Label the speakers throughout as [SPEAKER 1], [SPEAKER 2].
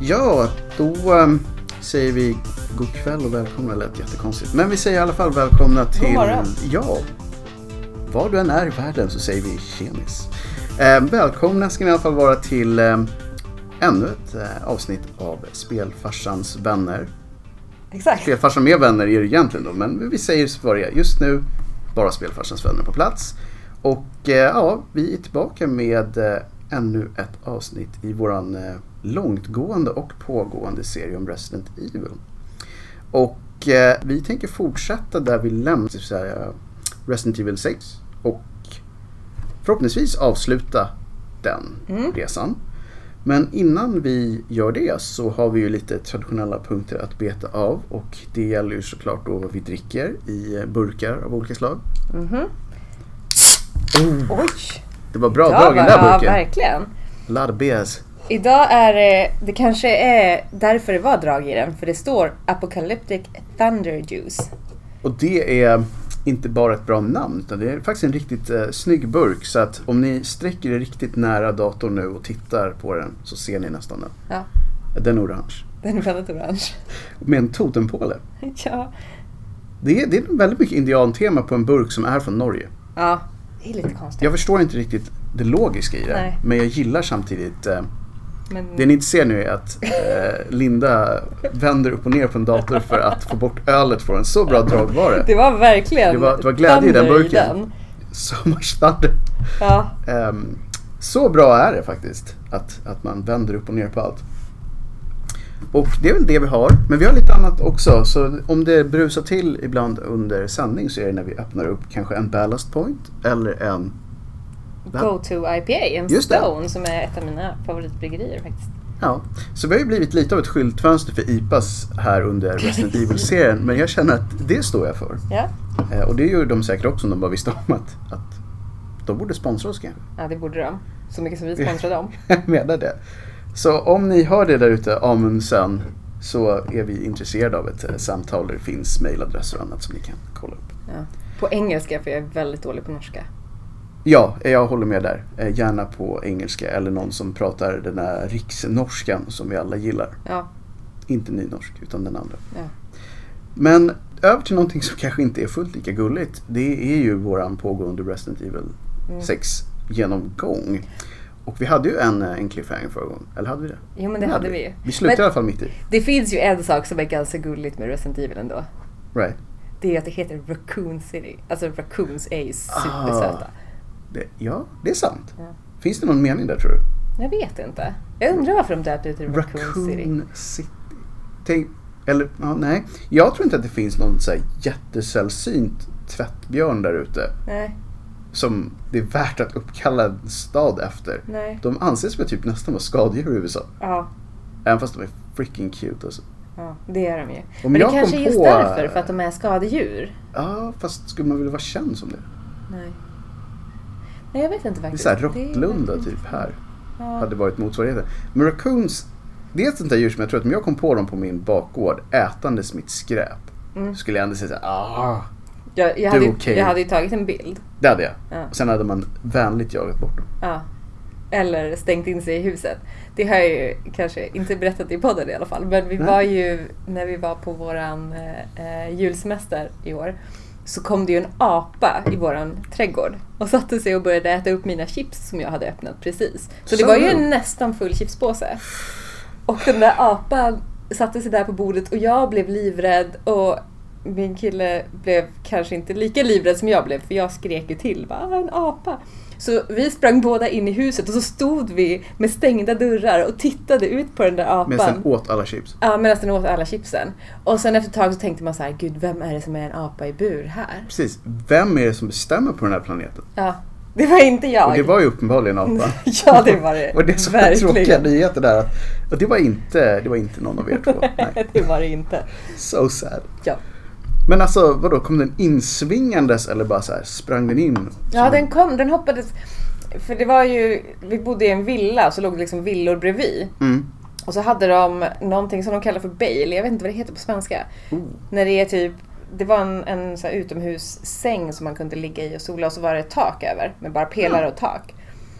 [SPEAKER 1] Ja, då ehm, säger vi god kväll och välkomna. Det lät jättekonstigt. Men vi säger i alla fall välkomna till...
[SPEAKER 2] morgon.
[SPEAKER 1] Ja. Var du än är i världen så säger vi tjenis. Eh, välkomna ska ni i alla fall vara till eh, ännu ett eh, avsnitt av Spelfarsans vänner.
[SPEAKER 2] Exakt.
[SPEAKER 1] Spelfarsan med vänner är det egentligen då, men vi säger just vad det är. Just nu, bara Spelfarsans vänner på plats. Och eh, ja, vi är tillbaka med eh, ännu ett avsnitt i våran eh, långtgående och pågående serie om Resident Evil. Och eh, vi tänker fortsätta där vi lämnade, det vill säga Resident Evil 6 och förhoppningsvis avsluta den resan. Men innan vi gör det så har vi ju lite traditionella punkter att beta av och det gäller ju såklart då vad vi dricker i burkar av olika slag. Oh,
[SPEAKER 2] Mhm. Oj!
[SPEAKER 1] det var bra
[SPEAKER 2] Ja,
[SPEAKER 1] drag i den där
[SPEAKER 2] ja,
[SPEAKER 1] burken.
[SPEAKER 2] verkligen.
[SPEAKER 1] Larbes.
[SPEAKER 2] Idag är det, det kanske är därför det var drag i den, för det står Apocalyptic Thunder Juice.
[SPEAKER 1] Och det är inte bara ett bra namn utan det är faktiskt en riktigt eh, snygg burk så att om ni sträcker er riktigt nära datorn nu och tittar på den så ser ni nästan den.
[SPEAKER 2] Ja,
[SPEAKER 1] Den är orange.
[SPEAKER 2] den är väldigt orange.
[SPEAKER 1] Med en totempåle.
[SPEAKER 2] Ja.
[SPEAKER 1] Det är, det är väldigt mycket indiantema på en burk som är från Norge.
[SPEAKER 2] ja, det är lite konstigt.
[SPEAKER 1] Jag förstår inte riktigt det logiska i det.
[SPEAKER 2] Nej.
[SPEAKER 1] Men jag gillar samtidigt. Eh,
[SPEAKER 2] Men
[SPEAKER 1] det ni inte ser nu är att eh, Linda vänder upp och ner på en dator för att få bort ölet från en Så bra drag var det.
[SPEAKER 2] det var verkligen
[SPEAKER 1] Det var- det var glädje i den
[SPEAKER 2] thunder
[SPEAKER 1] burken. Sommarstad.
[SPEAKER 2] Ja,
[SPEAKER 1] Ehm, så bra är det faktiskt. Att, att man vänder upp och ner på allt. Och det är väl det vi har. Men vi har lite annat också. Så om det brusar till ibland under sändning så är det när vi öppnar upp kanske en ballast point eller en
[SPEAKER 2] Go to IPA, en
[SPEAKER 1] Just det.
[SPEAKER 2] Stone som är ett av mina favoritbryggerier faktiskt.
[SPEAKER 1] Ja, så vi har ju blivit lite av ett skyltfönster för IPAs här under Resident Evil-serien. Men jag känner att det står jag för.
[SPEAKER 2] Ja,
[SPEAKER 1] Eh, Och det gör de säkert också om de bara visste om att, att de borde sponsra oss kanske.
[SPEAKER 2] ja det borde de. Så mycket som vi sponsrar dem.
[SPEAKER 1] Jag menar det. Så om ni hör det där ute, Amundsen, så är vi intresserade av ett eh, samtal där det finns mejladress och annat som ni kan kolla upp.
[SPEAKER 2] Ja. På engelska, för jag är väldigt dålig på norska.
[SPEAKER 1] Ja, eh, jag håller med där. Eh, Gärna på engelska eller någon som pratar den här riksnorskan som vi alla gillar.
[SPEAKER 2] Ja,
[SPEAKER 1] Inte nynorsk, utan den andra.
[SPEAKER 2] ja.
[SPEAKER 1] Men över till någonting som kanske inte är fullt lika gulligt. Det är ju våran pågående Resident Evil
[SPEAKER 2] Mm.
[SPEAKER 1] 6 genomgång. Och vi hade ju en, eh, en cliffhanger förra gången. Eller hade vi det?
[SPEAKER 2] Jo men det
[SPEAKER 1] Den
[SPEAKER 2] hade vi ju.
[SPEAKER 1] Vi slutade i
[SPEAKER 2] Men
[SPEAKER 1] alla fall mitt i.
[SPEAKER 2] det finns ju en sak som är ganska gulligt med Resident Evil ändå.
[SPEAKER 1] Right.
[SPEAKER 2] Det är att det heter Raccoon City. Alltså Raccoons är ju
[SPEAKER 1] Ah.
[SPEAKER 2] supersöta.
[SPEAKER 1] Det, ja, det är sant.
[SPEAKER 2] Ja.
[SPEAKER 1] Finns det någon mening där tror du?
[SPEAKER 2] Jag vet inte. Jag undrar varför de döpte det till Raccoon, City.
[SPEAKER 1] Raccoon City. Tänk, eller, ja, nej. Jag tror inte att det finns någon så här jättesällsynt tvättbjörn där ute
[SPEAKER 2] Nej,
[SPEAKER 1] som det är värt att uppkalla en stad efter.
[SPEAKER 2] nej.
[SPEAKER 1] De anses väl typ nästan vara skadedjur i USA.
[SPEAKER 2] Ja,
[SPEAKER 1] Även fast de är freaking cute alltså.
[SPEAKER 2] ja det är de ju.
[SPEAKER 1] Om
[SPEAKER 2] men
[SPEAKER 1] jag
[SPEAKER 2] det
[SPEAKER 1] kom
[SPEAKER 2] kanske är just
[SPEAKER 1] på-
[SPEAKER 2] därför, för att de är skadedjur.
[SPEAKER 1] Ja, fast skulle man vilja vara känd som det?
[SPEAKER 2] Nej. Nej, jag vet inte
[SPEAKER 1] Det är
[SPEAKER 2] faktiskt.
[SPEAKER 1] såhär
[SPEAKER 2] Det är
[SPEAKER 1] Råttlunda
[SPEAKER 2] verkligen-
[SPEAKER 1] typ här.
[SPEAKER 2] Ja.
[SPEAKER 1] Hade varit motsvarigheten. Men raccoons, det är ett sånt där djur som jag tror att om jag kom på dem på min bakgård ätandes mitt skräp.
[SPEAKER 2] Mm.
[SPEAKER 1] Skulle jag ändå säga såhär, ah.
[SPEAKER 2] Jag, jag,
[SPEAKER 1] Du
[SPEAKER 2] hade,
[SPEAKER 1] är okej.
[SPEAKER 2] ju- jag hade ju tagit en bild.
[SPEAKER 1] Det hade jag.
[SPEAKER 2] Ja.
[SPEAKER 1] Och sen hade man vänligt jagat bort dem.
[SPEAKER 2] Ja. Eller stängt in sig i huset. Det har jag ju kanske inte berättat i podden i alla fall. Men vi
[SPEAKER 1] Nej.
[SPEAKER 2] var ju, när vi var på våran eh, eh, julsemester i år, så kom det ju en apa i våran trädgård och satte sig och började äta upp mina chips som jag hade öppnat precis. Så det
[SPEAKER 1] Så
[SPEAKER 2] var ju
[SPEAKER 1] nu.
[SPEAKER 2] en nästan full chipspåse. Och den där apan satte sig där på bordet och jag blev livrädd och min kille blev kanske inte lika livrädd som jag blev för jag skrek ju till. Va? "Ah, En apa! Så vi sprang båda in i huset och så stod vi med stängda dörrar och tittade ut på den där apan.
[SPEAKER 1] Men sen åt alla chips.
[SPEAKER 2] Ja, medan den åt alla chipsen. Och sen efter ett tag så tänkte man så här, gud vem är det som är en apa i bur här?
[SPEAKER 1] Precis, vem är det som bestämmer på den här planeten?
[SPEAKER 2] Ja, det var inte jag.
[SPEAKER 1] Och det var ju uppenbarligen apan.
[SPEAKER 2] Ja, det var det.
[SPEAKER 1] Och det som var
[SPEAKER 2] Verkligen.
[SPEAKER 1] tråkiga nyheter där att att det var inte, det var inte någon av er två. Nej.
[SPEAKER 2] det var det inte.
[SPEAKER 1] So sad.
[SPEAKER 2] Ja.
[SPEAKER 1] Men alltså vadå, kom den insvingandes eller bara så här, sprang den in?
[SPEAKER 2] Ja, den kom, den hoppades. För det var ju, vi bodde i en villa och så låg det liksom villor bredvid.
[SPEAKER 1] Mm.
[SPEAKER 2] Och så hade de någonting som de kallar för bail, jag vet inte vad det heter på svenska.
[SPEAKER 1] Oh,
[SPEAKER 2] När det är typ, det var en, en så här utomhussäng som man kunde ligga i och sola och så var det ett tak över med bara pelare och tak.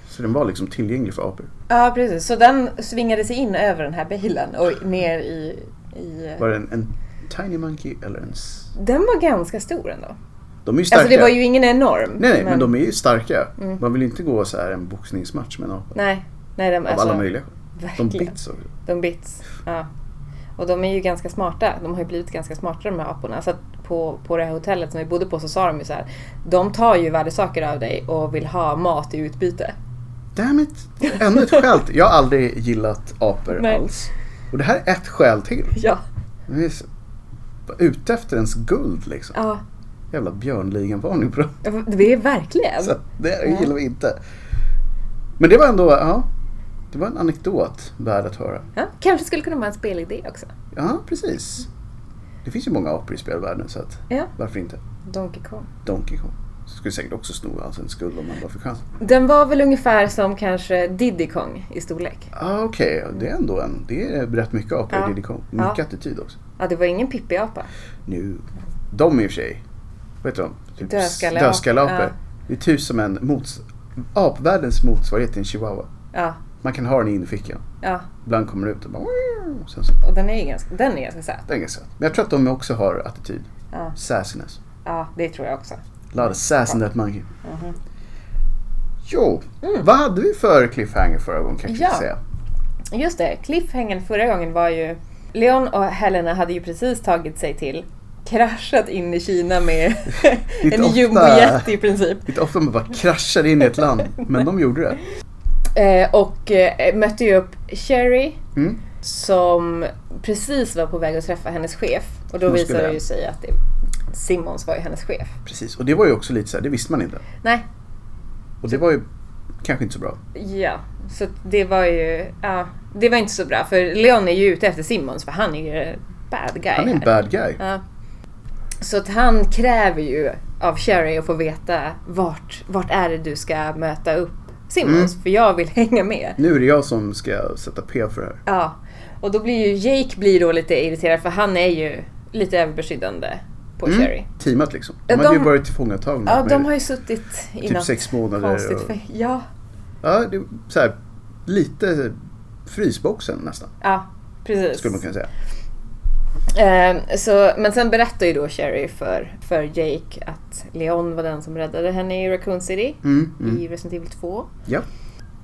[SPEAKER 1] Så den var liksom tillgänglig för apor.
[SPEAKER 2] Ja, precis. Så den svingade sig in över den här bilen och ner i... i...
[SPEAKER 1] Var det en, en Tiny Monkey eller en... s-
[SPEAKER 2] Den var ganska stor ändå.
[SPEAKER 1] De är ju starka.
[SPEAKER 2] Alltså det var ju ingen enorm.
[SPEAKER 1] Nej, nej men... de är ju starka.
[SPEAKER 2] Mm.
[SPEAKER 1] Man vill ju inte gå så här en boxningsmatch med en apa.
[SPEAKER 2] Nej, nej de,
[SPEAKER 1] Av
[SPEAKER 2] alltså,
[SPEAKER 1] alla möjliga skäl. De
[SPEAKER 2] verkligen.
[SPEAKER 1] bits också.
[SPEAKER 2] De bits. Ja. Och de är ju ganska smarta. De har ju blivit ganska smarta de här aporna. Så att på, på det här hotellet som vi bodde på så sa de ju så här. De tar ju värdesaker av dig och vill ha mat i utbyte.
[SPEAKER 1] Damn it! Ännu ett skäl till. Jag har aldrig gillat apor
[SPEAKER 2] Nej.
[SPEAKER 1] alls. Och det här är ett skäl till.
[SPEAKER 2] Ja.
[SPEAKER 1] De är så- bara ute efter ens guld liksom.
[SPEAKER 2] ja.
[SPEAKER 1] Jävla björnligan-varning på dem.
[SPEAKER 2] Det är verkligen.
[SPEAKER 1] Så det
[SPEAKER 2] Alltså, Ja.
[SPEAKER 1] gillar vi inte. Men det var ändå, ja. Det var en anekdot värd att höra.
[SPEAKER 2] Ja. Kanske skulle kunna vara en spelidé också.
[SPEAKER 1] Ja, precis. Det finns ju många apor i spelvärlden så att
[SPEAKER 2] Ja.
[SPEAKER 1] varför inte?
[SPEAKER 2] Donkey Kong.
[SPEAKER 1] Donkey Kong. Skulle säkert också sno hans en skuld om man bara fick chansen.
[SPEAKER 2] Den var väl ungefär som kanske Diddy Kong i storlek.
[SPEAKER 1] Ah, Okej, det är ändå en. Det är rätt mycket apor
[SPEAKER 2] Ja.
[SPEAKER 1] i Diddy Kong. Mycket
[SPEAKER 2] Ja.
[SPEAKER 1] attityd också.
[SPEAKER 2] Ja, det var ingen Pippi-apa.
[SPEAKER 1] Nu. De i och för sig. Vad heter de? Typ
[SPEAKER 2] Dödskalleapor.
[SPEAKER 1] Dödskalleapor.
[SPEAKER 2] Ja.
[SPEAKER 1] Det är typ som en mots... apvärldens motsvarighet till en chihuahua.
[SPEAKER 2] Ja,
[SPEAKER 1] Man kan ha den i innerfickan.
[SPEAKER 2] ja.
[SPEAKER 1] Ibland kommer den ut och bara... Sen så.
[SPEAKER 2] Och den är ju ganska, den är ganska söt.
[SPEAKER 1] Den är ganska söt. Men jag tror att de också har attityd.
[SPEAKER 2] Ja.
[SPEAKER 1] Sassiness.
[SPEAKER 2] ja, det tror jag också. Mhm.
[SPEAKER 1] A lot of sass in that monkey. Jo, vad hade vi för cliffhanger förra gången kanske vi ska
[SPEAKER 2] Mm. Ja.
[SPEAKER 1] säga?
[SPEAKER 2] Just det, cliffhangern förra gången var ju... Leon och Helena hade ju precis tagit sig till, kraschat in i Kina med
[SPEAKER 1] Lite
[SPEAKER 2] en
[SPEAKER 1] ofta.
[SPEAKER 2] jumbojet i princip.
[SPEAKER 1] Lite ofta man bara kraschar in i ett land, men de gjorde det.
[SPEAKER 2] Eh, och eh, mötte ju upp Sherry
[SPEAKER 1] Mm.
[SPEAKER 2] som precis var på väg att träffa hennes chef. Och då
[SPEAKER 1] Hon
[SPEAKER 2] visade
[SPEAKER 1] skulle-
[SPEAKER 2] det ju sig att det, Simons var ju hennes chef.
[SPEAKER 1] Precis, och det var ju också lite så här, det visste man inte.
[SPEAKER 2] Nej,
[SPEAKER 1] Och det var ju kanske inte så bra.
[SPEAKER 2] Ja, så att det var ju... Ja, det var inte så bra för Leon är ju ute efter Simons för han är ju bad guy
[SPEAKER 1] Han är en
[SPEAKER 2] här.
[SPEAKER 1] bad guy.
[SPEAKER 2] Ja. Så att han kräver ju av Sherry att få veta vart, vart är det du ska möta upp Simons
[SPEAKER 1] Mm.
[SPEAKER 2] för jag vill hänga med.
[SPEAKER 1] Nu är det jag som ska sätta P för det här.
[SPEAKER 2] Ja, och då blir ju Jake blir då lite irriterad för han är ju lite överbeskyddande på
[SPEAKER 1] Mm.
[SPEAKER 2] Sherry.
[SPEAKER 1] Teamet liksom. De
[SPEAKER 2] Ja,
[SPEAKER 1] hade ju
[SPEAKER 2] de-
[SPEAKER 1] varit tillfångatagna.
[SPEAKER 2] Ja,
[SPEAKER 1] med-
[SPEAKER 2] de har ju suttit i
[SPEAKER 1] Mm. Typ
[SPEAKER 2] något
[SPEAKER 1] sex månader
[SPEAKER 2] konstigt
[SPEAKER 1] och-
[SPEAKER 2] och... Ja,
[SPEAKER 1] ja det, så här, lite frysboxen nästan,
[SPEAKER 2] ja, precis.
[SPEAKER 1] skulle man kunna säga.
[SPEAKER 2] Eh, så, men sen berättar ju då Sherry för, för Jake att Leon var den som räddade henne i Raccoon City
[SPEAKER 1] Mm, mm.
[SPEAKER 2] i Resident Evil 2.
[SPEAKER 1] Ja.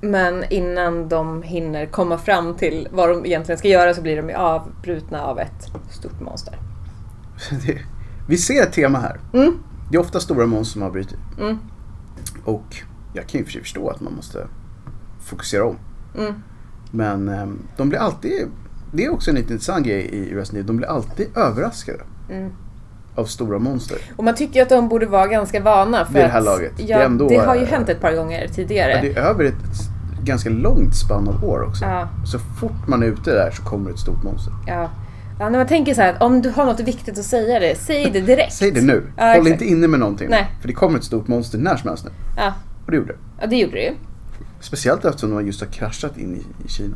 [SPEAKER 2] Men innan de hinner komma fram till vad de egentligen ska göra så blir de ju avbrutna av ett stort monster.
[SPEAKER 1] Det- Vi ser ett tema här.
[SPEAKER 2] Mm.
[SPEAKER 1] Det är ofta stora monster som avbryter.
[SPEAKER 2] Mm.
[SPEAKER 1] Och jag kan ju i och för sig förstå att man måste fokusera om.
[SPEAKER 2] Mm.
[SPEAKER 1] Men ehm, de blir alltid, det är också en lite intressant grej i Resident Evil, de blir alltid överraskade
[SPEAKER 2] Mm.
[SPEAKER 1] av stora monster.
[SPEAKER 2] Och man tycker ju att de borde vara ganska vana för
[SPEAKER 1] Vid det här
[SPEAKER 2] att-
[SPEAKER 1] laget.
[SPEAKER 2] Ja,
[SPEAKER 1] Det
[SPEAKER 2] det,
[SPEAKER 1] är ändå,
[SPEAKER 2] har ju
[SPEAKER 1] eh,
[SPEAKER 2] hänt ett par gånger tidigare.
[SPEAKER 1] Ja, det är över ett ganska långt spann av år också.
[SPEAKER 2] Ja.
[SPEAKER 1] Så fort man är ute där så kommer ett stort monster.
[SPEAKER 2] Ja. Ja, när man tänker så här att om du har något viktigt att säga det, säg det direkt.
[SPEAKER 1] Säg det nu,
[SPEAKER 2] Ja,
[SPEAKER 1] håll
[SPEAKER 2] exakt.
[SPEAKER 1] inte inne med någonting.
[SPEAKER 2] Nej.
[SPEAKER 1] För det kommer ett stort monster när som helst nu.
[SPEAKER 2] Ja,
[SPEAKER 1] Och det gjorde det.
[SPEAKER 2] ja det gjorde det ju.
[SPEAKER 1] Speciellt eftersom de just har kraschat in i, i Kina.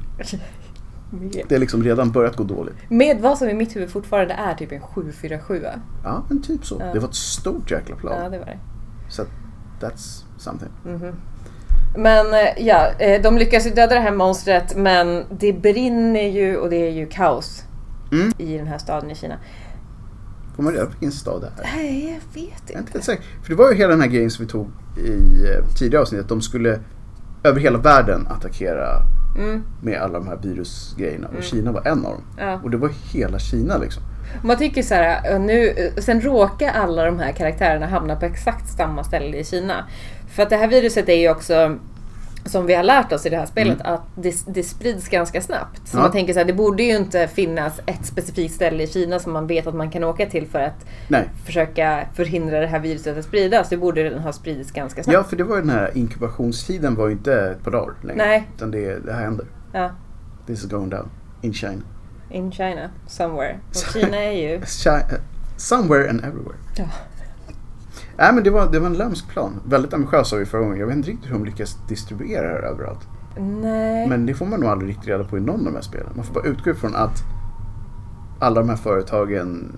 [SPEAKER 1] Det har liksom redan börjat gå dåligt.
[SPEAKER 2] Med vad som i mitt huvud fortfarande är typ en 747.
[SPEAKER 1] Ja, men typ så.
[SPEAKER 2] Ja.
[SPEAKER 1] Det var ett stort jäkla plan.
[SPEAKER 2] Ja, det var det. Mhm.
[SPEAKER 1] Så att that's something.
[SPEAKER 2] Men eh, ja, eh, de lyckas ju döda det här monstret men det brinner ju och det är ju kaos
[SPEAKER 1] Mm.
[SPEAKER 2] i den här staden i Kina.
[SPEAKER 1] Får man reda på vilken stad det är?
[SPEAKER 2] Nej, jag vet
[SPEAKER 1] Jag är inte
[SPEAKER 2] inte.
[SPEAKER 1] helt säker. För det var ju hela den här grejen som vi tog i eh, tidigare avsnitt. Att de skulle över hela världen attackera
[SPEAKER 2] Mm.
[SPEAKER 1] med alla de här virusgrejerna. Och Kina var en av dem.
[SPEAKER 2] Ja.
[SPEAKER 1] Och det var hela Kina liksom.
[SPEAKER 2] Man tycker så här, eh, nu, eh, sen råkar alla de här karaktärerna hamna på exakt samma ställe i Kina. För att det här viruset är ju också, som vi har lärt oss i det här spelet, att det, det sprids ganska snabbt. Så
[SPEAKER 1] Mm. Ja.
[SPEAKER 2] man tänker så här, det borde ju inte finnas ett specifikt ställe i Kina som man vet att man kan åka till för att
[SPEAKER 1] Nej.
[SPEAKER 2] försöka förhindra det här viruset att spridas. Det borde den ha spridits ganska snabbt.
[SPEAKER 1] Ja, för det var ju den här inkubationstiden var ju inte ett par dagar längre.
[SPEAKER 2] Nej.
[SPEAKER 1] Utan det, det här händer.
[SPEAKER 2] Ja.
[SPEAKER 1] This is going down. In China.
[SPEAKER 2] In China, somewhere. Och Kina är ju...
[SPEAKER 1] Chi- Somewhere and everywhere.
[SPEAKER 2] Ja.
[SPEAKER 1] Nej men det var, det var en lömsk plan. Väldigt ambitiös sa vi förra gången. Jag vet inte riktigt hur de lyckas distribuera det här överallt.
[SPEAKER 2] Nej.
[SPEAKER 1] Men det får man nog aldrig riktigt reda på i någon av de här spelen. Man får bara utgå ifrån att alla de här företagen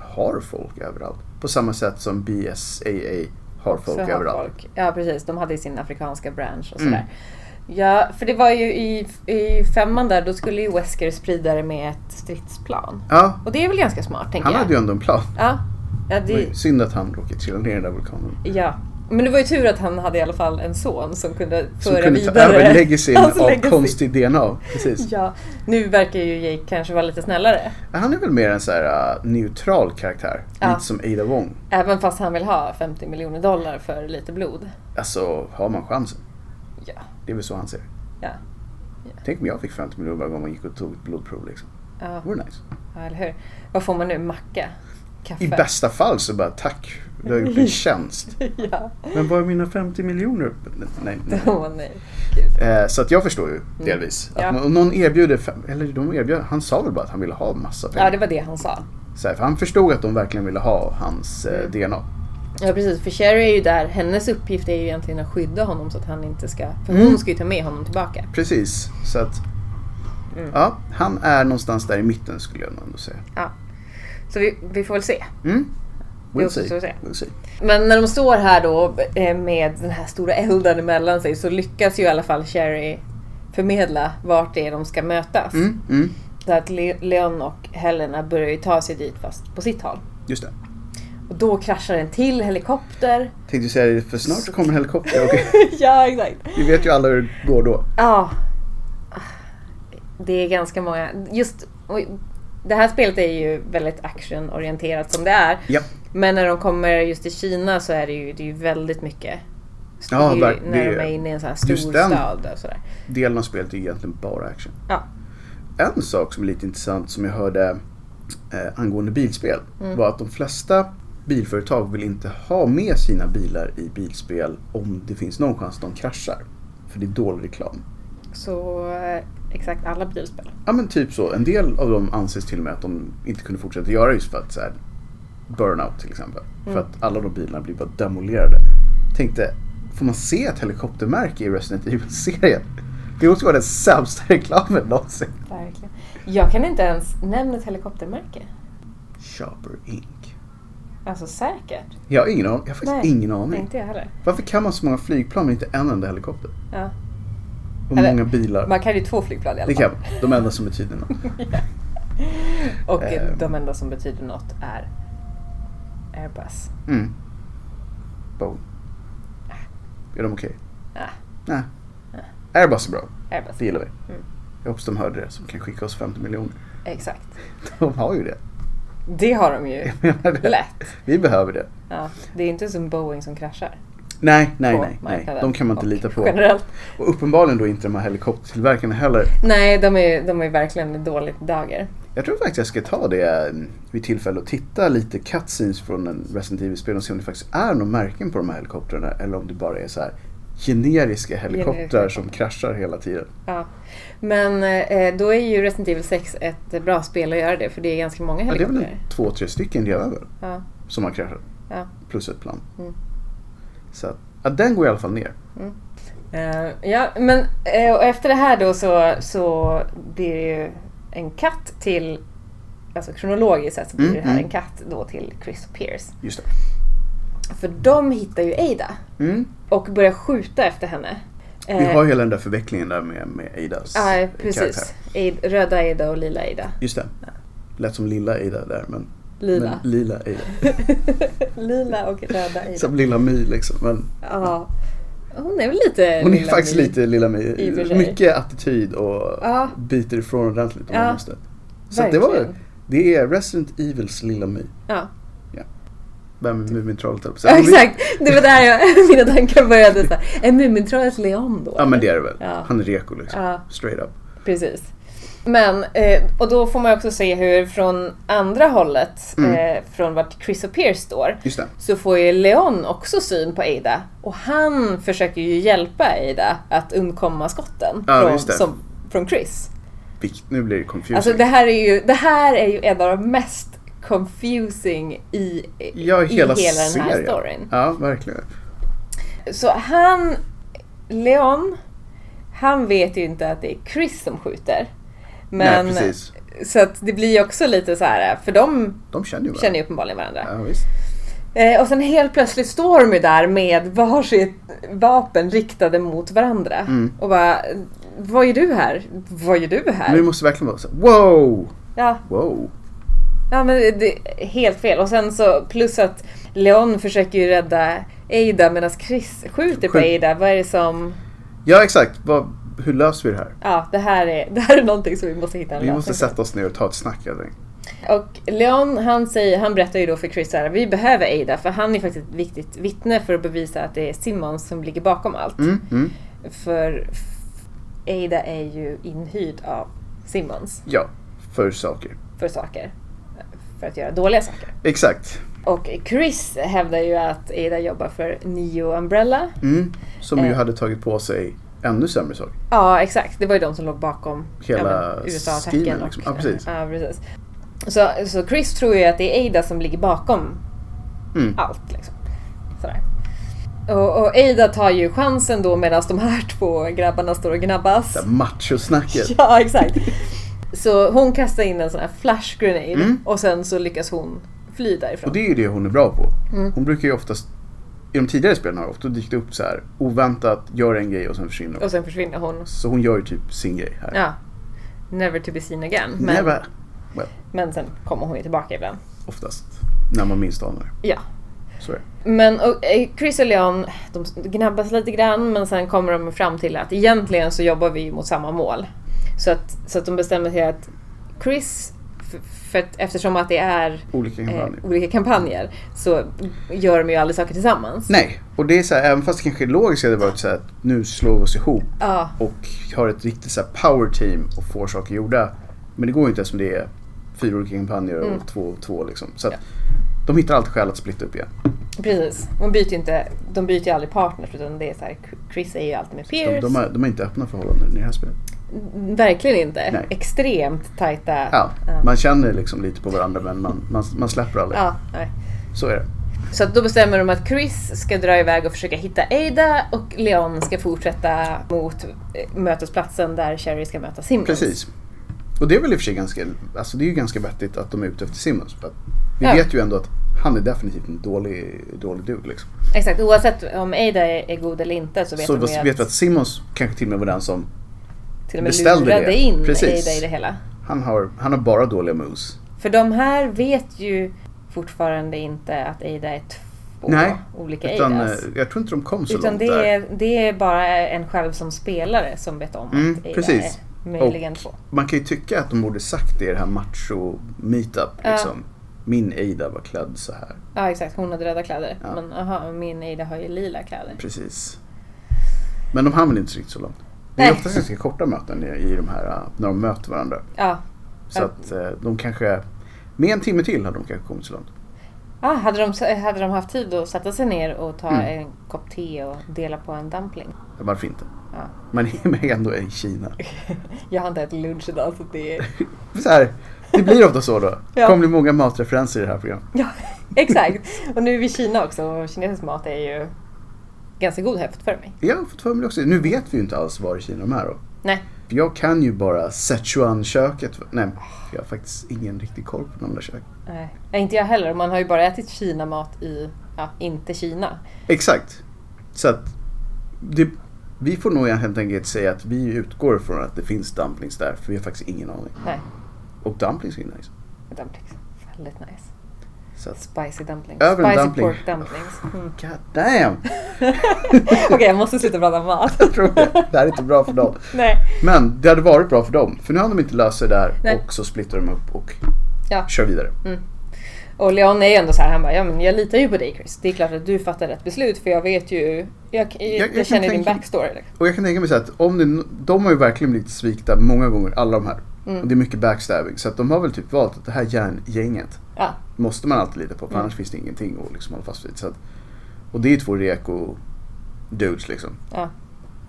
[SPEAKER 1] har folk överallt. På samma sätt som BSAA har folk
[SPEAKER 2] så har
[SPEAKER 1] överallt. Mm.
[SPEAKER 2] folk- Ja precis, de hade ju sin afrikanska bransch och sådär. Ja, för det var ju i, i femman där, då skulle ju Wesker sprida det med ett stridsplan.
[SPEAKER 1] Ja,
[SPEAKER 2] Och det är väl ganska smart tänker
[SPEAKER 1] han
[SPEAKER 2] jag.
[SPEAKER 1] hade ju ändå en plan.
[SPEAKER 2] Ja, ja,
[SPEAKER 1] Det var ju
[SPEAKER 2] det,
[SPEAKER 1] synd att han råkade trilla ner i den där vulkanen.
[SPEAKER 2] ja. Men det var ju tur att han hade i alla fall en son som kunde
[SPEAKER 1] Som
[SPEAKER 2] föra
[SPEAKER 1] kunde ta
[SPEAKER 2] vidare.
[SPEAKER 1] över legacyn
[SPEAKER 2] hans
[SPEAKER 1] av
[SPEAKER 2] legacy.
[SPEAKER 1] konstig DNA. Precis.
[SPEAKER 2] Ja, nu verkar ju Jake kanske vara lite snällare.
[SPEAKER 1] Han är väl mer en så här, uh, neutral karaktär.
[SPEAKER 2] Ja.
[SPEAKER 1] Lite som Ada Wong.
[SPEAKER 2] Även fast han vill ha 50 miljoner dollar för lite blod.
[SPEAKER 1] Alltså, har man chansen?
[SPEAKER 2] Ja,
[SPEAKER 1] Det är väl så han ser
[SPEAKER 2] ja,
[SPEAKER 1] Tänk om jag fick 50 miljoner varje gång man gick och tog ett blodprov. Liksom.
[SPEAKER 2] ja,
[SPEAKER 1] Det vore nice.
[SPEAKER 2] ja eller hur. Vad får man nu? Macka? Kaffe?
[SPEAKER 1] I bästa fall så bara tack, du har gjort en tjänst.
[SPEAKER 2] ja,
[SPEAKER 1] Men var är mina 50 miljoner? Nej, nej.
[SPEAKER 2] åh nej.
[SPEAKER 1] Eh, Så att jag förstår ju delvis.
[SPEAKER 2] Mm. Ja.
[SPEAKER 1] Att om någon erbjuder, fem, eller de erbjöd, han sa väl bara att han ville ha massa pengar.
[SPEAKER 2] Ja, det var Mm. det han sa.
[SPEAKER 1] så här, för han förstod att de verkligen ville ha hans eh, DNA.
[SPEAKER 2] Ja precis, för Sherry är ju där. Hennes uppgift är ju egentligen att skydda honom så att han inte ska... För
[SPEAKER 1] Mm.
[SPEAKER 2] hon ska ju ta med honom tillbaka.
[SPEAKER 1] Precis, så att
[SPEAKER 2] Mm.
[SPEAKER 1] ja, han är någonstans där i mitten skulle jag nog ändå säga.
[SPEAKER 2] Ja. Så vi, vi får väl se.
[SPEAKER 1] Mm.
[SPEAKER 2] Det
[SPEAKER 1] We'll,
[SPEAKER 2] återstår
[SPEAKER 1] see.
[SPEAKER 2] att
[SPEAKER 1] we'll
[SPEAKER 2] se.
[SPEAKER 1] see.
[SPEAKER 2] Men när de står här då eh, med den här stora elden emellan sig så lyckas ju i alla fall Sherry förmedla vart det är de ska mötas.
[SPEAKER 1] Mm, mm,
[SPEAKER 2] Så att Le- Leon och Helena börjar ju ta sig dit fast på sitt håll.
[SPEAKER 1] just det.
[SPEAKER 2] Och då kraschar en till helikopter.
[SPEAKER 1] Tänkte säga det, för snart kommer en helikopter och
[SPEAKER 2] ja, exakt.
[SPEAKER 1] vi vet ju alla hur det går då.
[SPEAKER 2] Ja. Det är ganska många. Just, och det här spelet är ju väldigt actionorienterat som det är.
[SPEAKER 1] Ja,
[SPEAKER 2] Men när de kommer just till Kina så är det ju, det är ju väldigt mycket.
[SPEAKER 1] Ja,
[SPEAKER 2] det är ju
[SPEAKER 1] verk-
[SPEAKER 2] när
[SPEAKER 1] det
[SPEAKER 2] de
[SPEAKER 1] är-
[SPEAKER 2] är inne i en sån här
[SPEAKER 1] just
[SPEAKER 2] stor
[SPEAKER 1] den.
[SPEAKER 2] stad och sådär.
[SPEAKER 1] delen av spelet är egentligen bara action.
[SPEAKER 2] Ja.
[SPEAKER 1] En sak som är lite intressant som jag hörde eh, angående bilspel var att de flesta bilföretag vill inte ha med sina bilar i bilspel om det finns någon chans att de kraschar. För det är dålig reklam.
[SPEAKER 2] Så eh, exakt alla bilspel.
[SPEAKER 1] Ja men typ så. En del av dem anses till och med att de inte kunde fortsätta göra just för att så här, burnout till exempel.
[SPEAKER 2] Mm.
[SPEAKER 1] För att alla de bilarna blir bara demolerade. Tänkte, får man se ett helikoptermärke i Resident Evil-serien? Det måste vara den sämsta reklamen någonsin.
[SPEAKER 2] Verkligen. Jag kan inte ens nämna ett helikoptermärke.
[SPEAKER 1] Shopper Inc.
[SPEAKER 2] Alltså säkert.
[SPEAKER 1] Jag har ingen aning. Jag har faktiskt
[SPEAKER 2] Nej,
[SPEAKER 1] ingen aning.
[SPEAKER 2] Inte jag heller.
[SPEAKER 1] Varför kan man så många flygplan men inte en enda helikopter?
[SPEAKER 2] Ja.
[SPEAKER 1] Och
[SPEAKER 2] Eller-
[SPEAKER 1] många bilar.
[SPEAKER 2] Man kan ju två flygplan i alla
[SPEAKER 1] Det
[SPEAKER 2] fall.
[SPEAKER 1] kan De enda som betyder något.
[SPEAKER 2] Och eh,
[SPEAKER 1] Ehm.
[SPEAKER 2] de enda som betyder något är Airbus.
[SPEAKER 1] Mm. Boom. Är de okej?
[SPEAKER 2] Ah,
[SPEAKER 1] Nej. Airbus är bra.
[SPEAKER 2] Airbus.
[SPEAKER 1] Det gillar vi.
[SPEAKER 2] Mm.
[SPEAKER 1] Jag hoppas de hörde det som kan skicka oss 50 miljoner.
[SPEAKER 2] Exakt.
[SPEAKER 1] De har ju det.
[SPEAKER 2] Det har de ju.
[SPEAKER 1] Jag menar det.
[SPEAKER 2] Lätt.
[SPEAKER 1] Vi behöver det.
[SPEAKER 2] Ja, det är inte som Boeing som kraschar.
[SPEAKER 1] Nej, nej,
[SPEAKER 2] på
[SPEAKER 1] nej. nej.
[SPEAKER 2] marknaden.
[SPEAKER 1] De kan man inte
[SPEAKER 2] Och
[SPEAKER 1] lita på.
[SPEAKER 2] Generellt.
[SPEAKER 1] Och uppenbarligen då inte de här helikoptertillverkarna heller.
[SPEAKER 2] Nej, de är, de är verkligen i dåligt dagar.
[SPEAKER 1] Jag tror faktiskt jag ska ta det mm, vid tillfälle och titta lite cutscenes från en Resident Evil-spel och se om det faktiskt är några märken på de här helikoptrarna eller om det bara är så här generiska helikoptrar
[SPEAKER 2] Generiska.
[SPEAKER 1] som kraschar hela tiden.
[SPEAKER 2] Ja. Men eh, då är ju Resident Evil 6 ett bra spel att göra det för det är ganska många
[SPEAKER 1] Ja, det är väl
[SPEAKER 2] helikoptrar.
[SPEAKER 1] en två, tre stycken redan väl
[SPEAKER 2] Ja,
[SPEAKER 1] som har kraschat.
[SPEAKER 2] ja.
[SPEAKER 1] Plus ett plan.
[SPEAKER 2] Mm.
[SPEAKER 1] Så att, ja, den går i alla fall ner.
[SPEAKER 2] Eh, ja, men eh, och efter det här då så, så blir det ju en katt till, alltså kronologiskt sett så blir
[SPEAKER 1] Mm,
[SPEAKER 2] det här
[SPEAKER 1] mm.
[SPEAKER 2] en katt då till Chris och Pierce.
[SPEAKER 1] Just
[SPEAKER 2] För de hittar ju Ada
[SPEAKER 1] det. Mm.
[SPEAKER 2] och börjar skjuta efter henne.
[SPEAKER 1] Vi
[SPEAKER 2] Eh,
[SPEAKER 1] har ju hela den där förvecklingen där med, med Aidas
[SPEAKER 2] Ja,
[SPEAKER 1] karaktär.
[SPEAKER 2] precis. Aid, röda Ada och lila Ada.
[SPEAKER 1] Just det. Lät som lilla Aida där men
[SPEAKER 2] Lila.
[SPEAKER 1] Men, lila Aida.
[SPEAKER 2] lila och röda Ada.
[SPEAKER 1] Som lilla My liksom. Men
[SPEAKER 2] Ja. Hon är väl lite
[SPEAKER 1] hon är
[SPEAKER 2] Eh, lilla
[SPEAKER 1] faktiskt
[SPEAKER 2] My.
[SPEAKER 1] lite lilla My.
[SPEAKER 2] I och för sig.
[SPEAKER 1] Mycket attityd och
[SPEAKER 2] Ja.
[SPEAKER 1] biter ifrån ordentligt om
[SPEAKER 2] Ja,
[SPEAKER 1] man måste. Så att det var
[SPEAKER 2] Verkligen.
[SPEAKER 1] det är Resident Evils lilla My.
[SPEAKER 2] Ja,
[SPEAKER 1] Vem är Mumintrollet höll jag på att säga. Men
[SPEAKER 2] Typ. ja
[SPEAKER 1] vi-
[SPEAKER 2] exakt. Det var där jag, mina tankar började. Så här, Är Mumintrollet Leon då?
[SPEAKER 1] Ja men det är det väl.
[SPEAKER 2] Ja.
[SPEAKER 1] Han är reko liksom.
[SPEAKER 2] Ja,
[SPEAKER 1] Straight up.
[SPEAKER 2] precis. Men, eh, och då får man också se hur från andra hållet,
[SPEAKER 1] Mm.
[SPEAKER 2] eh, från vart Chris och Pierce står,
[SPEAKER 1] Just det.
[SPEAKER 2] så får ju Leon också syn på Ada. Och han försöker ju hjälpa Ada att undkomma skotten
[SPEAKER 1] Ja,
[SPEAKER 2] från,
[SPEAKER 1] just det.
[SPEAKER 2] som, från Chris.
[SPEAKER 1] Vilket- Nu blir det confusing.
[SPEAKER 2] Alltså det här är ju, det här är ju en av de mest confusing i,
[SPEAKER 1] ja,
[SPEAKER 2] i
[SPEAKER 1] hela,
[SPEAKER 2] hela den
[SPEAKER 1] serien.
[SPEAKER 2] här storyn.
[SPEAKER 1] Ja verkligen.
[SPEAKER 2] Så han, Leon, han vet ju inte att det är Chris som skjuter. Men,
[SPEAKER 1] Nej precis.
[SPEAKER 2] så att det blir ju också lite så här, för de
[SPEAKER 1] De känner ju varandra.
[SPEAKER 2] känner ju uppenbarligen varandra.
[SPEAKER 1] Ja visst.
[SPEAKER 2] Eh, och sen helt plötsligt står de ju där med varsitt vapen riktade mot varandra.
[SPEAKER 1] Mm.
[SPEAKER 2] Och bara, vad gör du här? Vad gör du här?
[SPEAKER 1] Men vi måste verkligen vara så här, wow!
[SPEAKER 2] Ja,
[SPEAKER 1] Wow!
[SPEAKER 2] ja men det- det är helt fel. Och sen så plus att Leon försöker ju rädda Ada medan Chris skjuter på
[SPEAKER 1] Skjut-
[SPEAKER 2] Ada. Vad är det som...
[SPEAKER 1] Ja exakt, vad, hur löser vi det här?
[SPEAKER 2] Ja, det här är, det här är någonting som vi måste hitta en
[SPEAKER 1] Vi måste
[SPEAKER 2] lösning på.
[SPEAKER 1] sätta oss ner och ta ett snack helt enkelt.
[SPEAKER 2] Och Leon han, säger, han berättar ju då för Chris att vi behöver Ada för han är faktiskt ett viktigt vittne för att bevisa att det är Simmons som ligger bakom allt.
[SPEAKER 1] Mm, mm.
[SPEAKER 2] För f- Ada är ju inhyrd av Simmons
[SPEAKER 1] Ja, för saker.
[SPEAKER 2] för saker. För att göra dåliga saker.
[SPEAKER 1] Exakt.
[SPEAKER 2] Och Chris hävdar ju att Ada jobbar för Neo Umbrella.
[SPEAKER 1] Mm. Som ju
[SPEAKER 2] Eh.
[SPEAKER 1] hade tagit på sig ännu sämre saker.
[SPEAKER 2] Ja, exakt. Det var ju de som låg bakom
[SPEAKER 1] Hela
[SPEAKER 2] ja, men,
[SPEAKER 1] schemen
[SPEAKER 2] USA-attacken.
[SPEAKER 1] liksom.
[SPEAKER 2] och-
[SPEAKER 1] Ja, precis.
[SPEAKER 2] Ja, precis. Så, så Chris tror ju att det är Ada som ligger bakom
[SPEAKER 1] Mm.
[SPEAKER 2] allt. Liksom. Sådär. Och, och Ada tar ju chansen då medan de här två grabbarna står och gnabbas.
[SPEAKER 1] Det här machosnacket.
[SPEAKER 2] Ja, exakt. Så hon kastar in en sån här flash grenade
[SPEAKER 1] Mm.
[SPEAKER 2] och sen så lyckas hon fly
[SPEAKER 1] Och
[SPEAKER 2] därifrån.
[SPEAKER 1] det är ju det hon är bra på.
[SPEAKER 2] Mm.
[SPEAKER 1] Hon brukar ju oftast, i de tidigare spelen har det ofta dykt upp så här oväntat, gör en grej och sen försvinner hon.
[SPEAKER 2] Och sen försvinner hon.
[SPEAKER 1] Så hon gör ju typ sin grej här.
[SPEAKER 2] Ja. Never to be seen again. Men,
[SPEAKER 1] Never.
[SPEAKER 2] men sen kommer hon ju tillbaka ibland.
[SPEAKER 1] Oftast. När man minst anar det.
[SPEAKER 2] Ja.
[SPEAKER 1] Så är det.
[SPEAKER 2] Men och, eh, Chris och Leon de gnabbas lite grann men sen kommer de fram till att egentligen så jobbar vi ju mot samma mål. Så att, så att de bestämmer sig att Chris, för, för att eftersom att det är
[SPEAKER 1] Olika
[SPEAKER 2] eh,
[SPEAKER 1] kampanjer.
[SPEAKER 2] olika kampanjer så gör de ju aldrig saker tillsammans.
[SPEAKER 1] Nej, och det är så här, även fast det kanske är logiskt hade varit så här att nu slår vi oss ihop
[SPEAKER 2] Ja,
[SPEAKER 1] och har ett riktigt så här power team och får saker gjorda. Men det går ju inte eftersom det är fyra olika kampanjer och
[SPEAKER 2] Mm.
[SPEAKER 1] två och två liksom. Så att de hittar alltid skäl att splitta upp igen.
[SPEAKER 2] precis. De byter ju inte, de byter ju aldrig partners utan det är så här, Chris är ju alltid med
[SPEAKER 1] De,
[SPEAKER 2] Pierce.
[SPEAKER 1] de, har, de har inte öppna förhållanden i det här spelet.
[SPEAKER 2] Verkligen inte.
[SPEAKER 1] Nej.
[SPEAKER 2] Extremt tajta.
[SPEAKER 1] Ja,
[SPEAKER 2] Ja.
[SPEAKER 1] man känner liksom lite på varandra men man, man, man släpper aldrig.
[SPEAKER 2] Ja, Mm. nej.
[SPEAKER 1] Så är det.
[SPEAKER 2] Så att då bestämmer de att Chris ska dra iväg och försöka hitta Ada och Leon ska fortsätta mot eh, mötesplatsen där Sherry ska möta Simmons.
[SPEAKER 1] Precis. Och det är väl i och för sig ganska, alltså det är ju ganska vettigt att de är ute efter Simmons. För att vi
[SPEAKER 2] Ja.
[SPEAKER 1] vet ju ändå att han är definitivt en dålig, dålig dude liksom.
[SPEAKER 2] Exakt, oavsett om Ada är, är god eller inte så vet
[SPEAKER 1] så
[SPEAKER 2] de ju
[SPEAKER 1] vet
[SPEAKER 2] att,
[SPEAKER 1] vi att Simmons kanske till och med var den som,
[SPEAKER 2] till och med
[SPEAKER 1] beställde
[SPEAKER 2] lurade
[SPEAKER 1] det.
[SPEAKER 2] in
[SPEAKER 1] Precis.
[SPEAKER 2] Ada i det hela.
[SPEAKER 1] han har, han har bara dåliga moves.
[SPEAKER 2] För de här vet ju fortfarande inte att Ada är två
[SPEAKER 1] Nej,
[SPEAKER 2] olika
[SPEAKER 1] Utan,
[SPEAKER 2] Adas.
[SPEAKER 1] eh, jag tror inte de kom så
[SPEAKER 2] Utan
[SPEAKER 1] långt
[SPEAKER 2] det
[SPEAKER 1] där.
[SPEAKER 2] är, det är bara en själv som spelare som vet om
[SPEAKER 1] Mm,
[SPEAKER 2] att Ada
[SPEAKER 1] precis.
[SPEAKER 2] är möjligen två.
[SPEAKER 1] Man kan ju tycka att de borde sagt det i det här macho meetup
[SPEAKER 2] Ja.
[SPEAKER 1] liksom. Min Ada var klädd så här.
[SPEAKER 2] Ja exakt, hon hade röda kläder.
[SPEAKER 1] Ja.
[SPEAKER 2] Men aha, min Ada har ju lila kläder.
[SPEAKER 1] Precis. Men de hann väl inte riktigt så långt. Det är
[SPEAKER 2] Nej.
[SPEAKER 1] oftast ganska korta möten i, i de här, eh, när de möter varandra.
[SPEAKER 2] Ja,
[SPEAKER 1] Så
[SPEAKER 2] Ja.
[SPEAKER 1] att eh, de kanske, med en timme till hade de kanske kommit så långt.
[SPEAKER 2] Ah, hade, de, hade de haft tid att sätta sig ner och ta
[SPEAKER 1] Mm.
[SPEAKER 2] en kopp te och dela på en dumpling?
[SPEAKER 1] Ja, Varför inte?
[SPEAKER 2] Ja.
[SPEAKER 1] Man är med ändå i Kina.
[SPEAKER 2] Jag har inte ätit lunch idag så det är...
[SPEAKER 1] Så här, det blir ofta så då. Det
[SPEAKER 2] Ja.
[SPEAKER 1] kommer bli många matreferenser i det här programmet.
[SPEAKER 2] Ja, exakt! Och nu är vi i Kina också och kinesisk mat är ju ganska god häft för mig.
[SPEAKER 1] Jag har fått för mig det också. Nu vet vi ju inte alls var i Kina de är då.
[SPEAKER 2] Nej,
[SPEAKER 1] Jag kan ju bara Sichuan-köket. Nej, jag har faktiskt ingen riktig koll på de där köken.
[SPEAKER 2] nej. Ja, inte jag heller. Man har ju bara ätit Kina-mat i, ja, inte Kina.
[SPEAKER 1] Exakt. Så att det, vi får nog helt enkelt säga att vi utgår från att det finns dumplings där. För vi har faktiskt ingen aning.
[SPEAKER 2] Nej,
[SPEAKER 1] Och dumplings är ju nice.
[SPEAKER 2] dumplings. Väldigt nice.
[SPEAKER 1] Så att,
[SPEAKER 2] Spicy dumplings.
[SPEAKER 1] Över en
[SPEAKER 2] Spicy
[SPEAKER 1] dumpling.
[SPEAKER 2] pork dumplings. Mm.
[SPEAKER 1] god damn!
[SPEAKER 2] Okej, jag måste sluta prata om mat.
[SPEAKER 1] Jag tror det. Det här är inte bra för dem.
[SPEAKER 2] Nej.
[SPEAKER 1] Men det hade varit bra för dem. För nu har de inte löst sig där
[SPEAKER 2] Nej.
[SPEAKER 1] och så splittar de upp och
[SPEAKER 2] Ja.
[SPEAKER 1] kör vidare.
[SPEAKER 2] Mm. Och Leon är ju ändå så här, han bara, ja men jag litar ju på dig Chris. Det är klart att du fattar rätt beslut för jag vet ju, jag, jag,
[SPEAKER 1] jag
[SPEAKER 2] jag,
[SPEAKER 1] kan
[SPEAKER 2] känner din
[SPEAKER 1] tänka-
[SPEAKER 2] backstory. liksom.
[SPEAKER 1] Och jag kan tänka mig så här att om det, de har ju verkligen blivit svikna många gånger, alla de här.
[SPEAKER 2] Mm.
[SPEAKER 1] Och det är mycket backstabbing. Så att de har väl typ valt att det här järngänget
[SPEAKER 2] Ja,
[SPEAKER 1] måste man alltid lita på. För
[SPEAKER 2] Mm.
[SPEAKER 1] annars finns det ingenting att liksom hålla fast vid. Så att, och det är ju två reko dudes liksom.
[SPEAKER 2] ja,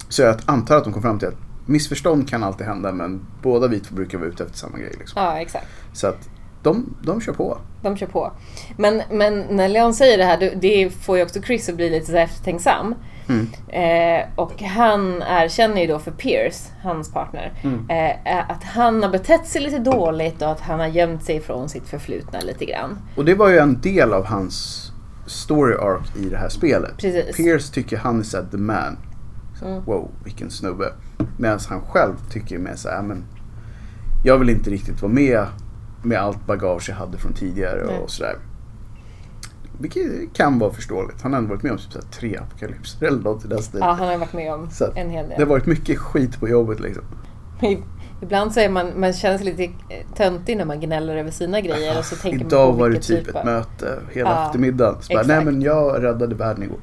[SPEAKER 1] Så jag antar att de kom fram till att missförstånd kan alltid hända men båda vi två brukar vara ute efter samma grej. Liksom.
[SPEAKER 2] ja, exakt.
[SPEAKER 1] Så att de, de kör på.
[SPEAKER 2] De kör på. Men, men när Leon säger det här, det- det får ju också Chris att bli lite så här eftertänksam.
[SPEAKER 1] Mm.
[SPEAKER 2] Eh, och han erkänner ju då för Pierce, hans partner,
[SPEAKER 1] Mm.
[SPEAKER 2] eh, att han har betett sig lite dåligt och att han har gömt sig från sitt förflutna lite grann.
[SPEAKER 1] Och det var ju en del av hans story arc i det här spelet.
[SPEAKER 2] Precis.
[SPEAKER 1] Pierce tycker han är så här, the man. Så,
[SPEAKER 2] Mm.
[SPEAKER 1] Wow, vilken snubbe. Medan han själv tycker med så här, "Ah, men jag vill inte riktigt vara med med allt bagage jag hade från tidigare
[SPEAKER 2] Nej.
[SPEAKER 1] och sådär. Vilket kan vara förståeligt. Han har ändå varit med om typ så här, tre apokalypser eller något i den stilen.
[SPEAKER 2] Ja, han har varit med om
[SPEAKER 1] Så att
[SPEAKER 2] en hel del.
[SPEAKER 1] Det har varit mycket skit på jobbet liksom.
[SPEAKER 2] I- Ibland så är man, man känner sig lite töntig när man gnäller över sina grejer och så tänker man
[SPEAKER 1] Idag
[SPEAKER 2] på
[SPEAKER 1] var det
[SPEAKER 2] vilken
[SPEAKER 1] typ
[SPEAKER 2] av-
[SPEAKER 1] ett möte hela
[SPEAKER 2] Ja,
[SPEAKER 1] eftermiddagen. Så bara, Nej
[SPEAKER 2] exakt.
[SPEAKER 1] men jag räddade världen igår.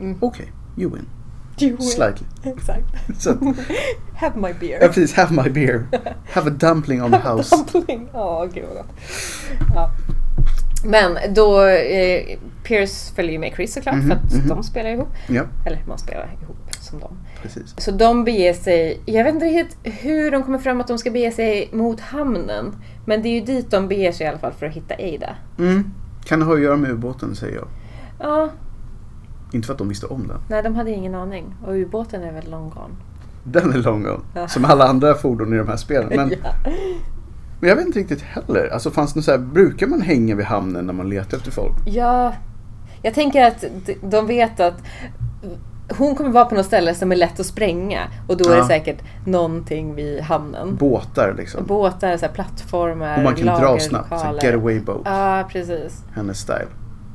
[SPEAKER 2] Mm.
[SPEAKER 1] Okej, you win.
[SPEAKER 2] Jo,
[SPEAKER 1] Slightly.
[SPEAKER 2] Exakt.
[SPEAKER 1] Så att,
[SPEAKER 2] Have my beer.
[SPEAKER 1] ja, precis, have my beer. Have a dumpling on the house.
[SPEAKER 2] Dumpling. Ja, gud vad gott. Ja. Men då, eh, Pierce följer ju med Chris såklart
[SPEAKER 1] Mhm,
[SPEAKER 2] för att
[SPEAKER 1] mhm.
[SPEAKER 2] de spelar ihop.
[SPEAKER 1] Ja,
[SPEAKER 2] Eller man spelar ihop som de.
[SPEAKER 1] precis.
[SPEAKER 2] Så de beger sig, jag vet inte riktigt hur de kommer fram att de ska bege sig mot hamnen. Men det är ju dit de beger sig i alla fall för att hitta Ada.
[SPEAKER 1] Mm. Kan ha att göra med ubåten säger jag.
[SPEAKER 2] Ja,
[SPEAKER 1] Inte för att de visste om den.
[SPEAKER 2] nej de hade ingen aning. Och ubåten är väl long gone.
[SPEAKER 1] Den är long gone.
[SPEAKER 2] Ja.
[SPEAKER 1] Som alla andra fordon i de här spelen. Men,
[SPEAKER 2] Ja.
[SPEAKER 1] men jag vet inte riktigt heller. Alltså fanns det något så här, brukar man hänga vid hamnen när man letar efter folk?
[SPEAKER 2] ja, jag tänker att d- de vet att hon kommer vara på något ställe som är lätt att spränga. Och då är det
[SPEAKER 1] Ja.
[SPEAKER 2] säkert någonting vid hamnen.
[SPEAKER 1] Båtar liksom.
[SPEAKER 2] Mm. Båtar, så här, plattformar,
[SPEAKER 1] Och man kan
[SPEAKER 2] lager,
[SPEAKER 1] dra snabbt. Så här,
[SPEAKER 2] lokaler.
[SPEAKER 1] getaway boat.
[SPEAKER 2] Ja, precis.
[SPEAKER 1] Hennes style.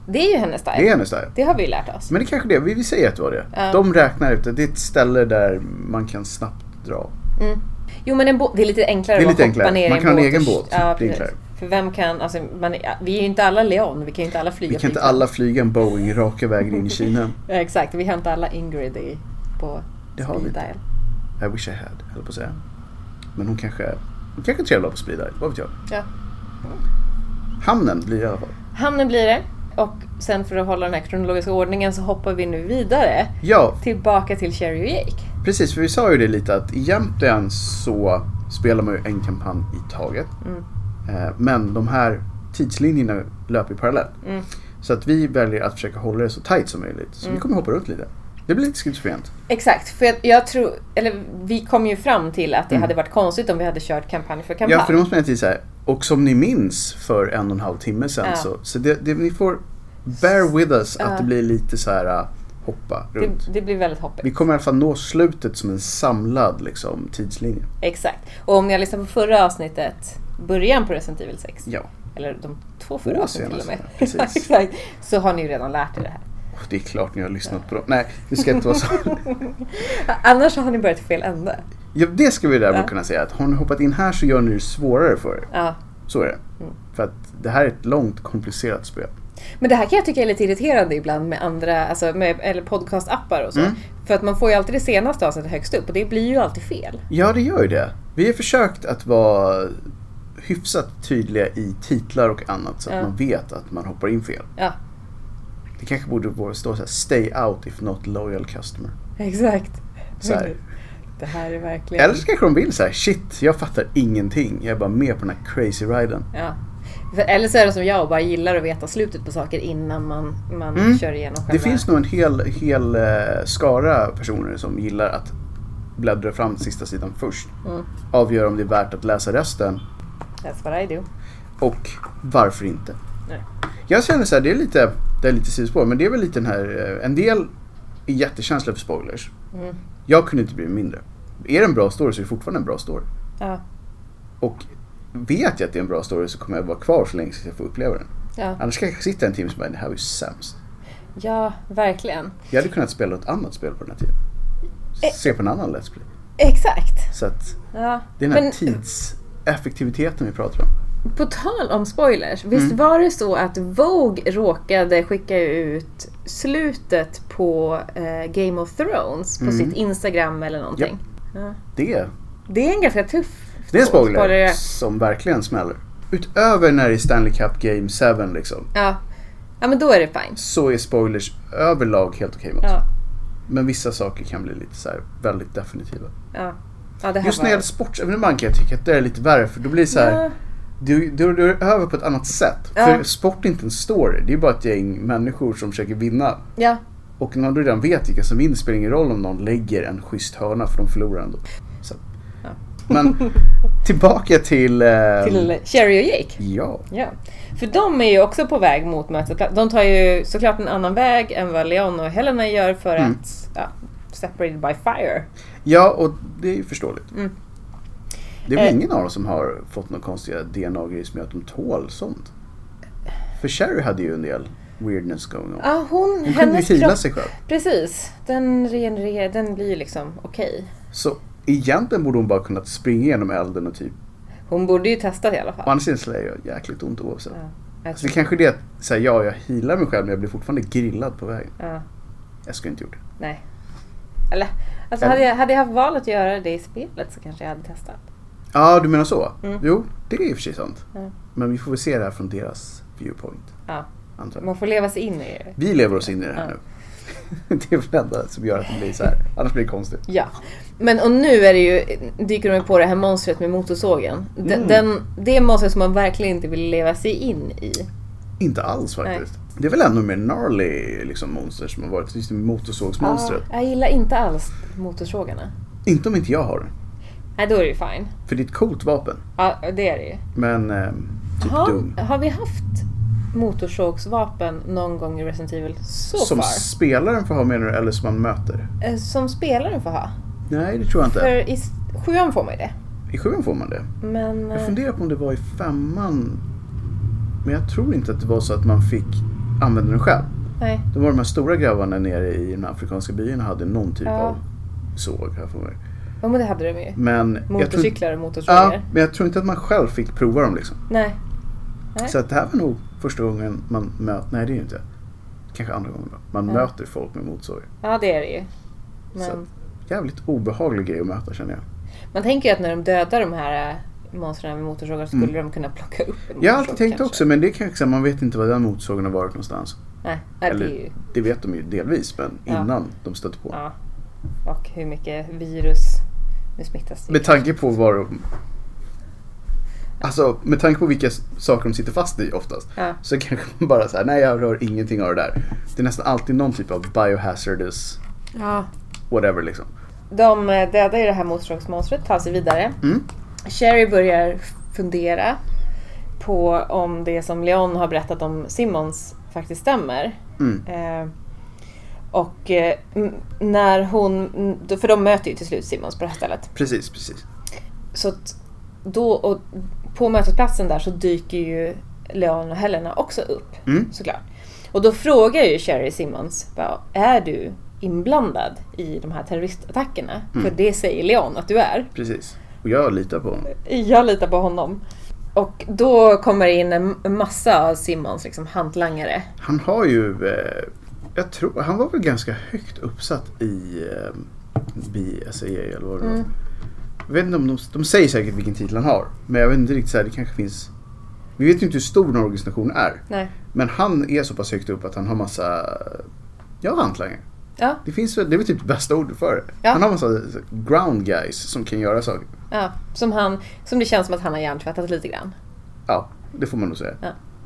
[SPEAKER 2] Det är ju hennes style.
[SPEAKER 1] Det är hennes style.
[SPEAKER 2] Det har vi ju lärt oss.
[SPEAKER 1] Men det är kanske det, vi, vi säger att det var det.
[SPEAKER 2] Ja.
[SPEAKER 1] De räknar ut att det är ett ställe där man kan snabbt dra.
[SPEAKER 2] Mm. Jo men en båt, det är lite enklare
[SPEAKER 1] Det är
[SPEAKER 2] att
[SPEAKER 1] lite
[SPEAKER 2] hoppa
[SPEAKER 1] enklare.
[SPEAKER 2] ner i
[SPEAKER 1] Man kan ha en
[SPEAKER 2] båt
[SPEAKER 1] egen
[SPEAKER 2] och-
[SPEAKER 1] båt.
[SPEAKER 2] Ja,
[SPEAKER 1] Det är
[SPEAKER 2] precis.
[SPEAKER 1] enklare.
[SPEAKER 2] För vem kan, alltså, man, är- vi är ju inte alla Leon, vi kan ju inte alla flyga
[SPEAKER 1] Vi kan inte
[SPEAKER 2] flygplan.
[SPEAKER 1] alla flyga en Boeing raka vägen in i Kina.
[SPEAKER 2] Ja, Exakt, vi har inte alla Ingrid i, på
[SPEAKER 1] Det har vi
[SPEAKER 2] speed
[SPEAKER 1] inte.
[SPEAKER 2] dial.
[SPEAKER 1] I wish I had, höll på att säga. Men hon kanske, hon kanske är trevlig på speed dial, vad vet jag.
[SPEAKER 2] Ja.
[SPEAKER 1] Hamnen blir det i alla fall.
[SPEAKER 2] Hamnen blir det. Och sen för att hålla den här kronologiska ordningen så hoppar vi nu vidare
[SPEAKER 1] Ja,
[SPEAKER 2] tillbaka till Cherry och Jake.
[SPEAKER 1] precis. För vi sa ju det lite att egentligen så spelar man ju en kampanj i taget.
[SPEAKER 2] Mm.
[SPEAKER 1] Eh, Men de här tidslinjerna löper ju parallellt.
[SPEAKER 2] Mm.
[SPEAKER 1] Så att vi väljer att försöka hålla det så tight som möjligt. Så vi kommer hoppa runt lite. Det blir lite schizofrent.
[SPEAKER 2] Exakt, för jag, jag tror, eller vi kom ju fram till att det
[SPEAKER 1] Mm.
[SPEAKER 2] hade varit konstigt om vi hade kört kampanj för kampanj.
[SPEAKER 1] Ja, för det måste man ju säga. Och som ni minns för en och en halv timme sedan
[SPEAKER 2] Ja.
[SPEAKER 1] så, så det, det, ni får bear with us
[SPEAKER 2] Ja.
[SPEAKER 1] att det blir lite så här äh, hoppa runt.
[SPEAKER 2] det, det blir väldigt hoppigt.
[SPEAKER 1] Vi kommer i alla fall nå slutet som en samlad liksom, tidslinje.
[SPEAKER 2] Exakt. Och om ni har lyssnat på förra avsnittet, början på Resident Evil 6,
[SPEAKER 1] Ja,
[SPEAKER 2] eller de två förra
[SPEAKER 1] Två
[SPEAKER 2] avsnitten till och med.
[SPEAKER 1] senaste, precis.
[SPEAKER 2] Exakt. Så har ni ju redan lärt er det här.
[SPEAKER 1] och det är klart ni har lyssnat på dem. Nej, det ska inte vara så.
[SPEAKER 2] Annars så har ni börjat i fel ände.
[SPEAKER 1] Ja, det ska vi däremot
[SPEAKER 2] Ja.
[SPEAKER 1] kunna säga att har ni hoppat in här så gör ni det svårare för er.
[SPEAKER 2] Ja.
[SPEAKER 1] Så är det.
[SPEAKER 2] Mm.
[SPEAKER 1] För att det här är ett långt komplicerat spel.
[SPEAKER 2] Men det här kan jag tycka är lite irriterande ibland med andra, alltså med, eller podcastappar och så.
[SPEAKER 1] Mm.
[SPEAKER 2] För att man får ju alltid det senaste avsnittet högst upp och det blir ju alltid fel.
[SPEAKER 1] Ja, det gör ju det. Vi har försökt att vara hyfsat tydliga i titlar och annat så att
[SPEAKER 2] Ja.
[SPEAKER 1] man vet att man hoppar in fel.
[SPEAKER 2] Ja,
[SPEAKER 1] Det kanske borde vara- stå så här, stay out if not loyal customer.
[SPEAKER 2] exakt.
[SPEAKER 1] Så här.
[SPEAKER 2] Det här är verkligen...
[SPEAKER 1] Eller så kanske de vill så här, shit, jag fattar ingenting. Jag är bara med på den här crazy riden.
[SPEAKER 2] Ja. För, eller så är det som jag och bara gillar att veta slutet på saker innan man, man
[SPEAKER 1] Mm.
[SPEAKER 2] kör igenom själva...
[SPEAKER 1] Det finns nog en hel, hel eh, skara personer som gillar att bläddra fram till sista sidan först.
[SPEAKER 2] Mm.
[SPEAKER 1] Avgöra om det är värt att läsa resten
[SPEAKER 2] That's what I do.
[SPEAKER 1] och varför inte.
[SPEAKER 2] Nej.
[SPEAKER 1] Jag känner så här, det är lite, det är lite sidospår, men det är väl lite den här, eh, en del är jättekänsliga för spoilers.
[SPEAKER 2] Mm.
[SPEAKER 1] Jag kunde inte bli mindre. Är det en bra story så är det fortfarande en bra story.
[SPEAKER 2] Ja.
[SPEAKER 1] Och vet jag att det är en bra story så kommer jag vara kvar så länge tills jag får uppleva den.
[SPEAKER 2] Ja.
[SPEAKER 1] Annars kanske jag sitter en timme och bara, det här var ju sämst.
[SPEAKER 2] ja, verkligen.
[SPEAKER 1] Jag hade kunnat spela ett annat spel på den här tiden. Se på en annan Let's Play.
[SPEAKER 2] Exakt.
[SPEAKER 1] Så att
[SPEAKER 2] Ja.
[SPEAKER 1] det är den här
[SPEAKER 2] Men
[SPEAKER 1] tidseffektiviteten vi pratar om.
[SPEAKER 2] på tal om spoilers,
[SPEAKER 1] Mm.
[SPEAKER 2] visst var det så att Vogue råkade skicka ut slutet på eh, Game of Thrones på
[SPEAKER 1] Mm.
[SPEAKER 2] sitt Instagram eller någonting? Ja.
[SPEAKER 1] Det,
[SPEAKER 2] Det är en ganska tuff
[SPEAKER 1] det är en
[SPEAKER 2] spo-
[SPEAKER 1] spoiler, som verkligen smäller. Utöver när det är Stanley Cup Game 7 liksom,
[SPEAKER 2] Ja. ja, men då är det fine.
[SPEAKER 1] så är spoilers överlag helt okej mot.
[SPEAKER 2] Ja.
[SPEAKER 1] Men vissa saker kan bli lite så här väldigt definitiva.
[SPEAKER 2] Ja. Ja, det här
[SPEAKER 1] Just när
[SPEAKER 2] var...
[SPEAKER 1] det gäller sportsevenemang kan jag tycka att det är lite värre för då blir det så här,
[SPEAKER 2] Ja.
[SPEAKER 1] Du, du, du är över på ett annat sätt.
[SPEAKER 2] Ja.
[SPEAKER 1] För sport är inte en story. Det är bara ett gäng människor som försöker vinna.
[SPEAKER 2] ja.
[SPEAKER 1] Och när du redan vet vilka som vinner spelar ingen roll om någon lägger en schysst hörna för de förlorar ändå. Så.
[SPEAKER 2] Ja.
[SPEAKER 1] Men tillbaka till... eh,
[SPEAKER 2] Till Sherry och Jake.
[SPEAKER 1] Ja,
[SPEAKER 2] Ja. För de är ju också på väg mot mötesplats. De tar ju såklart en annan väg än vad Leon och Helena gör för
[SPEAKER 1] Mm.
[SPEAKER 2] att ja, separated by fire.
[SPEAKER 1] ja och det är ju förståeligt.
[SPEAKER 2] Mm.
[SPEAKER 1] Det är väl
[SPEAKER 2] Eh.
[SPEAKER 1] ingen av dem som har fått några konstiga DNA-grejer som gör att de tål sånt. För Sherry hade ju en del weirdness going on.
[SPEAKER 2] Ja, hon,
[SPEAKER 1] Hon kunde ju
[SPEAKER 2] hennes
[SPEAKER 1] hila
[SPEAKER 2] kropp,
[SPEAKER 1] sig själv.
[SPEAKER 2] precis. Den regenererar, den blir ju liksom okej.
[SPEAKER 1] Så egentligen borde hon bara kunnat springa genom elden och typ...
[SPEAKER 2] Hon borde ju testa det i alla
[SPEAKER 1] Å
[SPEAKER 2] fall.
[SPEAKER 1] andra sidan så lär jag jäkligt ont oavsett.
[SPEAKER 2] Ja, jag
[SPEAKER 1] Så det
[SPEAKER 2] tror,
[SPEAKER 1] kanske är det att säga ja, jag healar mig själv men jag blir fortfarande grillad på vägen.
[SPEAKER 2] ja,
[SPEAKER 1] Jag skulle inte gjort det.
[SPEAKER 2] nej. Eller, alltså
[SPEAKER 1] Eller-
[SPEAKER 2] hade jag, hade jag haft valet att göra det i spelet så kanske jag hade testat.
[SPEAKER 1] Ja, du menar så?
[SPEAKER 2] Mm.
[SPEAKER 1] Jo, det är i och för sig sant.
[SPEAKER 2] Ja.
[SPEAKER 1] Men vi får väl se det här från deras viewpoint.
[SPEAKER 2] Ja,
[SPEAKER 1] Antar jag.
[SPEAKER 2] man får leva sig in i det.
[SPEAKER 1] Vi lever oss in i det här
[SPEAKER 2] Ja.
[SPEAKER 1] nu. det är väl det enda som gör att det blir så här. Annars blir det konstigt.
[SPEAKER 2] Ja. Men och nu är det ju, dyker de ju på det här monstret med motorsågen. Den,
[SPEAKER 1] Mm.
[SPEAKER 2] den, det monstret som man verkligen inte vill leva sig in i.
[SPEAKER 1] Inte alls faktiskt. Det är väl ännu mer gnarly liksom, monster som har varit. Just det motorsågsmonstret.
[SPEAKER 2] Ja, jag gillar inte alls motorsågarna.
[SPEAKER 1] Inte om inte jag har det.
[SPEAKER 2] Nej, då är det ju fine.
[SPEAKER 1] För det är ett coolt vapen.
[SPEAKER 2] Ja, det är det ju.
[SPEAKER 1] Men eh, typ dum.
[SPEAKER 2] Har, har vi haft motorsågsvapen någon gång i Resident Evil så
[SPEAKER 1] som
[SPEAKER 2] far?
[SPEAKER 1] spelaren får ha menar du eller som man möter?
[SPEAKER 2] Eh, som spelaren får ha.
[SPEAKER 1] Nej, det tror jag inte.
[SPEAKER 2] För i s- sjuan får man ju det.
[SPEAKER 1] I sjuan får man det.
[SPEAKER 2] Men...
[SPEAKER 1] Jag
[SPEAKER 2] eh,
[SPEAKER 1] funderar på om det var i femman. Men jag tror inte att det var så att man fick använda den själv.
[SPEAKER 2] Nej.
[SPEAKER 1] Det var de här stora grabbarna nere i den afrikanska byn och hade någon typ
[SPEAKER 2] Ja.
[SPEAKER 1] av såg. Här för mig.
[SPEAKER 2] Ja, men det hade de ju.
[SPEAKER 1] Men jag, tror,
[SPEAKER 2] Motorcyklar och motorsågar.
[SPEAKER 1] ja, men jag tror inte att man själv fick prova dem. Liksom.
[SPEAKER 2] Nej. Nej.
[SPEAKER 1] Så att det här var nog första gången man möter, nej det är ju inte. Kanske andra gången då. Man
[SPEAKER 2] Ja.
[SPEAKER 1] möter folk med motorsåg.
[SPEAKER 2] Ja, det är det ju.
[SPEAKER 1] Så
[SPEAKER 2] Men...
[SPEAKER 1] att, jävligt obehaglig grej att möta känner jag.
[SPEAKER 2] Man tänker ju att när de dödar de här äh, monstren med motorsågar skulle
[SPEAKER 1] Mm.
[SPEAKER 2] de kunna plocka upp en
[SPEAKER 1] Jag har
[SPEAKER 2] motorsåg
[SPEAKER 1] alltid tänkt
[SPEAKER 2] kanske.
[SPEAKER 1] också men det är kanske så här, man vet inte var den motorsågen har varit någonstans.
[SPEAKER 2] Nej, nej, det
[SPEAKER 1] Eller-
[SPEAKER 2] är ju,
[SPEAKER 1] Det vet de ju delvis men
[SPEAKER 2] Ja.
[SPEAKER 1] innan de stötte på.
[SPEAKER 2] ja. Och hur mycket virus nu smittas det. ju.
[SPEAKER 1] Med tanke på vad de... Alltså med tanke på vilka s- saker de sitter fast i oftast.
[SPEAKER 2] Ja.
[SPEAKER 1] Så kanske man bara säger nej jag rör ingenting av det där. Det är nästan alltid någon typ av biohazardous whatever liksom.
[SPEAKER 2] De äh, dödar ju det här motorsågsmonstret, tar sig vidare.
[SPEAKER 1] Mm.
[SPEAKER 2] Sherry börjar fundera på om det som Leon har berättat om Simmons faktiskt stämmer.
[SPEAKER 1] Mm.
[SPEAKER 2] Eh, och eh, m- när hon, för de möter ju till slut Simmons på det här stället.
[SPEAKER 1] Precis, precis.
[SPEAKER 2] Så att då, och på mötesplatsen där så dyker ju Leon och Helena också upp
[SPEAKER 1] Mm.
[SPEAKER 2] såklart. Och då frågar ju Sherry Simmons, bara, är du inblandad i de här terroristattackerna? För det säger Leon att du är.
[SPEAKER 1] Precis. Och jag litar på honom.
[SPEAKER 2] Jag litar på honom. Och då kommer det in en massa av Simmons liksom, hantlangare.
[SPEAKER 1] Han har ju, eh, jag tror, han var väl ganska högt uppsatt i eh, BSA eller vad det var. Jag vet inte om de, de säger säkert vilken titel han har. Men jag vet inte riktigt så här, det kanske finns. Vi vet ju inte hur stor den organisationen är.
[SPEAKER 2] Nej.
[SPEAKER 1] Men han är så pass högt upp att han har massa, ja hantlangare.
[SPEAKER 2] Ja,
[SPEAKER 1] Det finns väl, det är väl typ det bästa ordet för det.
[SPEAKER 2] Ja.
[SPEAKER 1] Han har massa ground guys som kan göra saker.
[SPEAKER 2] ja. Som, han, som det känns som att han har hjärntvättat lite grann.
[SPEAKER 1] Ja, det får man nog säga.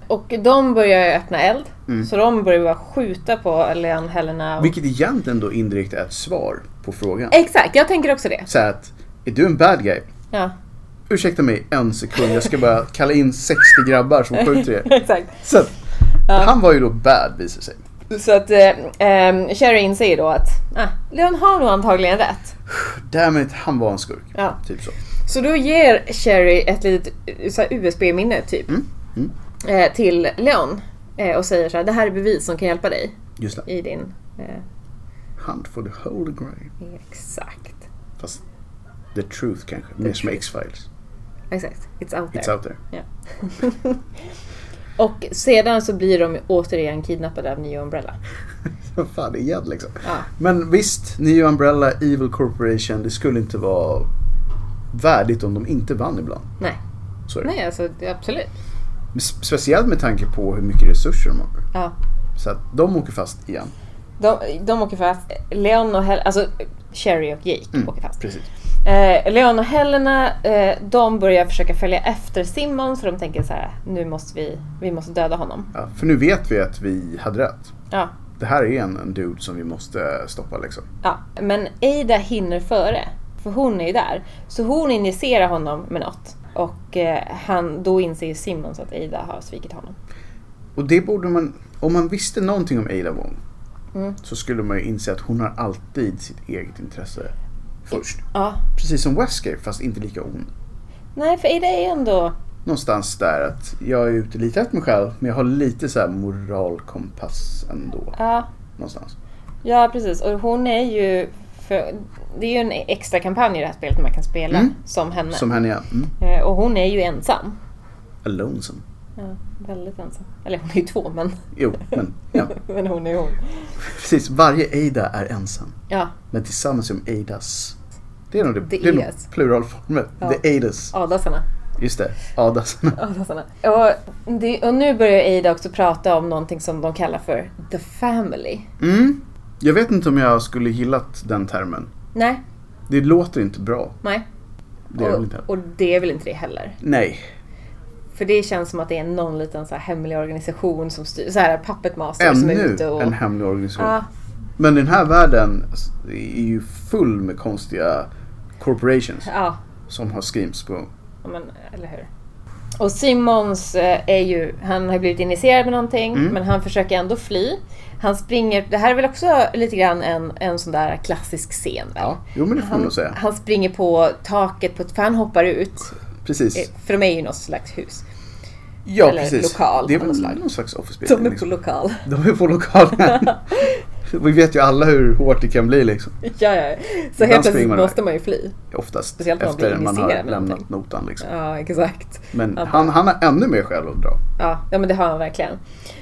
[SPEAKER 2] Och de börjar ju öppna eld.
[SPEAKER 1] Mm.
[SPEAKER 2] Så de börjar bara skjuta på Leon, Helena och
[SPEAKER 1] Vilket egentligen då indirekt är ett svar på frågan.
[SPEAKER 2] Exakt, jag tänker också det.
[SPEAKER 1] Så här att, är du en bad guy?
[SPEAKER 2] Ja,
[SPEAKER 1] Ursäkta mig en sekund, jag ska bara kalla in 60 grabbar som skjuter er.
[SPEAKER 2] exakt.
[SPEAKER 1] Så att, han var ju då bad visar sig.
[SPEAKER 2] Så att eh, eh, Sherry inser ju då att ah, Leon har nog antagligen rätt.
[SPEAKER 1] Dammit, han var en skurk.
[SPEAKER 2] Ja.
[SPEAKER 1] Typ så.
[SPEAKER 2] Så då ger Sherry ett litet eh, så här USB-minne typ
[SPEAKER 1] Mm. Mm.
[SPEAKER 2] eh, till Leon eh, och säger så här, det här är bevis som kan hjälpa dig
[SPEAKER 1] Just det.
[SPEAKER 2] i din... Eh,
[SPEAKER 1] Hunt for the holy grail.
[SPEAKER 2] exakt.
[SPEAKER 1] Fast the truth kanske. Mer som X-Files.
[SPEAKER 2] Exakt, it's out there.
[SPEAKER 1] It's out there.
[SPEAKER 2] Och sedan så blir de återigen kidnappade av New Umbrella.
[SPEAKER 1] Vad fan igen liksom.
[SPEAKER 2] Ja.
[SPEAKER 1] Men visst, New Umbrella, Evil Corporation, det skulle inte vara värdigt om de inte vann ibland.
[SPEAKER 2] Nej,
[SPEAKER 1] Så är det.
[SPEAKER 2] nej alltså det- absolut.
[SPEAKER 1] Men s- Speciellt med tanke på hur mycket resurser de har.
[SPEAKER 2] Ja.
[SPEAKER 1] Så att de åker fast igen.
[SPEAKER 2] De, de åker fast. Leon och Hel- alltså Sherry och Jake
[SPEAKER 1] Mm,
[SPEAKER 2] åker fast.
[SPEAKER 1] Precis.
[SPEAKER 2] Eh, Leon och Helena, eh, de börjar försöka följa efter Simon för de tänker så här, nu måste vi, vi måste döda honom.
[SPEAKER 1] Ja, för nu vet vi att vi hade rätt.
[SPEAKER 2] Ja,
[SPEAKER 1] Det här är en, en dude som vi måste stoppa liksom.
[SPEAKER 2] ja. Men Ada hinner före. För hon är ju där. Så hon injicerar honom med något. Och eh, han, då inser ju Simmons att Ada har svikit honom.
[SPEAKER 1] Och det borde man, om man visste någonting om Ada Wong
[SPEAKER 2] Mm.
[SPEAKER 1] så skulle man ju inse att hon har alltid sitt eget intresse först.
[SPEAKER 2] Ja.
[SPEAKER 1] Precis som Wesker fast inte lika ond.
[SPEAKER 2] Nej, för Ada är ändå...
[SPEAKER 1] Någonstans där att jag är ute lite efter mig själv men jag har lite så här moralkompass ändå.
[SPEAKER 2] Ja,
[SPEAKER 1] Någonstans.
[SPEAKER 2] ja precis. Och hon är ju... För, det är ju en extra kampanj i det här spelet man kan spela
[SPEAKER 1] Mm.
[SPEAKER 2] som henne.
[SPEAKER 1] Som henne ja. Mm.
[SPEAKER 2] Eh, Och hon är ju ensam.
[SPEAKER 1] Lonesome.
[SPEAKER 2] Ja, väldigt ensam. Eller hon är ju två, men,
[SPEAKER 1] Jo, men ja.
[SPEAKER 2] men hon är hon.
[SPEAKER 1] Precis, varje Ada är ensam.
[SPEAKER 2] Ja,
[SPEAKER 1] Men tillsammans som Adas. Det är nog det,
[SPEAKER 2] The
[SPEAKER 1] det är nog
[SPEAKER 2] Edas.
[SPEAKER 1] pluralformen.
[SPEAKER 2] Ja.
[SPEAKER 1] The Adas.
[SPEAKER 2] Adasarna.
[SPEAKER 1] Just det, Adasarna.
[SPEAKER 2] Adasarna. Och, det, och nu börjar Ada också prata om någonting som de kallar för the family.
[SPEAKER 1] Mm. Jag vet inte om jag skulle gillat den termen.
[SPEAKER 2] Nej,
[SPEAKER 1] Det låter inte bra.
[SPEAKER 2] nej.
[SPEAKER 1] Det är
[SPEAKER 2] och,
[SPEAKER 1] väl inte.
[SPEAKER 2] och det är väl inte det heller.
[SPEAKER 1] Nej.
[SPEAKER 2] För det känns som att det är någon liten så här hemlig organisation som styr, så här puppet master som är
[SPEAKER 1] Ännu
[SPEAKER 2] ute och...
[SPEAKER 1] en hemlig organisation.
[SPEAKER 2] Ja,
[SPEAKER 1] Men den här världen är ju full med konstiga corporations
[SPEAKER 2] ja,
[SPEAKER 1] som har screams på.
[SPEAKER 2] ja, men eller hur. Och Simons eh, är ju, han har blivit initierad med någonting
[SPEAKER 1] Mm.
[SPEAKER 2] men han försöker ändå fly. Han springer, det här är väl också lite grann en, en sån där klassisk scen väl?
[SPEAKER 1] Ja, jo men det får man
[SPEAKER 2] Han,
[SPEAKER 1] nog säga.
[SPEAKER 2] han springer på taket, på, ett- för han hoppar ut. eh,
[SPEAKER 1] Precis.
[SPEAKER 2] För de är ju något slags hus.
[SPEAKER 1] Ja,
[SPEAKER 2] eller
[SPEAKER 1] precis.
[SPEAKER 2] lokal
[SPEAKER 1] det är
[SPEAKER 2] av något
[SPEAKER 1] väl
[SPEAKER 2] slag.
[SPEAKER 1] någon slags office
[SPEAKER 2] De är
[SPEAKER 1] building,
[SPEAKER 2] på
[SPEAKER 1] liksom.
[SPEAKER 2] lokal.
[SPEAKER 1] De är på lokalen. Vi vet ju alla hur hårt det kan bli liksom.
[SPEAKER 2] ja, ja. Så
[SPEAKER 1] springer
[SPEAKER 2] helt plötsligt
[SPEAKER 1] man
[SPEAKER 2] måste man ju fly.
[SPEAKER 1] Oftast
[SPEAKER 2] Speciellt när man
[SPEAKER 1] efter
[SPEAKER 2] blir
[SPEAKER 1] man har
[SPEAKER 2] initierad
[SPEAKER 1] lämnat
[SPEAKER 2] med någonting.
[SPEAKER 1] notan. Liksom.
[SPEAKER 2] Ja, exakt.
[SPEAKER 1] Men
[SPEAKER 2] Ja.
[SPEAKER 1] han, han har ännu mer skäl att dra.
[SPEAKER 2] Ja, ja men det har han verkligen.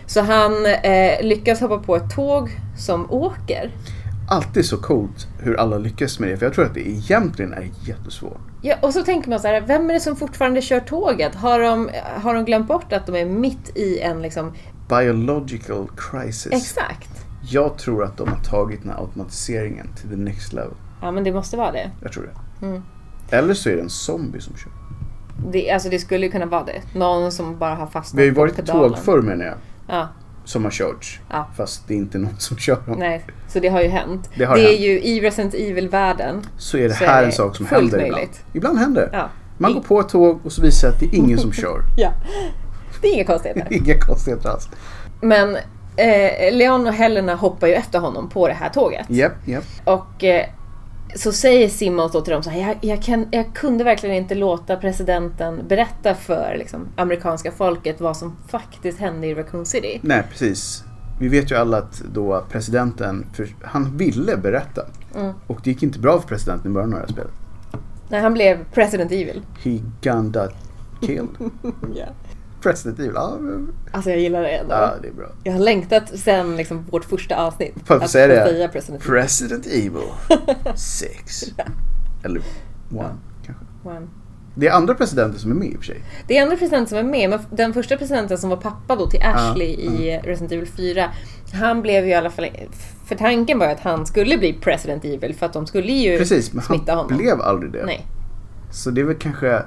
[SPEAKER 2] Så han eh, lyckas hoppa på ett tåg som åker.
[SPEAKER 1] Alltid så coolt hur alla lyckas med det. För jag tror att det egentligen är jättesvårt.
[SPEAKER 2] Ja, och så tänker man så här, vem är det som fortfarande kör tåget? Har de, har de glömt bort att de är mitt i en liksom...
[SPEAKER 1] Biological crisis.
[SPEAKER 2] Exakt.
[SPEAKER 1] Jag tror att de har tagit den här automatiseringen till the next level.
[SPEAKER 2] Ja, men det måste vara det.
[SPEAKER 1] Jag tror det.
[SPEAKER 2] Mm.
[SPEAKER 1] Eller så är det en zombie som kör.
[SPEAKER 2] det alltså det skulle ju kunna vara det. Någon som bara har fastnat
[SPEAKER 1] Vi har ju
[SPEAKER 2] på
[SPEAKER 1] varit i
[SPEAKER 2] pedalen.
[SPEAKER 1] tåg förr menar jag.
[SPEAKER 2] Ja,
[SPEAKER 1] Som har körts.
[SPEAKER 2] Ja.
[SPEAKER 1] Fast det är inte någon som kör dem.
[SPEAKER 2] nej. Så det har ju hänt.
[SPEAKER 1] Det har
[SPEAKER 2] är
[SPEAKER 1] hänt.
[SPEAKER 2] ju i Resident Evil-världen.
[SPEAKER 1] Så är det
[SPEAKER 2] Så
[SPEAKER 1] här
[SPEAKER 2] är det
[SPEAKER 1] en sak som
[SPEAKER 2] fullt
[SPEAKER 1] händer
[SPEAKER 2] möjligt.
[SPEAKER 1] ibland. Ibland händer det.
[SPEAKER 2] Ja.
[SPEAKER 1] Man går på ett tåg och så visar det att det är ingen som kör.
[SPEAKER 2] Ja. Det är inga konstigheter.
[SPEAKER 1] Inga konstigheter alls.
[SPEAKER 2] Men eh, Leon och Helena hoppar ju efter honom på det här tåget.
[SPEAKER 1] Japp, japp.
[SPEAKER 2] Och eh, så säger Simmons då till dem så här, jag, jag, kan, jag kunde verkligen inte låta presidenten berätta för liksom, amerikanska folket vad som faktiskt hände i Raccoon City.
[SPEAKER 1] Nej, precis. Vi vet ju alla att då presidenten, för han ville berätta.
[SPEAKER 2] Mm.
[SPEAKER 1] Och det gick inte bra för presidenten i början av det här spelet.
[SPEAKER 2] När han blev President Evil.
[SPEAKER 1] He ganda killed. President Evil, ja,
[SPEAKER 2] Alltså jag gillar det ändå.
[SPEAKER 1] ja det är bra.
[SPEAKER 2] Jag har längtat sen liksom, vårt första avsnitt.
[SPEAKER 1] Får jag få säga
[SPEAKER 2] få
[SPEAKER 1] det?
[SPEAKER 2] säga President Evil.
[SPEAKER 1] President Evil 6. Eller one kanske.
[SPEAKER 2] One.
[SPEAKER 1] Det är andra presidenter som är med i och för sig.
[SPEAKER 2] Det är andra presidenten som är med, men den första presidenten som var pappa då till Ashley i
[SPEAKER 1] Mm.
[SPEAKER 2] Resident Evil 4, han blev ju i alla fall... För tanken var ju att han skulle bli President Evil för att de skulle ju
[SPEAKER 1] Precis, men
[SPEAKER 2] smitta
[SPEAKER 1] han
[SPEAKER 2] honom.
[SPEAKER 1] blev aldrig det.
[SPEAKER 2] Nej,
[SPEAKER 1] Så det är väl kanske